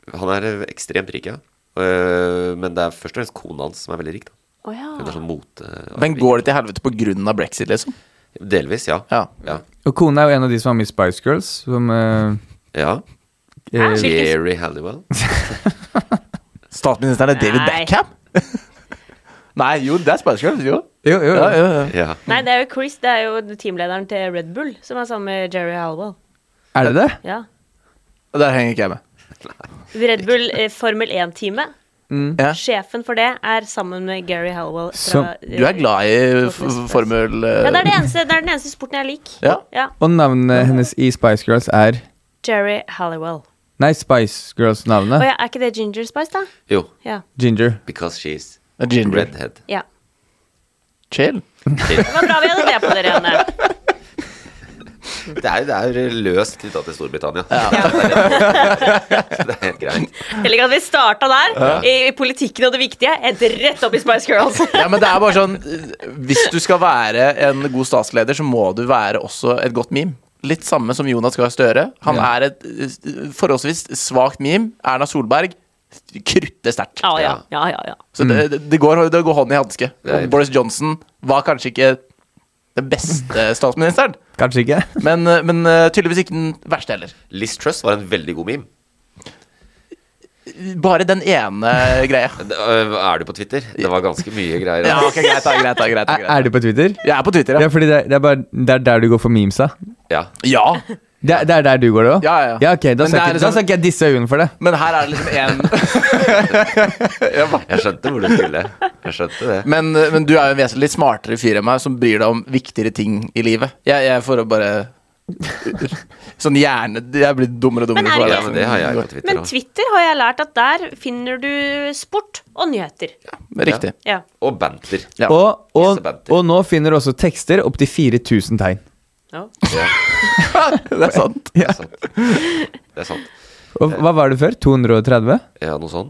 Han er eh, ekstremt rik, ja. Eh, men det er først og fremst kona hans som er veldig rik. da
Å ja.
Hun er sånn mote...
Men går det til helvete på grunn av brexit, liksom?
Delvis, ja.
Ja.
ja.
Og kona er jo en av de som var med i Spice Girls. Som eh,
Ja.
eh,
Hvilken-
Gary Halliwell.
[LAUGHS] Statsministeren er David
Nei.
Beckham? [LAUGHS] Nei, jo, det er Spice Girls, jo.
Jo, jo,
Ja,
jo.
ja, ja.
Ja.
Nei, det er jo Chris, det er jo teamlederen til Red Bull, som er sammen med Jerry Halwell.
Er det det?
Ja.
Der henger ikke jeg med.
Red Bull eh, Formel 1-teamet.
Mm.
Ja.
Sjefen for det er sammen med Gary Halwell.
Som-
Fra, eh,
Du er glad i f- f- formel... eh,
Ja, det er, det, eneste, det er den eneste sporten jeg liker.
Ja.
Og navnet hennes i Spice Girls er
Jerry Halliwell.
Nei, Spice
Å
Girls-navnet.
ja, er ikke det Ginger Spice, da?
Jo,
Ja.
Ginger.
because she's
Ginger.
redhead.
ja.
Chill.
Det var bra vi hadde det på dere, [LAUGHS] Janne.
Det er, det er løst knytta til Storbritannia. Så [LAUGHS]
[LAUGHS]
det er helt greit.
Jeg liker at vi starta der, i, i politikken og det viktige, et rett opp i Spice [LAUGHS] Girls.
Ja, men det er bare sånn eh, Hvis du skal være en god statsleder, så må du være også et godt meme. Litt samme som Jonas Gahr Støre. Han
Ja.
er et eh, forholdsvis svakt meme. Erna Solberg krutter sterkt.
Ja, ja, ja, ja, ja.
Så det, det, går, Mm. det går hånd i hanske.
Det er-
Og Boris Johnson var kanskje ikke den beste statsministeren,
Kanskje ikke?
men, eh, men eh, tydeligvis ikke den verste heller.
Liz Truss var en veldig god meme.
Bare den ene greia.
Det, øh, Er du på Twitter? Det var ganske mye greier.
Ja,
altså.
ok, greit, da, greit, da, greit, da,
Er,
greit.
er du på Twitter?
Jeg er på Twitter,
Ja,
ja.
fordi det er, det er bare Det er der du går for memesa.
Ja.
Ja,
[LAUGHS] Det er, det er der du går, det òg?
Ja, ja, ja.
ja, ok, da
Men det
skal,
er
ikke, da
liksom-
skal ikke jeg disse øynene for det.
men her er det liksom [LAUGHS] en
Jeg skjønte hvor du skulle. Jeg skjønte det.
Men, øh, [LAUGHS] men du er jo en vesentlig smartere fyr enn meg, som bryr deg om viktigere ting i livet. Jeg, jeg får bare Sånn hjerne Jeg blir dummere og
Men er det-
Ja,
dummere. for hver dag
men det har jeg på
som
Twitter
Men
òg.
Twitter har jeg lært at der finner du sport og nyheter.
går. Riktig.
Ja.
Og banter.
Ja.
Og, og,
Isabenter.
og nå finner du også tekster opptil 4000 tegn.
Ja.
[LAUGHS] Det er sant.
Det er sant. Det er sant.
Og hva var det før? 230?
Ja, noe sånn.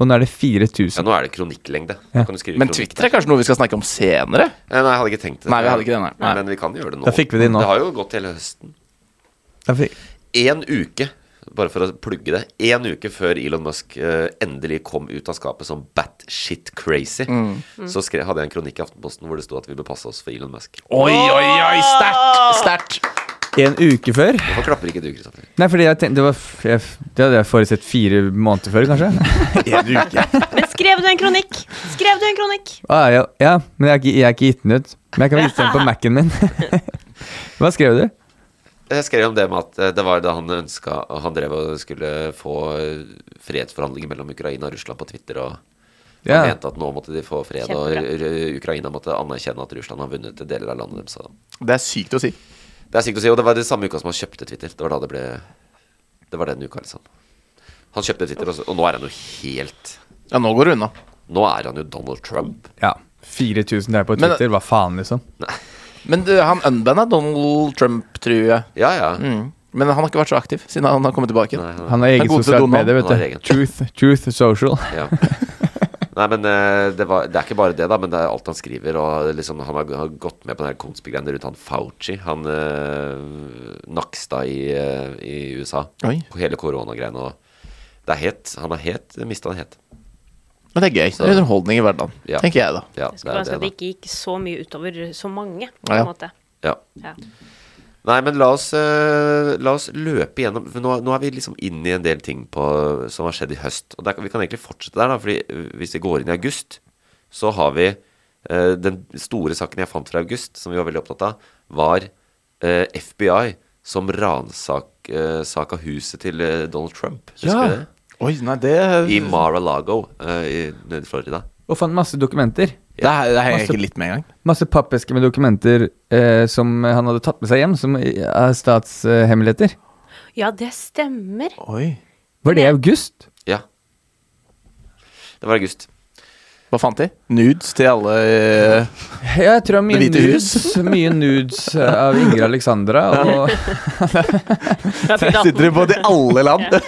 Og nå er det
Ja,
4000.
nå er det kronikklengde. Nå kan du skrive
Men
kronikk.
Twitter er kanskje noe vi skal snakke om senere?
Eh, Nei, jeg hadde ikke tenkt det.
Nei, vi hadde ikke det, nei. Nei.
Men vi kan gjøre det nå.
Da fikk vi det nå.
Det har jo gått hele høsten.
Da fikk-
Én uke, bare for å plugge det, én uke før Elon Musk eh, endelig kom ut av skapet som batshit crazy,
Mm.
så skre, hadde jeg en kronikk i Aftenposten hvor det sto at vi bør passe oss for Elon Musk.
Oi, oi, oi! Sterkt! Sterkt.
En uke før?
Hvorfor klapper ikke du, Kristoffer?
Nei, fordi jeg tenkte Det, var, f- jeg, f- det hadde jeg forutsett fire måneder før,
[LAUGHS]
kanskje.
Men skrev du en kronikk? Skrev du en kronikk?
Ah, ja, ja, men jeg har ikke, jeg har ikke gitt den ut. Men jeg kan vise den på Mac-en min. [LAUGHS] Hva skrev du?
Jeg skrev om det med at eh, det var da han ønska Han drev og skulle få eh, fredsforhandlinger mellom Ukraina og Russland på Twitter, og
Ja.
han mente at nå måtte de få fred, og
Kjempebra.
r- r- Ukraina måtte anerkjenne at Russland har vunnet deler av landet deres. og-
Det er sykt å si.
Det er sykt å si, og det var det samme uka som han kjøpte Twitter. Det var da det ble Det var den uka, liksom. Han kjøpte Twitter, og så- og nå er han jo helt
Ja, nå går det unna.
Nå er han jo Donald Trump.
Ja. 4000 der på
Men-
Twitter, hva faen, liksom?
Men du, han unbanda Donald Trump, tror jeg.
Ja, ja.
Mm. Men han har ikke vært så aktiv siden han har kommet tilbake.
Nei, han-
Han har
Han er
eget
god til
sosialt
Donald.
medie, vet
Han har
du.
eget.
Truth, truth Social.
[LAUGHS] ja. Nei, men eh, det, var, det er ikke bare det, da, men det er alt han skriver. Og liksom, han har, har gått med på den her konspigreiene rundt han Fauci, han eh, Nakstad i, eh, i USA.
Oi.
På hele koronagreiene. Og det er helt Han er helt Mista han helt.
Men det er gøy. Det er underholdning i hverdagen,
Ja.
tenker jeg da.
Ja,
Jeg
det
skulle
er
ønske at det
det,
ikke gikk så mye utover så mange.
Ja,
På
ja.
en måte.
da. Ja.
Ja.
Nei, men la oss, eh, la oss løpe gjennom for nå, nå er vi liksom inn i en del ting på, som har skjedd i høst. Og der, kan- vi kan egentlig fortsette der, da, fordi eh, hvis vi går inn i august, så har vi eh, Den store saken jeg fant fra august, som vi var veldig opptatt av, var eh, FBI som ransaka huset til eh, Donald Trump. Husker
Ja.
du det?
Oi, nei, det
I Mar-a-Lago eh, i- nede i Florida.
Og fant masse dokumenter.
Det her, det her henger jeg ikke litt med engang.
Masse pappesker med dokumenter eh, som han hadde tatt med seg hjem, som i- er statshemmeligheter.
ja, det stemmer.
Oi.
Var det i august?
Ja. Det var august.
Hva fant de? Nudes til alle eh,
Ja, jeg tror det var mye
Det hvite
nudes, [LAUGHS] mye nudes eh, av Ingrid Alexandra. Og
Fra
[LAUGHS]
[LAUGHS] Sitter de
privaten.
på i alle land?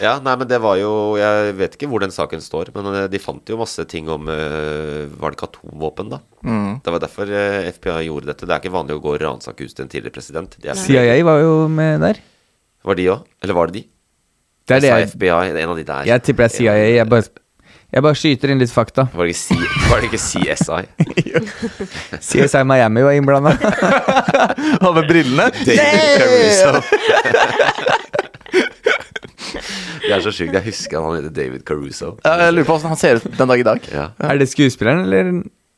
Ja, nei, men det var jo Jeg vet ikke hvor den saken står, men eh, de fant jo masse ting om eh, Var det ikke atomvåpen, da?
Mm.
Det var derfor eh, FBI gjorde dette. Det er ikke vanlig å gå og ransake huset til en tidligere president. Det er
CIA var jo med der.
Var de òg? Eller var det de?
Det er det
jeg
jeg,
sa FBI, en av de der.
jeg tipper det er CIA. Jeg bare, jeg bare skyter inn litt fakta.
Var det ikke, C var det ikke
[LAUGHS]
CSI?
CSI Miami var innblanda.
Han med brillene.
David Caruso. [LAUGHS] Det er så sjukt. Jeg husker han heter David Caruso.
Ja, Jeg lurer på hvordan han ser ut den dag i dag.
Ja.
Er det skuespilleren, eller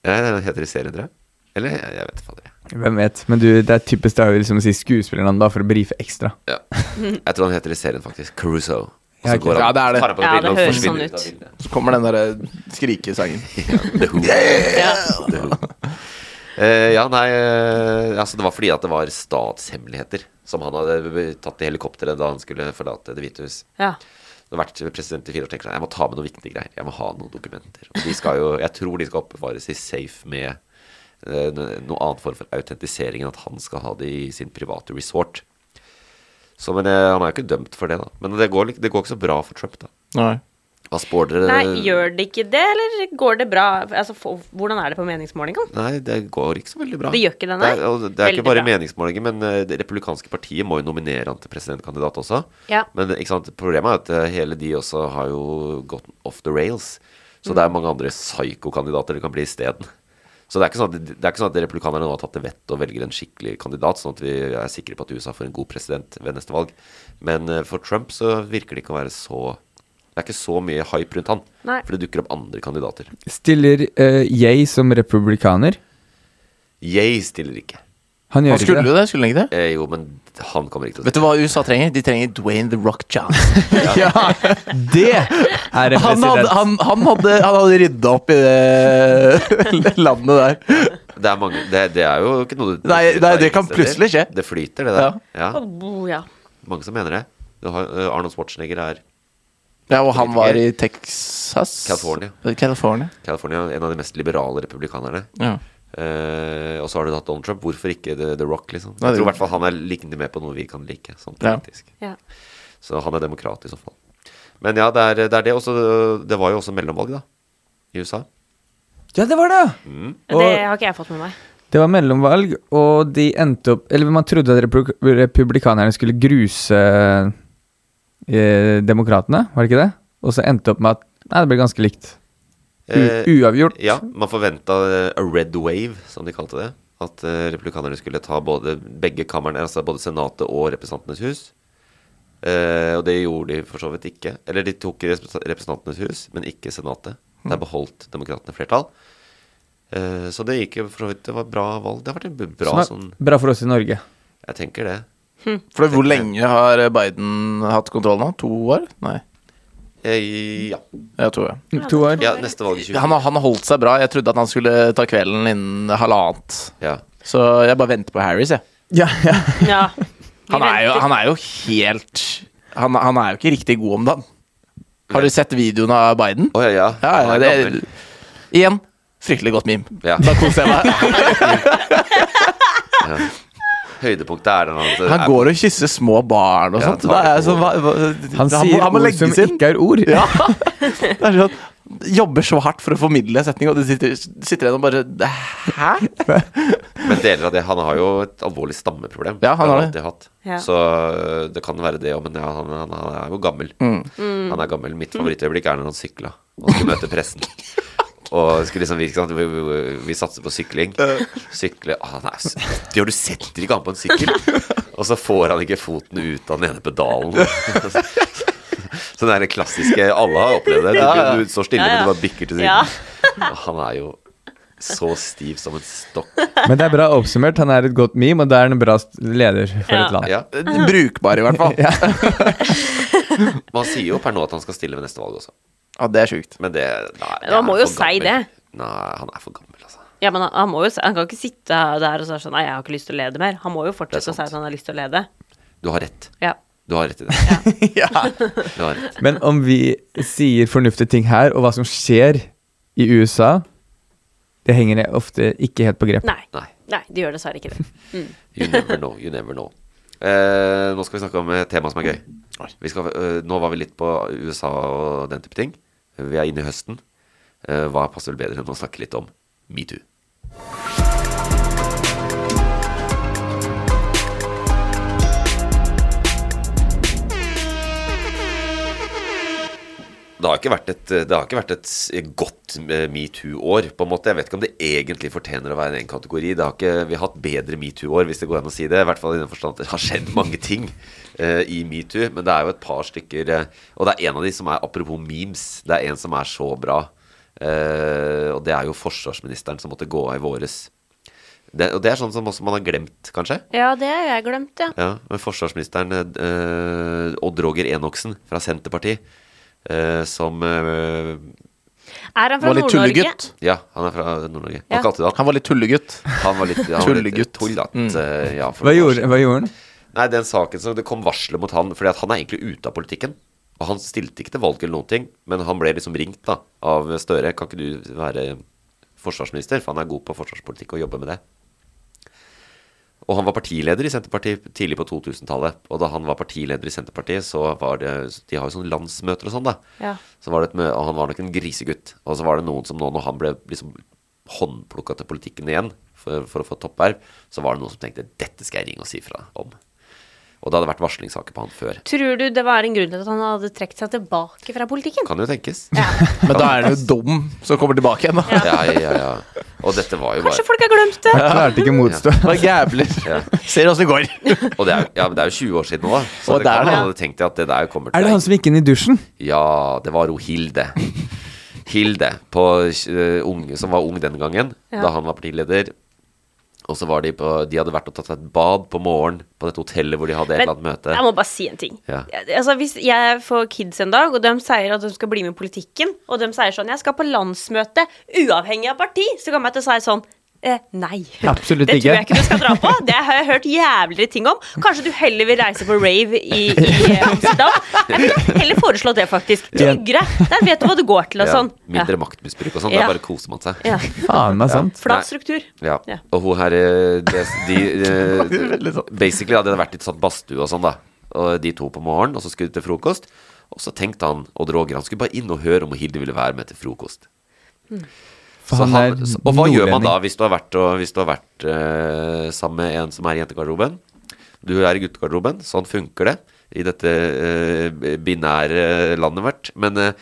Ja, Han heter i serien, tror jeg. Eller jeg, jeg vet fader. jeg.
hvem vet? Men du, det er typisk det er jo liksom å si skuespillernavn da, for å brife ekstra.
Ja. Jeg tror han heter i serien faktisk Caruso. Og
Ja,
så
ok.
går han,
Ja, det er det.
tar han på
Ja, det
brillene og
høres
forsvinner
sånn
ut av
ut.
bildet.
Så kommer den eh, derre
[LAUGHS]
skrikesangen.
The Who. The Who. Eh, ja, nei eh, altså Det var fordi at det var statshemmeligheter som han hadde tatt i helikopteret da han skulle forlate Det hvite hus.
Ja.
Han har vært president i fire år tenker han, jeg må ta med noen viktige greier. Jeg må ha noen dokumenter. Og de skal jo, jeg tror de skal oppbevares i safe med eh, noe annet form for autentisering enn at han skal ha det i sin private resort. Så, men eh, Han er jo ikke dømt for det, da. Men det går, lik- det går ikke så bra for Trump, da.
Nei.
Hva spår dere?
Nei, gjør det ikke det, eller går det bra? Altså, for, hvordan er det på meningsmålingene?
Nei, det går ikke så veldig bra.
Det gjør ikke det,
Det
nei.
er, og det er
Veldig
ikke bare
bra.
meningsmålinger, men eh, det republikanske partiet må jo nominere han til presidentkandidat også.
Ja.
Men eh, ikke sant? problemet er at eh, hele de også har jo gått off the rails. Så
Mm.
det er mange andre psykokandidater det kan bli isteden. Så det er, ikke sånn at, det er ikke sånn at republikanerne nå har tatt til vettet og velger en skikkelig kandidat, sånn at vi er sikre på at USA får en god president ved neste valg. Men eh, for Trump så virker det ikke å være så Det er ikke så mye hype rundt han.
Nei.
For det dukker opp andre kandidater.
[LAUGHS] Stiller eh, jeg som republikaner?
Jeg stiller ikke.
Han gjør
Han skulle
ikke det.
jo det, skulle han ikke det?
Eh, jo, men han kommer ikke til å
Vet du hva USA trenger? De trenger Dwayne The Rock
[LAUGHS]
Johnson. ja.
Det er
han,
en
hadde,
president.
han, han, hadde, han hadde rydda opp i det [LAUGHS] landet der.
Det er, mange, det, det er jo ikke noe du
Nei, nei, det kan
steder.
plutselig skje.
Det flyter, det der. Ja.
Oh, ja.
Mange som mener det. Du har, eh, Arnold Schwarzenegger er
Ja, og han var i Texas.
California.
California.
California, en av de mest liberale republikanerne.
Ja.
Eh, og så har du hatt Donald Trump. Hvorfor ikke The, The Rock? liksom Jeg
Nei, det-
tror i hvert fall han er likende med på noe vi kan like. Sånn
Ja.
politisk
Ja.
Så han er demokrat i så fall. Men ja, det er det. Er det. Også, det var jo også mellomvalg, da. I USA.
Ja, det var det!
Mm.
Det har ikke jeg fått med meg.
Det var mellomvalg, og de endte opp Eller man trodde at repru- republikanerne skulle gruse eh, demokratene, var det ikke det? Og så endte opp med at Nei, det ble ganske likt. U
Eh,
uavgjort.
Ja, man forventa eh, a red wave, som de kalte det. At eh, republikanerne skulle ta både begge kamrene, altså både Senatet og Representantenes hus. Eh, og det gjorde de for så vidt ikke. Eller de tok repres- Representantenes hus, men ikke Senatet.
Mm.
Der beholdt demokratene flertall. Eh, så det gikk jo for så vidt Det var bra valg. Det har vært en b- bra
Som er
sånn
bra for oss i Norge.
Jeg tenker det.
Hm.
For hvor lenge har Biden hatt kontroll nå? To år? Nei.
Eh, ja.
Ja, to år.
To år.
ja. Neste valg i 2020.
Han, har- han har holdt seg bra. Jeg trodde at han skulle ta kvelden innen halvannet.
Ja.
Så jeg bare venter på Harris, jeg.
Ja, ja.
Ja.
Han er jo, han er jo helt han, han er jo ikke riktig god om dagen. Har du sett videoen av Biden?
Å, ja, ja.
Ja,
Han
ja,
er
det er,
gammel.
igjen, fryktelig godt meme.
Ja.
Da koser jeg meg.
[LAUGHS]
Høydepunktet er den han
Han går og kysser små barn og
Ja,
sånt.
tar
Da er jeg
det på
sånn, hva, hva,
Han sier
må, han må
ord
legge
som
sin.
ikke er ord.
Ja. Det er sånn, jobber så hardt for å formidle en setning, og du sitter, sitter igjen og bare Hæ?
Men deler av det Han har jo et alvorlig stammeproblem.
Ja, han har det.
alltid hatt.
Ja.
Så øh, det kan være det òg, men ja, han, han, han er jo gammel.
Mm.
Han er gammel.
Mm.
Mitt favorittøyeblikk er når han sykla og skulle møte
[LAUGHS]
pressen. Og skulle liksom virke sånn at vi, vi, vi satser på sykling. Sykle ah, Han er så 80 år, du setter ikke an på en
[LAUGHS]
sykkel! Og så får han ikke foten ut av den ene pedalen. [LAUGHS] Så det er det klassiske Alle har opplevd det. Du, du, du står stille,
Ja, ja.
men du bare bikker til siden.
Ja.
Han er jo så stiv som en stokk.
[LAUGHS] Men det er bra oppsummert. Han er et godt meme, og det er en bra st- leder for
Ja.
et land.
Ja. Eh, [LAUGHS]
Brukbar, i hvert
[LAUGHS]
fall. Ja,
Man sier jo per nå at han skal stille ved neste valg også.
det er sjukt.
Men det nei,
Men man
det er
må jo
for
si
gammel.
det.
Nei, han er for gammel, altså.
Ja, men han, han, må jo, si- han kan ikke sitte der og si sånn Nei, jeg har ikke lyst til å lede mer. Han må jo
Det er
fortsette å si
sant.
at han har lyst til å lede.
Du har rett.
Ja.
Du har rett i det.
[LAUGHS]
Du har rett.
Men om vi sier fornuftige ting her, og hva som skjer i USA, det henger jeg ofte ikke helt på grep.
Nei.
Nei.
Nei, de gjør dessverre ikke det. Mm.
You never know. You never know. Eh, nå skal vi snakke om et tema som er gøy. Vi skal, eh, nå var vi litt på USA og den type ting. Vi er inne i høsten. Eh, hva passer vel bedre enn å snakke litt om metoo? Det har, ikke vært et, det har ikke vært et s- godt eh, metoo-år, på en måte. Jeg vet ikke om det egentlig fortjener å være en kategori. Det har ikke, vi har hatt bedre metoo-år, hvis det går an å si det. I hvert fall i den forstand at det har skjedd mange ting eh, i metoo. Men det er jo et par stykker eh, Og det er en av de som er apropos memes. Det er en som er så bra. eh, og det er jo forsvarsministeren som måtte gå av i våres. Det, og det er sånn som også man har glemt, kanskje.
Ja, det har jeg glemt, ja.
Ja, men forsvarsministeren eh, Odd Roger Enoksen fra Senterpartiet, eh, som eh,
Er han fra
Var litt
Nord-Norge?
tullegutt.
Ja, han er fra Nord-Norge. Han
Ja.
kalte det at
Han var litt tullegutt.
han var litt han var litt
Tullegutt. Mm.
tullat, eh, ja, for
Hva
noen år
gjorde,
siden.
hva gjorde han?
Nei, den saken som det kom varsler mot han, fordi at han er egentlig ute av politikken. Og han stilte ikke til valg eller noen ting, men han ble liksom ringt da, av Støre. Kan ikke du være forsvarsminister? For han er god på forsvarspolitikk og jobber med det. Og han var partileder i Senterpartiet tidlig på 2000-tallet. Og da han var partileder i Senterpartiet, så var det De har jo sånne landsmøter og sånn, da.
Ja.
Så var det et mø og han var nok en grisegutt. Og så var det noen som nå, når han ble liksom håndplukka til politikken igjen for, for å få toppverv, så var det noen som tenkte dette skal jeg ringe og si fra om. Og det hadde vært varslingssaker på han før.
Tror du det var en grunn til at han hadde trukket seg tilbake fra politikken?
Kan jo tenkes.
[LAUGHS] Men da er han jo dum som kommer tilbake igjen, da.
Ja, ja, ja. ja. Og dette var jo
Kanskje
bare
folk har glemt det?
Klarte ikke motstå.
Bare gæbler. Ser åssen det går.
Og det er, jo- ja, men det er jo 20 år siden nå, da. Så
Og
det
det er
kan
det.
han hadde tenkt at det der kommer til
Er det han som gikk inn i dusjen?
Ja, det var hun
[LAUGHS]
Hilde. Hilde, på, eh, unge, som var ung den gangen, da han var partileder. Og så var de på De hadde vært og tatt seg et bad på morgenen på dette hotellet hvor de hadde et eller annet møte.
jeg må bare si en ting.
Ja.
Altså, hvis jeg får kids en dag, og de sier at de skal bli med i politikken, og de sier sånn 'Jeg skal på landsmøte, uavhengig av parti', så kommer jeg til å si sånn Eh, nei.
Absolutt
det tror jeg ikke
ikke.
du skal dra på. Det har jeg hørt jævligere ting om. Kanskje du heller vil reise på rave i, i Amsterdam? Jeg ville heller foreslått det, faktisk. Tryggere. Der vet du hva du går til og
Ja,
sånn.
mindre maktmisbruk og sånn.
Ja.
Da bare koser man seg.
Ja.
[LAUGHS] Faen meg sant.
Nei.
Flat struktur.
Ja.
Ja.
Og hun her eh, de,
[LAUGHS]
de, eh,
veldig sånn.
Basically hadde det vært litt sånn badstue og sånn, da. Og de to på morgenen, og så skulle de til frokost. Og så tenkte han Odd Roger, han skulle bare inn og høre om Hilde ville være med til frokost.
For
Så
han
han,
er
så, og hva gjør man da
nordlending.
hvis du har vært, og, hvis du har vært eh, sammen med en som er i jentegarderoben? Du er i guttegarderoben, sånn funker det i dette eh, binære landet vårt. Men, eh,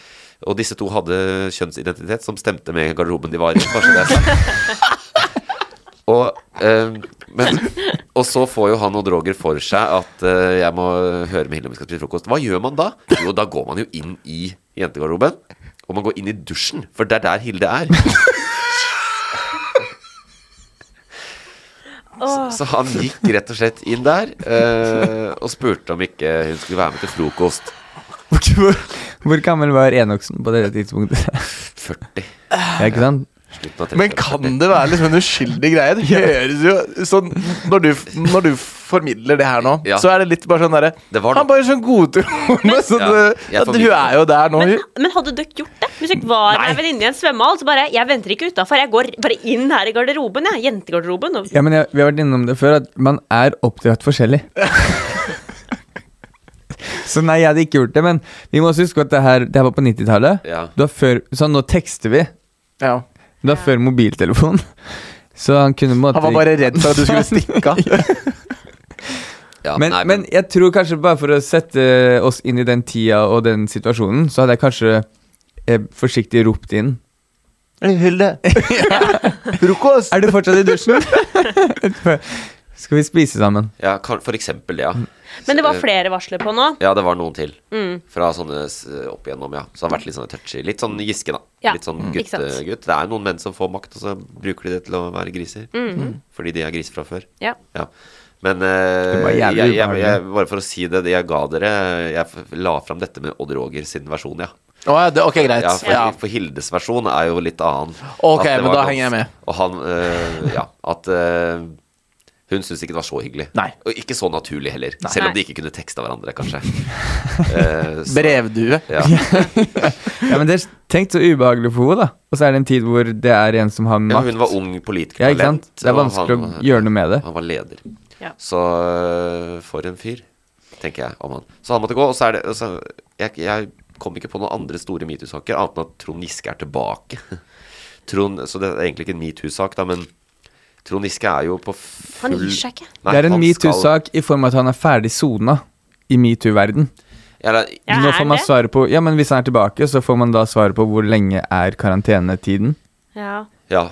og disse to hadde kjønnsidentitet som stemte med garderoben de var i. Bare så det er
[LAUGHS]
sagt. og, eh, men, og så får jo han og Droger for seg at eh, jeg må høre med Hilde om vi skal spise frokost. Hva gjør man da? Jo, da går man jo inn i jentegarderoben. Og man går inn i dusjen, for det er der Hilde er. Så han gikk rett og slett inn der eh, og spurte om ikke hun skulle være med til frokost.
Hvor, hvor gammel var Enoksen på det tidspunktet?
40.
Ja, ikke sant?
Slutten av 30.
Men kan det være liksom en uskyldig greie? Det høres jo sånn når du, når du formidler det her nå,
Ja.
så er det litt bare sånn derre
Det var
Han
noe-
bare sånn godtroende. Sånn,
Ja,
eh,
jeg
at hun
formidler.
er jo der nå.
Men,
hun.
men hadde dere gjort det? Hvis dere var med en venninne i en svømmehall, så bare Jeg venter ikke utafor, jeg går bare inn her i garderoben, jeg. Jentegarderoben. Og,
Ja, men jeg, Vi har vært innom det før, at man er
[LAUGHS]
oppdratt forskjellig. Så nei, jeg hadde ikke gjort det, men vi må også huske at det her, det her var på 90-tallet.
Ja.
Det var før- Sånn, nå tekster vi.
Ja.
Det var før mobiltelefon. [LAUGHS] Så han kunne på en måte
Han var bare redd for at du
[LAUGHS]
skulle stikke av.
Ja,
men,
nei,
men jeg tror kanskje bare for å sette oss inn i den tida og den situasjonen, så hadde jeg kanskje eh, forsiktig ropt inn
Hilde. Frokost.
Er du fortsatt i
[LAUGHS]
dusjen? Skal vi spise sammen?
ja, kan, for eksempel det, ja. Eh,
men det var flere varsler på nå. Mm.
Ja, det var noen til. Fra sånne s- opp igjennom, ja. Så det har vært litt sånn touchy. Litt sånn Giske, da.
Ja,
Litt sånn
mm. ikke sant.
guttegutt. Det er noen menn som får makt, og så bruker de det til å være griser.
Mm.
Fordi de er griser fra før.
Mm. Ja.
Ja. Men eh,
Det var
jeg,
jævlig
jeg, jeg,
ubehagelig.
bare for å si det, det jeg ga dere Jeg f- la fram dette med Odd Roger sin versjon, ja.
Å, ja, det, ok, greit.
Ja, for,
Ja.
for Hildes versjon er jo litt annen.
Ok,
At det
men
var
da
dans-
henger jeg med.
Og han, øh, ja, at øh, hun syntes ikke det var så hyggelig.
Nei.
Og ikke så naturlig heller. Selv om
Nei.
de ikke kunne teksta hverandre, kanskje. Eh, så-
Brevdue. [LAUGHS]
ja.
[LAUGHS] Ja, men det er Tenk så ubehagelig for henne, da. Og så er det en tid hvor det er en som har
ja,
makt.
hun var ung politiker.
Ja, ikke sant? Det er vanskelig å gjøre noe med det.
Han var leder.
Ja.
Så øh, for en fyr, tenker jeg om han. Så han måtte gå. Og så er det så, jeg, jeg kom ikke på noen andre store metoo-saker, annet enn at Trond Giske er tilbake. [LAUGHS] Trond, så det er egentlig ikke en metoo-sak, da, men Trond Giske er jo på full
Han gir seg ikke.
Nei,
det er en
han skal-
metoo-sak i form av at han er ferdig sona i metoo-verden.
Ja, det er-
Ja,
Nå
er
får man
det?
svare på Ja, men hvis han er tilbake, så får man da svare på hvor lenge er karantenetiden.
Ja.
Ja,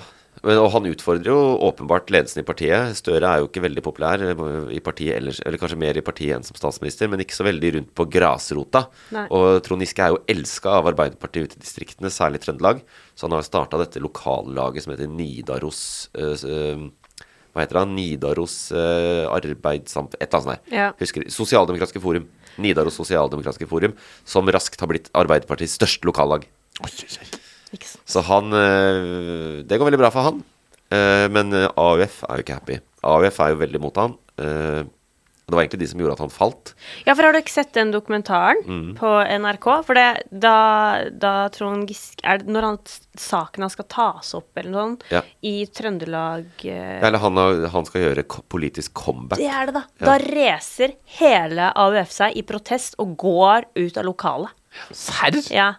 men, og han utfordrer jo åpenbart ledelsen i partiet. Støre er jo ikke veldig populær eh, i partiet ellers, eller kanskje mer i partiet enn som statsminister, men ikke så veldig rundt på grasrota.
Nei.
Og Trond Giske er jo elska av Arbeiderpartiet ute i distriktene, særlig Trøndelag, så han har jo starta dette lokallaget som heter Nidaros eh, s- eh, Hva heter det? Nidaros eh, arbeidssamt... Et eller annet sånt der.
Ja.
Husker Sosialdemokratiske Forum. Nidaros Sosialdemokratiske Forum, som raskt har blitt Arbeiderpartiets største lokallag.
Ikke sant.
Så han eh, Det går veldig bra for han. Eh, Men eh, AUF er jo ikke happy. AUF er jo veldig mot han. Eh, Det var egentlig de som gjorde at han falt.
Ja, for har du ikke sett den dokumentaren
Mm.
på NRK? For det, da, da Trond Giske er det Når han, saken han skal tas opp, eller noe sånt,
Ja.
i Trøndelag eh,
Eller han, har- han skal gjøre ko- politisk comeback.
Det er det, da. Da reser hele AUF seg i protest og går ut av lokalet.
Serr?
Ja.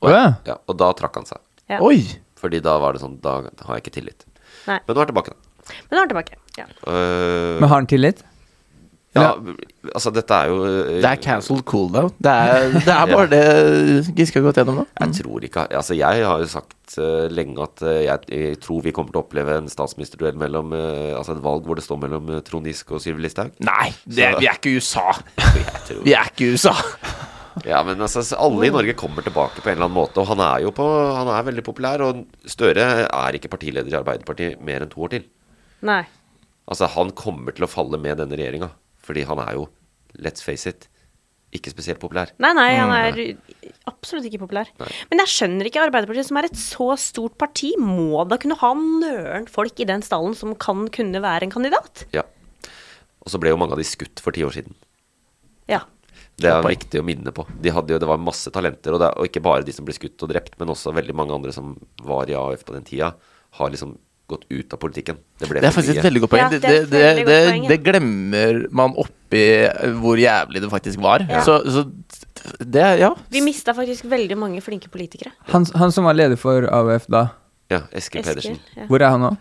Å ja.
Ja, og da trakk han seg.
ja.
Oi!
Fordi da var det sånn Da har jeg ikke tillit.
Nei.
Men nå er han tilbake, da.
Men nå er han tilbake. Ja.
Eh,
Men har han tillit?
ja, altså, dette er jo eh,
Det er cancelled cool now. Det er, det
[LAUGHS]
er bare det Giske har gått gjennom nå.
Jeg tror ikke Altså, jeg har jo sagt eh, lenge at eh, jeg, jeg tror vi kommer til å oppleve en statsministerduell mellom eh, Altså et valg hvor det står mellom eh, Trond Giske og Sylvi Listhaug.
Nei, det,
Så-
vi er ikke i USA.
Jeg tror
Vi er ikke i USA.
[LAUGHS] Ja, men altså, så alle i Norge kommer tilbake på en eller annen måte, og han er jo på, han er veldig populær. Og Støre er ikke partileder i Arbeiderpartiet mer enn to år til.
Nei.
Altså, han kommer til å falle med denne regjeringa, fordi han er jo, let's face it, ikke spesielt populær.
Nei, nei,
Mm.
han
Ah,
er absolutt ikke populær. Men jeg skjønner ikke Arbeiderpartiet, som er et så stort parti, må da kunne ha nøren folk i den stallen som kan kunne være en kandidat?
Ja. Og så ble jo mange av de skutt for ti år siden.
Ja.
Det er viktig å minne på. De hadde jo, det var masse talenter, og, det, er- og ikke bare de som ble skutt og drept, men også veldig mange andre som var i AUF på den tida, har liksom gått ut av politikken. Det ble
Det er
for
faktisk
mye.
et veldig godt poeng.
Ja,
Det,
det er et
det,
veldig
det,
godt poeng, ja.
det glemmer man oppi hvor jævlig det faktisk var. Så, så det er- Ja.
Vi mista faktisk veldig mange flinke politikere.
Han, han som var leder for AUF da,
Ja, Eskil Pedersen.
Eskil. Ja.
hvor er han nå?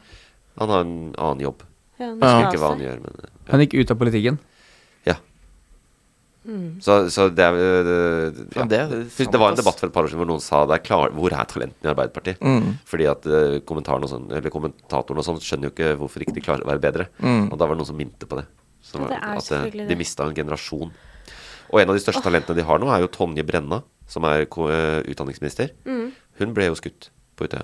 Han har en annen jobb.
Ja, han
Jeg
skal
husker ikke
ha
hva han
seg.
gjør, men eh,
Han gikk ut av politikken.
ja. Så, så det er øh, ja.
Faen, Mm. det er
Husk,
sant,
det var en
ass.
debatt for et par år siden hvor noen sa det er klar, hvor er talentene i Arbeiderpartiet?
Mm.
Fordi at eh, kommentaren og sånn, eller kommentatoren og sånn skjønner jo ikke hvorfor ikke de klarer å være bedre.
Mm.
Og da var det noen som minte på det. Så
Ja, det
var-
er
at eh,
selvfølgelig det.
de mista en generasjon. Og en av de største talentene de har nå, er jo Tonje Brenna, som er ko- eh, utdanningsminister.
Mm.
Hun ble jo skutt på Utøya.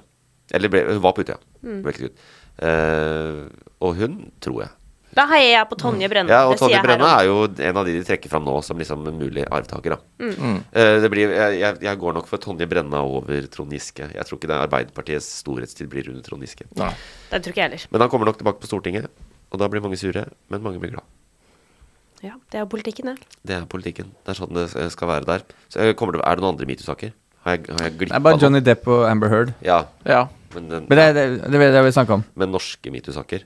Eller ble, hun var på Utøya.
Mm.
Ble ikke skutt. Eh, og hun, tror jeg,
Da heier jeg på Tonje Brenna.
Mm. Ja, og
det sier
Tonje
jeg her
Brenna
også.
er jo en av de de trekker fram nå som liksom en mulig arvtaker. Da.
Mm.
Mm.
Eh, det blir, jeg, jeg- jeg går nok for Tonje Brenna over Trond Giske. Jeg tror ikke det er Arbeiderpartiets storhetstid blir under Trond Giske.
Det tror ikke jeg heller.
Men han kommer nok tilbake på Stortinget, og da blir mange sure, men mange blir glad.
Ja, det er jo politikken, det.
Det er politikken. Det er sånn det eh, skal være der. Så, eh, kommer det, er det noen andre metoo-saker? Har jeg, har jeg
Det
glippa
er bare
noe?
Johnny Depp og Amber Heard.
Ja,
ja.
men, den-
Men det er det, det, er det jeg vil snakke om.
men norske metoo-saker?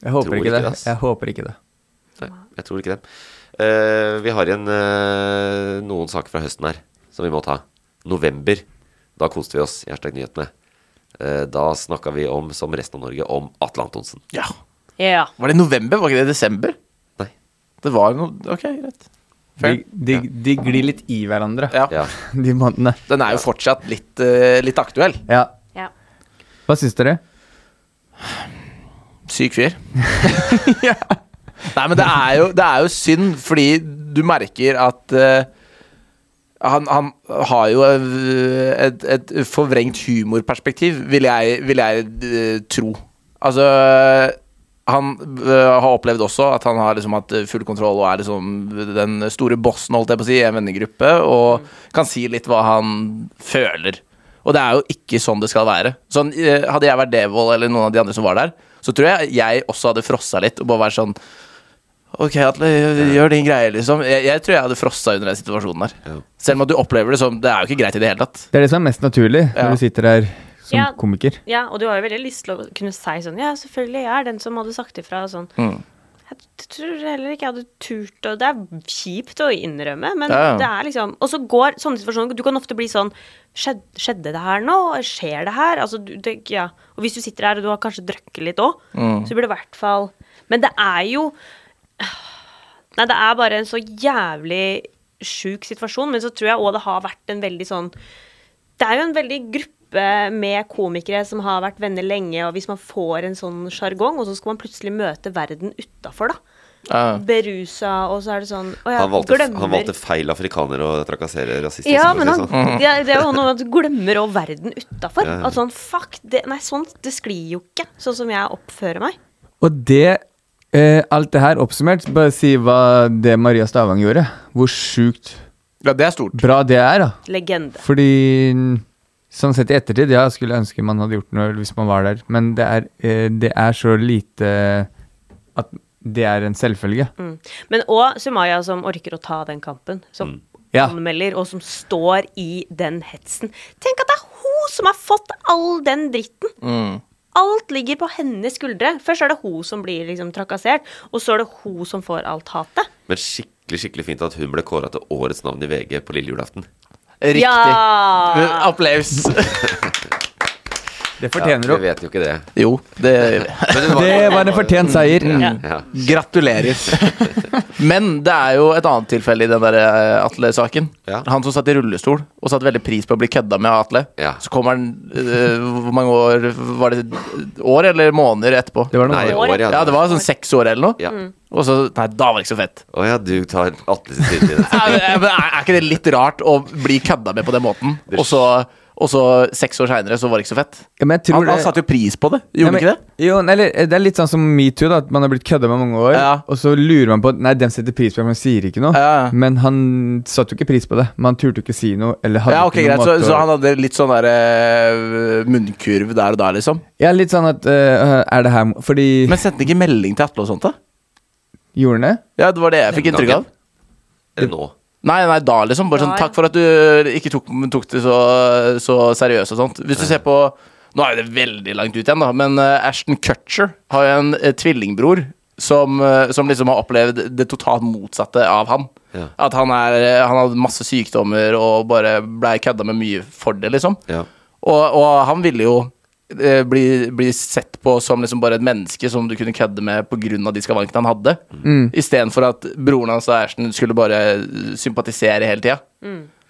Jeg håper
Tror
ikke
ikke
det.
det, ass.
Jeg håper ikke det.
Nei, jeg tror ikke det. Eh, vi har igjen eh, noen saker fra høsten her som vi må ta. November. Da koste vi oss i hashtag nyhetene. Eh, da snakka vi om, som resten av Norge, om Atle Antonsen.
ja.
Ja.
Var det i november? Var ikke det i desember?
Nei.
Det var noe Ok, greit.
De,
Fair.
de, de glir litt i hverandre,
Ja.
Ja.
[LAUGHS] de månedene.
Den er jo fortsatt litt, eh, litt aktuell.
Ja.
ja.
Hva syns dere?
Syk
[LAUGHS]
fyr. Ja. Nei, men det er, jo, det er jo synd, fordi du merker at eh, han, han har jo eh, et, et forvrengt humorperspektiv, vil jeg, vil jeg eh, tro. Altså Han eh, har opplevd også at han har liksom hatt full kontroll og er liksom den store bossen holdt jeg på å si, i en vennegruppe, og kan si litt hva han føler. Og det er jo ikke sånn det skal være. Sånn, eh, hadde jeg vært Devold eller noen av de andre som var der, så tror jeg jeg også hadde frossa litt og bare vært sånn Ok, Atle, gjør- gjør din greie, liksom. Jeg, jeg tror jeg hadde frossa under den situasjonen der.
Ja.
Selv om at du opplever det som Det er jo ikke greit i det hele tatt.
Det er det som er mest naturlig
Ja.
når du sitter her som
Ja.
komiker.
ja,
嗯
og du har jo veldig lyst til å kunne si sånn Ja, selvfølgelig, jeg er den som hadde sagt ifra og sånn. Jeg t- tror heller ikke jeg hadde turt å Det er kjipt å innrømme, men
Ja, ja.
det er liksom Og så går sånne situasjoner Du kan ofte bli sånn Skjed, Skjedde det her nå? Skjer det her? Altså, du, det, ja. Og hvis du sitter her og du har kanskje drukket litt òg,
Mm.
så burde du i hvert fall Men det er jo Nei, det er bare en så jævlig sjuk situasjon, men så tror jeg òg det har vært en veldig sånn det er jo en veldig gruppe med komikere som har vært venner lenge, og hvis man får en sånn sjargong, og så skal man plutselig møte verden utafor, da.
Ja.
Berusa, og så er det sånn Å ja,
Han valgte,
glemmer
han valgte feil afrikaner å trakassere rasister.
ja,
som
men
du
han,
sa.
det, det er jo noe med at du glemmer òg verden utafor.
sånn. Ja, ja.
At sånn, fuck det, Nei, sånt, det sklir jo ikke, sånn som jeg oppfører meg.
Og det eh, Alt det her oppsummert, bare si hva det Maria Stavang gjorde. Hvor sjukt
ja, det er stort.
bra det er, da.
Legende.
Fordi Sånn sett i ettertid, ja, skulle jeg ønske man hadde gjort noe hvis man var der, men det er, eh, det er så lite at det er en selvfølge.
Mm. Men òg Sumaya som orker å ta den kampen. Som
Mm.
Ja.
anmelder, og som står i den hetsen. Tenk at det er hun som har fått all den dritten!
Mm.
Alt ligger på hennes skuldre. Først er det hun som blir liksom trakassert, og så er det hun som får alt hatet.
Men skikkelig skikkelig fint at hun ble kåra til årets navn i VG på lille julaften.
Riktig.
Ja!
[LAUGHS]
Applaus.
Det fortjener
vi
du.
vet jo ikke det.
Jo, det gjør vi. [LAUGHS]
Men hun var, Mm.
Det var en fortjent seier.
ja.
Gratulerer. [LAUGHS] Men det er jo et annet tilfelle i den der eh, Atle-saken.
Ja.
Han som satt i rullestol og satte veldig pris på å bli kødda med av Atle.
Ja.
Så kommer han eh, Hvor mange år var det? År eller måneder etterpå?
Det var Mm.
Nei,
noe.
år, ja.
Ja, det var sånn seks år eller noe.
Ja.
Mm.
Og så Nei, da var det ikke så fett.
Å ja, du tar Atle sin side
[LAUGHS]
i det.
Ja, men Er, er ikke det litt rart å bli kødda med på den måten? Og så, og så seks år seinere, så var det ikke så fett.
Ja, men jeg tror
Han, han
det-
satte jo pris på det, gjorde han
Nei,
ikke det?
men- Jo, nei, eller, eh, det er litt sånn som metoo, da, at man har blitt kødda med mange år.
Ja.
Og så lurer man på Nei, dem setter pris på det, men sier ikke noe.
Ja, ja.
Men han satte jo ikke pris på det. Men han turte jo ikke si noe. Eller hadde
Ja, ok,
ikke
greit.
noe
Så,
måte
så
å-
han hadde litt sånn der eh, munnkurv der og da, liksom.
Ja, litt sånn at eh, Er det her mo- Fordi
Men sendte han ikke melding til Atle og sånt, da?
Gjorde han det?
Ja, det var det jeg fikk inntrykk av.
Eller nå.
Nei, nei, da liksom. Bare
Da,
sånn
ja.
takk for at du ikke tok, tok det så, så seriøst og sånt. Hvis du ser på Nå er jo det veldig langt ut igjen, da, men eh, Ashton Cutcher har jo en eh, tvillingbror som, eh, som liksom har opplevd det totalt motsatte av han.
Ja.
At han, er, eh, han hadde masse sykdommer og bare blei kødda med mye for det, liksom.
Ja.
Og, og han ville jo eh, bli, bli sett på som liksom bare et menneske som du kunne kødde med pga. de skavankene han hadde.
Mm.
Istedenfor at broren hans og Ashton skulle bare sympatisere hele tida.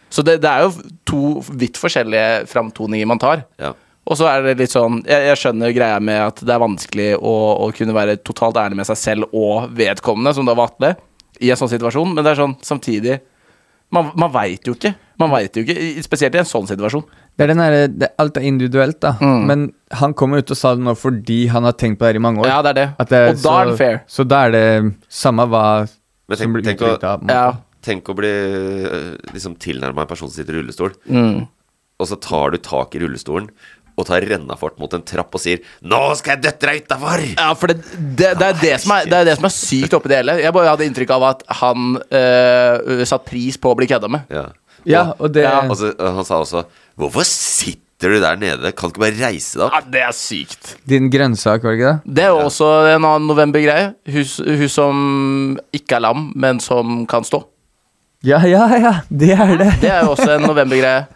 Så det, det er jo to vidt forskjellige framtoninger man tar.
Ja.
Og så er det litt sånn Jeg, jeg skjønner greia med at det er vanskelig å, å kunne være totalt ærlig med seg selv og vedkommende, som da var Atle, i en sånn situasjon, men det er sånn samtidig Man, man veit jo ikke. Man vet jo ikke, i- spesielt i en sånn situasjon.
Det er den her, det, alt er individuelt, da.
Mm.
Men han kom jo ut og sa det nå fordi han har tenkt på det her i mange år.
Ja, det er det.
At det
og da er
så-
det fair.
Så da er det samme hva
Men
som
tenk-
blir
tenk å-
uttrykt av
Ja.
Tenk å bli øh, liksom tilnærma en person som sitter i rullestol,
Mm.
og så tar du tak i rullestolen og tar rennafart mot en trapp og sier 'Nå skal jeg døtte deg utafor!'
Ja, for det, det, det, er det, som er, det er det som er sykt oppi det hele. Jeg bare hadde inntrykk av at han øh, satte pris på å bli kødda med.
Ja.
Ja, og det
Ja,
Og så, øh, han sa også 'Hvorfor sitter du der nede? Kan du ikke bare reise deg
Ja,
opp?'
det er sykt.
Din grønnsak, var det ikke det?
Det er jo også en annen novembergreie. Hun, s- hun som ikke er lam, men som kan stå.
Ja, ja, ja. Det er det.
Det er jo også
[LAUGHS]
en novembergreie.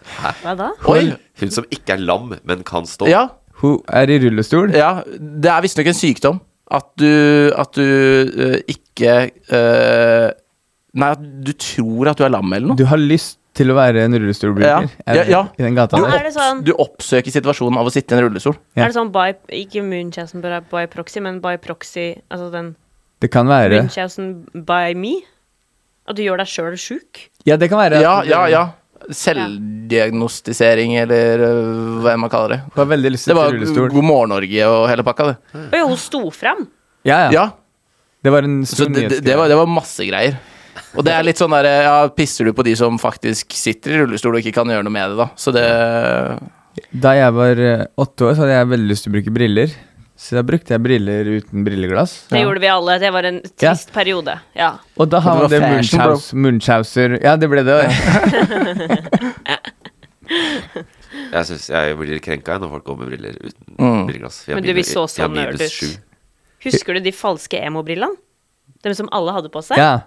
Hva da?
Oi!
Hun som ikke er lam, men kan stå.
Ja,
Hun er i rullestol.
ja. Det er visstnok en sykdom at du, at du øh, ikke øh, Nei, at du tror at du er lam eller noe.
Du har lyst til å være en rullestolbruker
Ja, ja, ja.
i den gata
Men
der.
er det sånn,
Du oppsøker situasjonen av å sitte i en rullestol.
Ja.
er det sånn by, ikke Munchausen by, by proxy, men by proxy Altså den
Det kan være
Munchausen by me? At du gjør deg sjøl sjuk?
Ja, det kan være. at
Ja,
du-
ja, ja. Selvdiagnostisering, eller øh, hva enn man kaller det.
Du har veldig lyst til
Det
å
var
sitte i rullestol.
God morgen Norge og hele pakka, det.
Og jo, hun sto fram.
Ja, ja.
Ja,
Det var en
så
stor
det, det,
nyhetsgreie.
det, var, det var masse greier. Og det er litt sånn der, ja, pisser du på de som faktisk sitter i rullestol og ikke kan gjøre noe med det, da. Så det
Da jeg var eh, åtte år, så hadde jeg veldig lyst til å bruke briller. Så da brukte jeg briller uten brilleglass.
Det gjorde vi alle. Det var en trist periode. Ja.
Og da har
Det var
man det
fashion, bro.
munchaus, munchauser Ja, det ble det. også.
[LAUGHS]
Jeg syns jeg blir krenka når folk går med briller uten
Mm.
brilleglass. for jeg
Men du, vi
begynner-
så
jeg
sånn
minus
nerd ut.
sju.
Husker du de falske emo-brillene? De som alle hadde på seg.
Ja.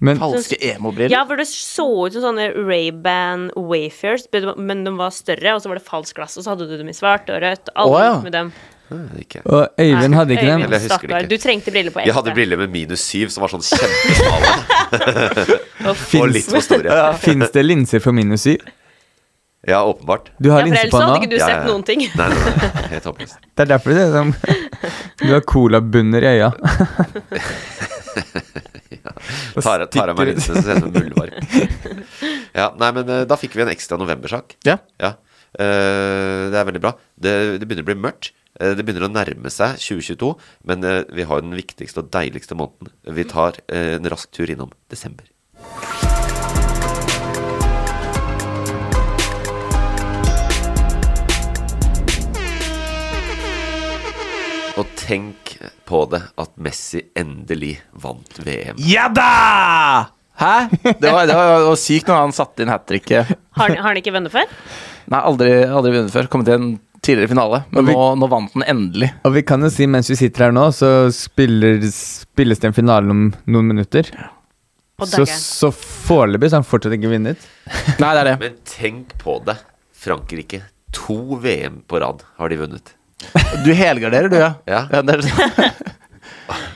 Men
Falske
Ja,
emobriller.
for det så ut som sånne Ray-Ban Wayfairs, men de var større, og så var det falskt glass, og så hadde du dem i svart og rødt. og Alle
Å, ja.
gikk med dem.
Nei, ikke.
og Øyvind hadde
Øyvind,
ikke dem.
Eller jeg husker det
stakkar.
ikke.
Du trengte briller på
Jeg hadde briller med minus syv, som var sånn kjempesmale
[LAUGHS]
og litt for store.
Fins det linser for minus syv?
Ja, åpenbart.
Du har
Ja, for
linser
ellers
på
hadde
nå.
ikke du
Ja,
sett
ja, ja.
noen ting.
Nei, nei, nei. Helt håpløst.
[LAUGHS] Det er derfor det er som Du har colabunner
[LAUGHS]
i øya.
Tar tar av meg linsene, så ser jeg ut som en muldvarp. Ja, nei, men eh, da fikk vi en ekstra novembersak.
Ja.
Ja. Eh, det er veldig bra. Det, det begynner å bli mørkt. Eh, Det begynner å nærme seg 2022, men eh, vi har jo den viktigste og deiligste måneden. Vi tar eh, en rask tur innom desember. Og tenk på det at Messi endelig vant VM.
Ja da! Hæ? Det var, det var, det var sykt når han satte inn hat tricket.
Har, har han ikke vunnet før?
Nei, aldri, aldri vunnet før. Kommet i en tidligere finale, men
Og vi-
nå, nå vant den endelig.
Og vi kan jo si mens vi sitter her nå, så spiller, spilles det en finale om noen minutter.
Og
Så,
daggeren.
så foreløpig så har han fortsatt ikke vunnet.
Nei, det er det.
Men tenk på det. Frankrike. To VM på rad har de vunnet.
Du helgarderer, du, ja.
Ja.
det er,
[LAUGHS]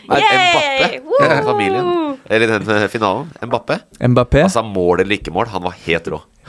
Yay!
Mbappe,
Woo!
eh, familien. Eller den eh, finalen. Mbappe.
Mbappé.
Altså mål eller ikke mål, han var helt rå. [LAUGHS]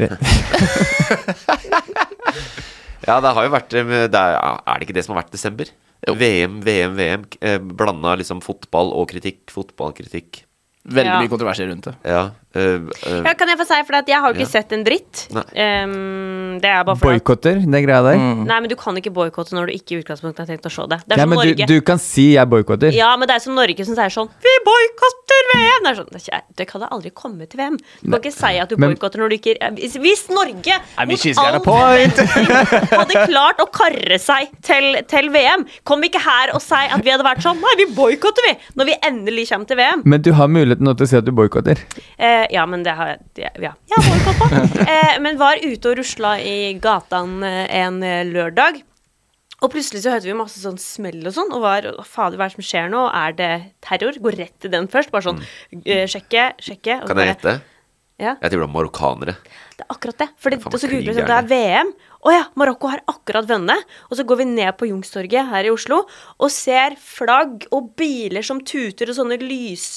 ja, det har jo vært eh, det er, er det ikke det som har vært desember? VM, VM, VM. Eh, Blanda liksom fotball og kritikk, fotball, kritikk.
veldig
Ja.
mye kontroverser rundt det.
Ja. eh, eh,
Ja, kan jeg få si, for at jeg har jo ikke
Ja.
sett en dritt.
Nei.
Ehm, det er bare for at
Boikotter, den greia der.
Nei, men du kan ikke boikotte når du ikke i utgangspunktet har tenkt å se det. Det er
Ja,
som
men du,
Norge.
du kan si jeg boikotter.
Ja, men det er som Norge som sier sånn Vi boikotter VM! Det er sånn, det er ikke- det kan da aldri komme til VM. Du kan ikke si at du
Men-
boikotter når du ikke Hvis, hvis Norge
I mean,
mot
she's got a
all
point.
forventning hadde klart å karre seg til, til VM, kom ikke her og si at vi hadde vært sånn Nei, vi boikotter, vi! Når vi endelig kommer til VM.
Men du har muligheten nå til å si at du boikotter.
Eh, ja, men det har jeg det- Ja, jeg har boikott
[LAUGHS]
på. Eh, men var ute og rusla i gatan eh, en eh, lørdag. Og plutselig så hørte vi masse sånn smell og sånn, og var «Å, Fader, hva er det som skjer nå? Er det terror? Gå rett til den først. Bare sånn eh, Sjekke, sjekke. og
Mm. kan
bare-
jeg gjette?
Ja,
Jeg tror det var marokkanere.
det er akkurat det. For det,
Faen,
og så
krig
googler vi sånn, det er
er
VM. Å ja, Marokko har akkurat vunnet. Og så går vi ned på Youngstorget her i Oslo og ser flagg og biler som tuter, og sånne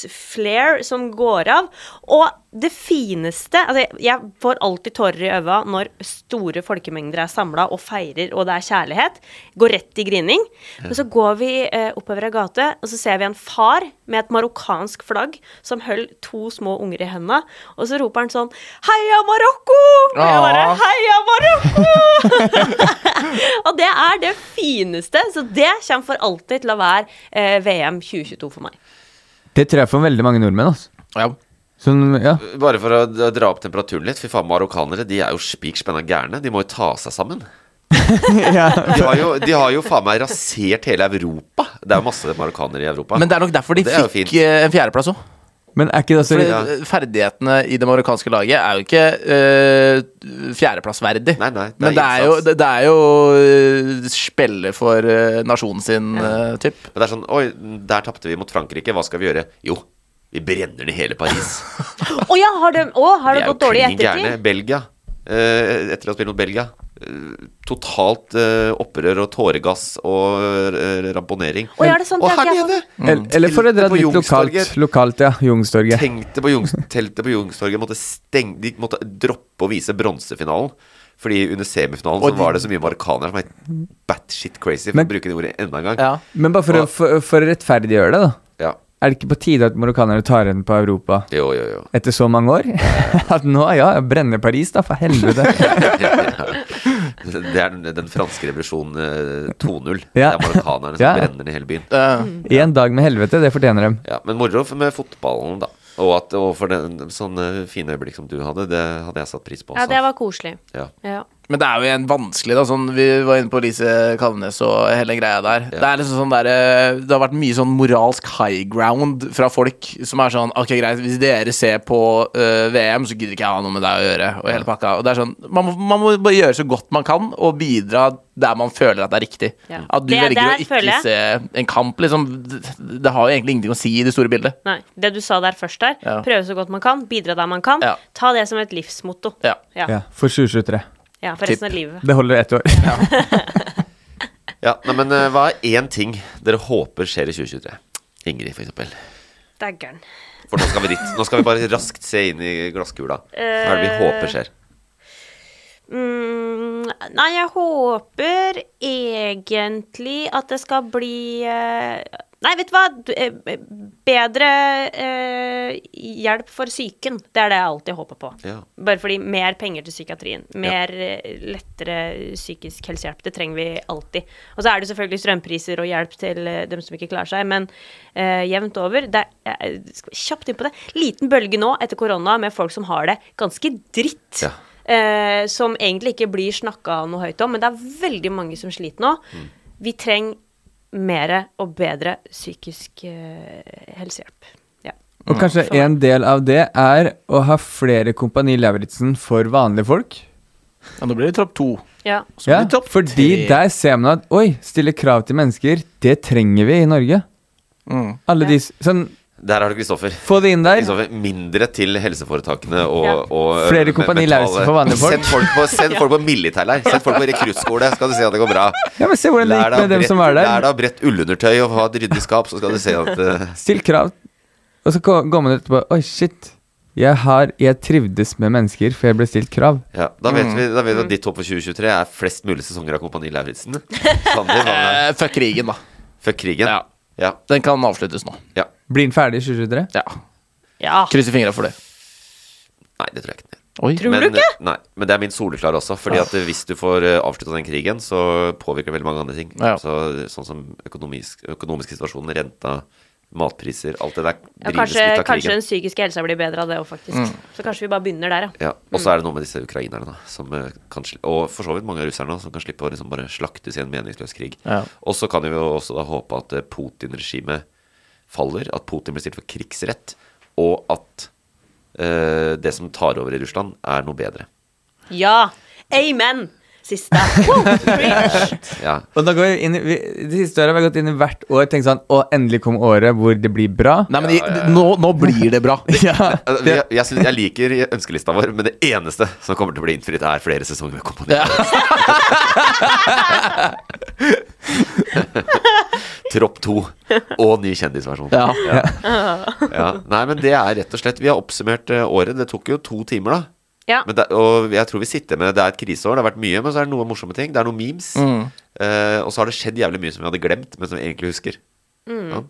lysflare som går av. Og det fineste Altså, jeg- jeg får alltid tårer i øynene når store folkemengder er samla og feirer, og det er kjærlighet. Går rett i grining. Men så går vi eh, oppover ei gate, og så ser vi en far med et marokkansk flagg som holder to små unger i henda, og så roper han sånn Heia Marokko! Og jeg bare
Ah.
Heia Marokko! [LAUGHS] og det er det fineste, så det kommer for alltid til å være eh, VM 2022 for meg.
Det tror jeg for veldig mange nordmenn. Altså.
Ja.
Sånn, ja.
Bare for å d- dra opp temperaturen litt. Fy faen, marokkanere de er jo spik spenna gærne. De må jo ta seg
[LAUGHS]
sammen. De har jo, de har jo faen meg rasert hele Europa. Det er jo masse marokkanere i Europa.
Men det er nok derfor de
Det er jo
fikk
fint.
eh, en fjerdeplass òg.
Men er ikke det altså- så
Fordi
ja.
eh, ferdighetene i det marokkanske laget er jo ikke eh, fjerdeplassverdig.
Nei, nei, det er
Men det er jo,
innsats.
det, det er jo eh, spille for eh, nasjonen sin, eh, typ.
Men det er sånn Oi, der tapte vi mot Frankrike. Hva skal vi gjøre? Jo, vi brenner ned hele [LAUGHS] Paris.
Å ja, har det, å, har
De
det
er jo
gått dårlig i
klin gærne.
ettertid?
Belgia. eh, etter å ha spilt mot Belgia. eh, totalt eh, opprør og tåregass og eh, ramponering.
Å, ja, er det sånn sant?
og
Det har
her
ikke jeg
nede!
Mm.
Eller- Eller for å dra
Teltet på
litt lokalt,
Youngstorget.
lokalt, ja. Youngstorget.
Tenkte på Jungs, teltet på Jungstorget måtte stenge De måtte droppe å vise bronsefinalen. Fordi under semifinalen så var det så mye marokkanere som var batshit crazy, for
Men-
å bruke det ordet enda en gang.
Ja.
Men bare [LAUGHS] for å, for, for å rettferdiggjøre det, da.
Ja.
Er det ikke på tide at marokkanere tar igjen på Europa
Jo, jo, jo.
etter så mange år? [LAUGHS] At nå, ja, brenner Paris, da, for helvete.
[LAUGHS] Det er den, den franske revolusjonen eh, 2.0. Det
Ja.
er marokkanerne som
Ja.
brenner ned hele byen.
Eh,
En dag med helvete, det fortjener dem.
Ja, men moro med fotballen, da. Og, at, og for den, sånne fine øyeblikk som du hadde, det hadde jeg satt pris på.
Ja,
Også.
det var koselig.
Ja.
Ja.
Men det er jo igjen vanskelig, da. Sånn, vi var inne på Lise Kalnes og hele den greia der. Det er liksom sånn der, eh, Det har vært mye sånn moralsk high ground fra folk som er sånn Ok, greit, hvis dere ser på eh, VM, så gidder ikke jeg ha noe med deg å gjøre. Og hele pakka. Og det er sånn, man må, man må bare gjøre så godt man kan, og bidra der man føler at det er riktig.
Ja.
At du
Det-
velger å
der
ikke
føler jeg-
se en kamp, liksom. Det, det har jo egentlig ingenting å si i det store bildet.
Nei, det du sa der først der,
Ja.
prøve så godt man kan, bidra der man kan.
Ja.
Ta det som et livsmotto.
Ja.
Ja,
Ja, for 2023.
ja, for resten av livet.
Det
[LAUGHS]
holder ett år.
Ja, nei, men eh, hva er én ting dere håper skjer i 2023? Ingrid, for eksempel.
Daggeren.
For nå skal vi dit. Nå skal vi bare raskt se inn i glasskula. Hva er det vi håper skjer?
Mm, nei, jeg håper egentlig at det skal bli eh, Nei, vet du hva? Du, eh, Bedre eh, hjelp for psyken. Det er det jeg alltid håper på.
Ja.
Bare fordi mer penger til psykiatrien. Mer eh, lettere psykisk helsehjelp. Det trenger vi alltid. Og så er det selvfølgelig strømpriser og hjelp til eh, dem som ikke klarer seg, men eh, jevnt over det er, jeg skal Kjapt inn på det. Liten bølge nå etter korona med folk som har det ganske dritt.
Ja.
Eh, som egentlig ikke blir snakka noe høyt om, men det er veldig mange som sliter nå. Vi trenger mer og bedre psykisk eh, helsehjelp. Ja.
Og kanskje en del av det er å ha flere Kompani Lauritzen for vanlige folk.
Ja, nå blir det topp to.
ja.
Så
Ja,
blir det topp
fordi
tre.
der ser man at Oi, stille krav til mennesker, det trenger vi i Norge.
Mm.
Alle de s- Sånn,
Der har du Kristoffer.
få det inn der.
Kristoffer, Mindre til helseforetakene og,
Ja.
og
Flere
men-
Kompani
mentale-
Lauritzen for vanlige folk.
Send folk på, send folk på militærleir. Send folk på rekruttskole, skal du se at det går bra.
Ja, men se hvordan det
Lær
gikk
deg
med dem
bredt-
som var
Lær
der.
deg å brette ullundertøy og ha et ryddig skap, så skal du se at eh,
Still krav. Og så ko- går man ut etterpå Oi, shit. Jeg har Jeg trivdes med mennesker, for jeg ble stilt krav.
ja, Da vet
Mm.
vi da vet vi at ditt håp for 2023 er flest mulig sesonger av Kompani
[LAUGHS]
Lauritzen. Sander, hva med-
Eh, fuck krigen, da.
Fuck krigen.
Ja.
Ja.
Den kan avsluttes nå.
ja.
Blir den ferdig i 2023?
Ja.
ja.
Krysser fingra for det.
Nei, det tror jeg ikke.
Oi. Ah.
Tror
men,
du ikke?
Nei, men det er min soleklare også. Fordi at hvis du får eh, avslutta den krigen, så påvirker det veldig mange andre ting.
Ja.
Så, sånn som økonomisk, økonomisk situasjon, renta, matpriser, alt det der
Ja,
drives
kanskje,
litt
kanskje
av krigen. Mm.
den psykiske helsa blir bedre av det òg, faktisk. Så kanskje vi bare begynner der, ja.
Ja, og så er det noe med disse ukrainerne, da, som eh, kan sli og for så vidt mange av russerne, da, som kan slippe å liksom bare slaktes i en meningsløs krig.
Ja.
Og så kan vi jo også da håpe at eh, Putin-regimet faller, at Putin blir stilt for krigsrett, og at eh, det som tar over i Russland, er noe bedre.
Ja! Amen!
[LAUGHS]
Siste. Woo! Preach!
Ja,
Og da går vi inn i vi, De siste årene har vi gått inn i hvert år og tenkt sånn Å, endelig kom året hvor det blir bra.
Nei, men i- Nå, nå blir det bra.
[LAUGHS] Ja,
Altså, Jeg, jeg, synes- jeg liker ønskelista vår, men det eneste som kommer til å bli innfridd, er flere sesonger med Kompani. [LAUGHS] Tropp to og ny kjendisversjon.
Ja.
Ja. Nei, men det er rett og slett Vi har oppsummert eh, året. Det tok jo to timer, da.
Ja.
Men det, og jeg tror vi sitter med Det er et kriseår, det har vært mye, men så er det noen morsomme ting. Det er noen memes.
Mm.
Eh, og så har det skjedd jævlig mye som vi hadde glemt, men som vi egentlig husker. Ja.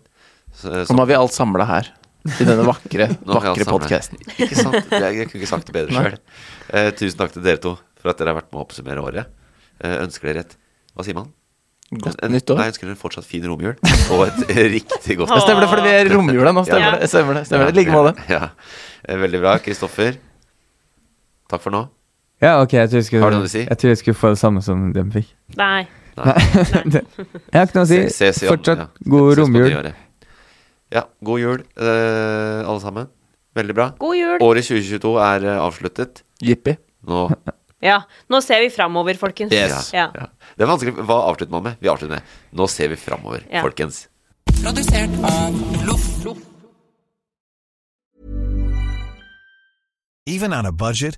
Så, så,
Så nå har vi alt samla her. I denne vakre,
Nå har vi alt
vakre
sammen.
podkasten.
Ikke sant? Jeg, jeg kunne ikke sagt det bedre sjøl. tusen takk til dere to for at dere har vært med å oppsummere året. Eh, ønsker dere et Hva sier man?
Godt
En-
nytt år.
Nei, jeg ønsker dere en fortsatt fin romjul og
[LAUGHS]
et riktig godt
Ja, stemmer det, fordi vi er i romjula nå. Stemmer
Ja.
det. stemmer det, stemmer det. I like måte.
Ja. Eh, Veldig bra. Kristoffer, takk for nå.
ja ok, jeg tror jeg skulle
Har du noe å si?
Jeg tror jeg skulle få det samme som dem fikk.
Nei.
Jeg har ikke noe å si.
Se- ses i ånden,
Fortsatt
ja.
god
Ses på
romjul.
nyåret. Ja, god jul, eh, alle sammen. Veldig bra.
God jul!
Året 2022 er eh, avsluttet.
Jippi.
Nå
Ja. Nå ser vi framover, folkens.
Yes.
Ja.
Ja. Det er vanskelig. Hva avslutter man med? Vi avslutter med Nå ser vi framover,
Ja.
folkens.
Produsert av Loff.
Even on a budget,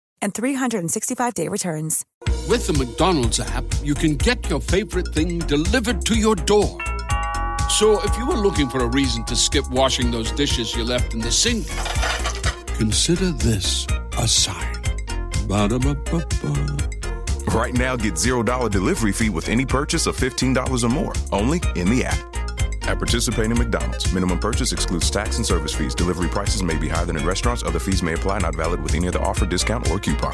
and 365-day returns.
With the McDonald's app, you can get your favorite thing delivered to your door. So if you were looking for a reason to skip washing those dishes you left in the sink, consider this a sign. Ba-da-ba-ba-ba.
Right now, get $0 delivery fee with any purchase of $15 or more, only in the app. At participating McDonald's, minimum purchase excludes tax and service fees. Delivery prices may be higher than in restaurants. Other fees may apply, not valid with any other offer, discount, or coupon.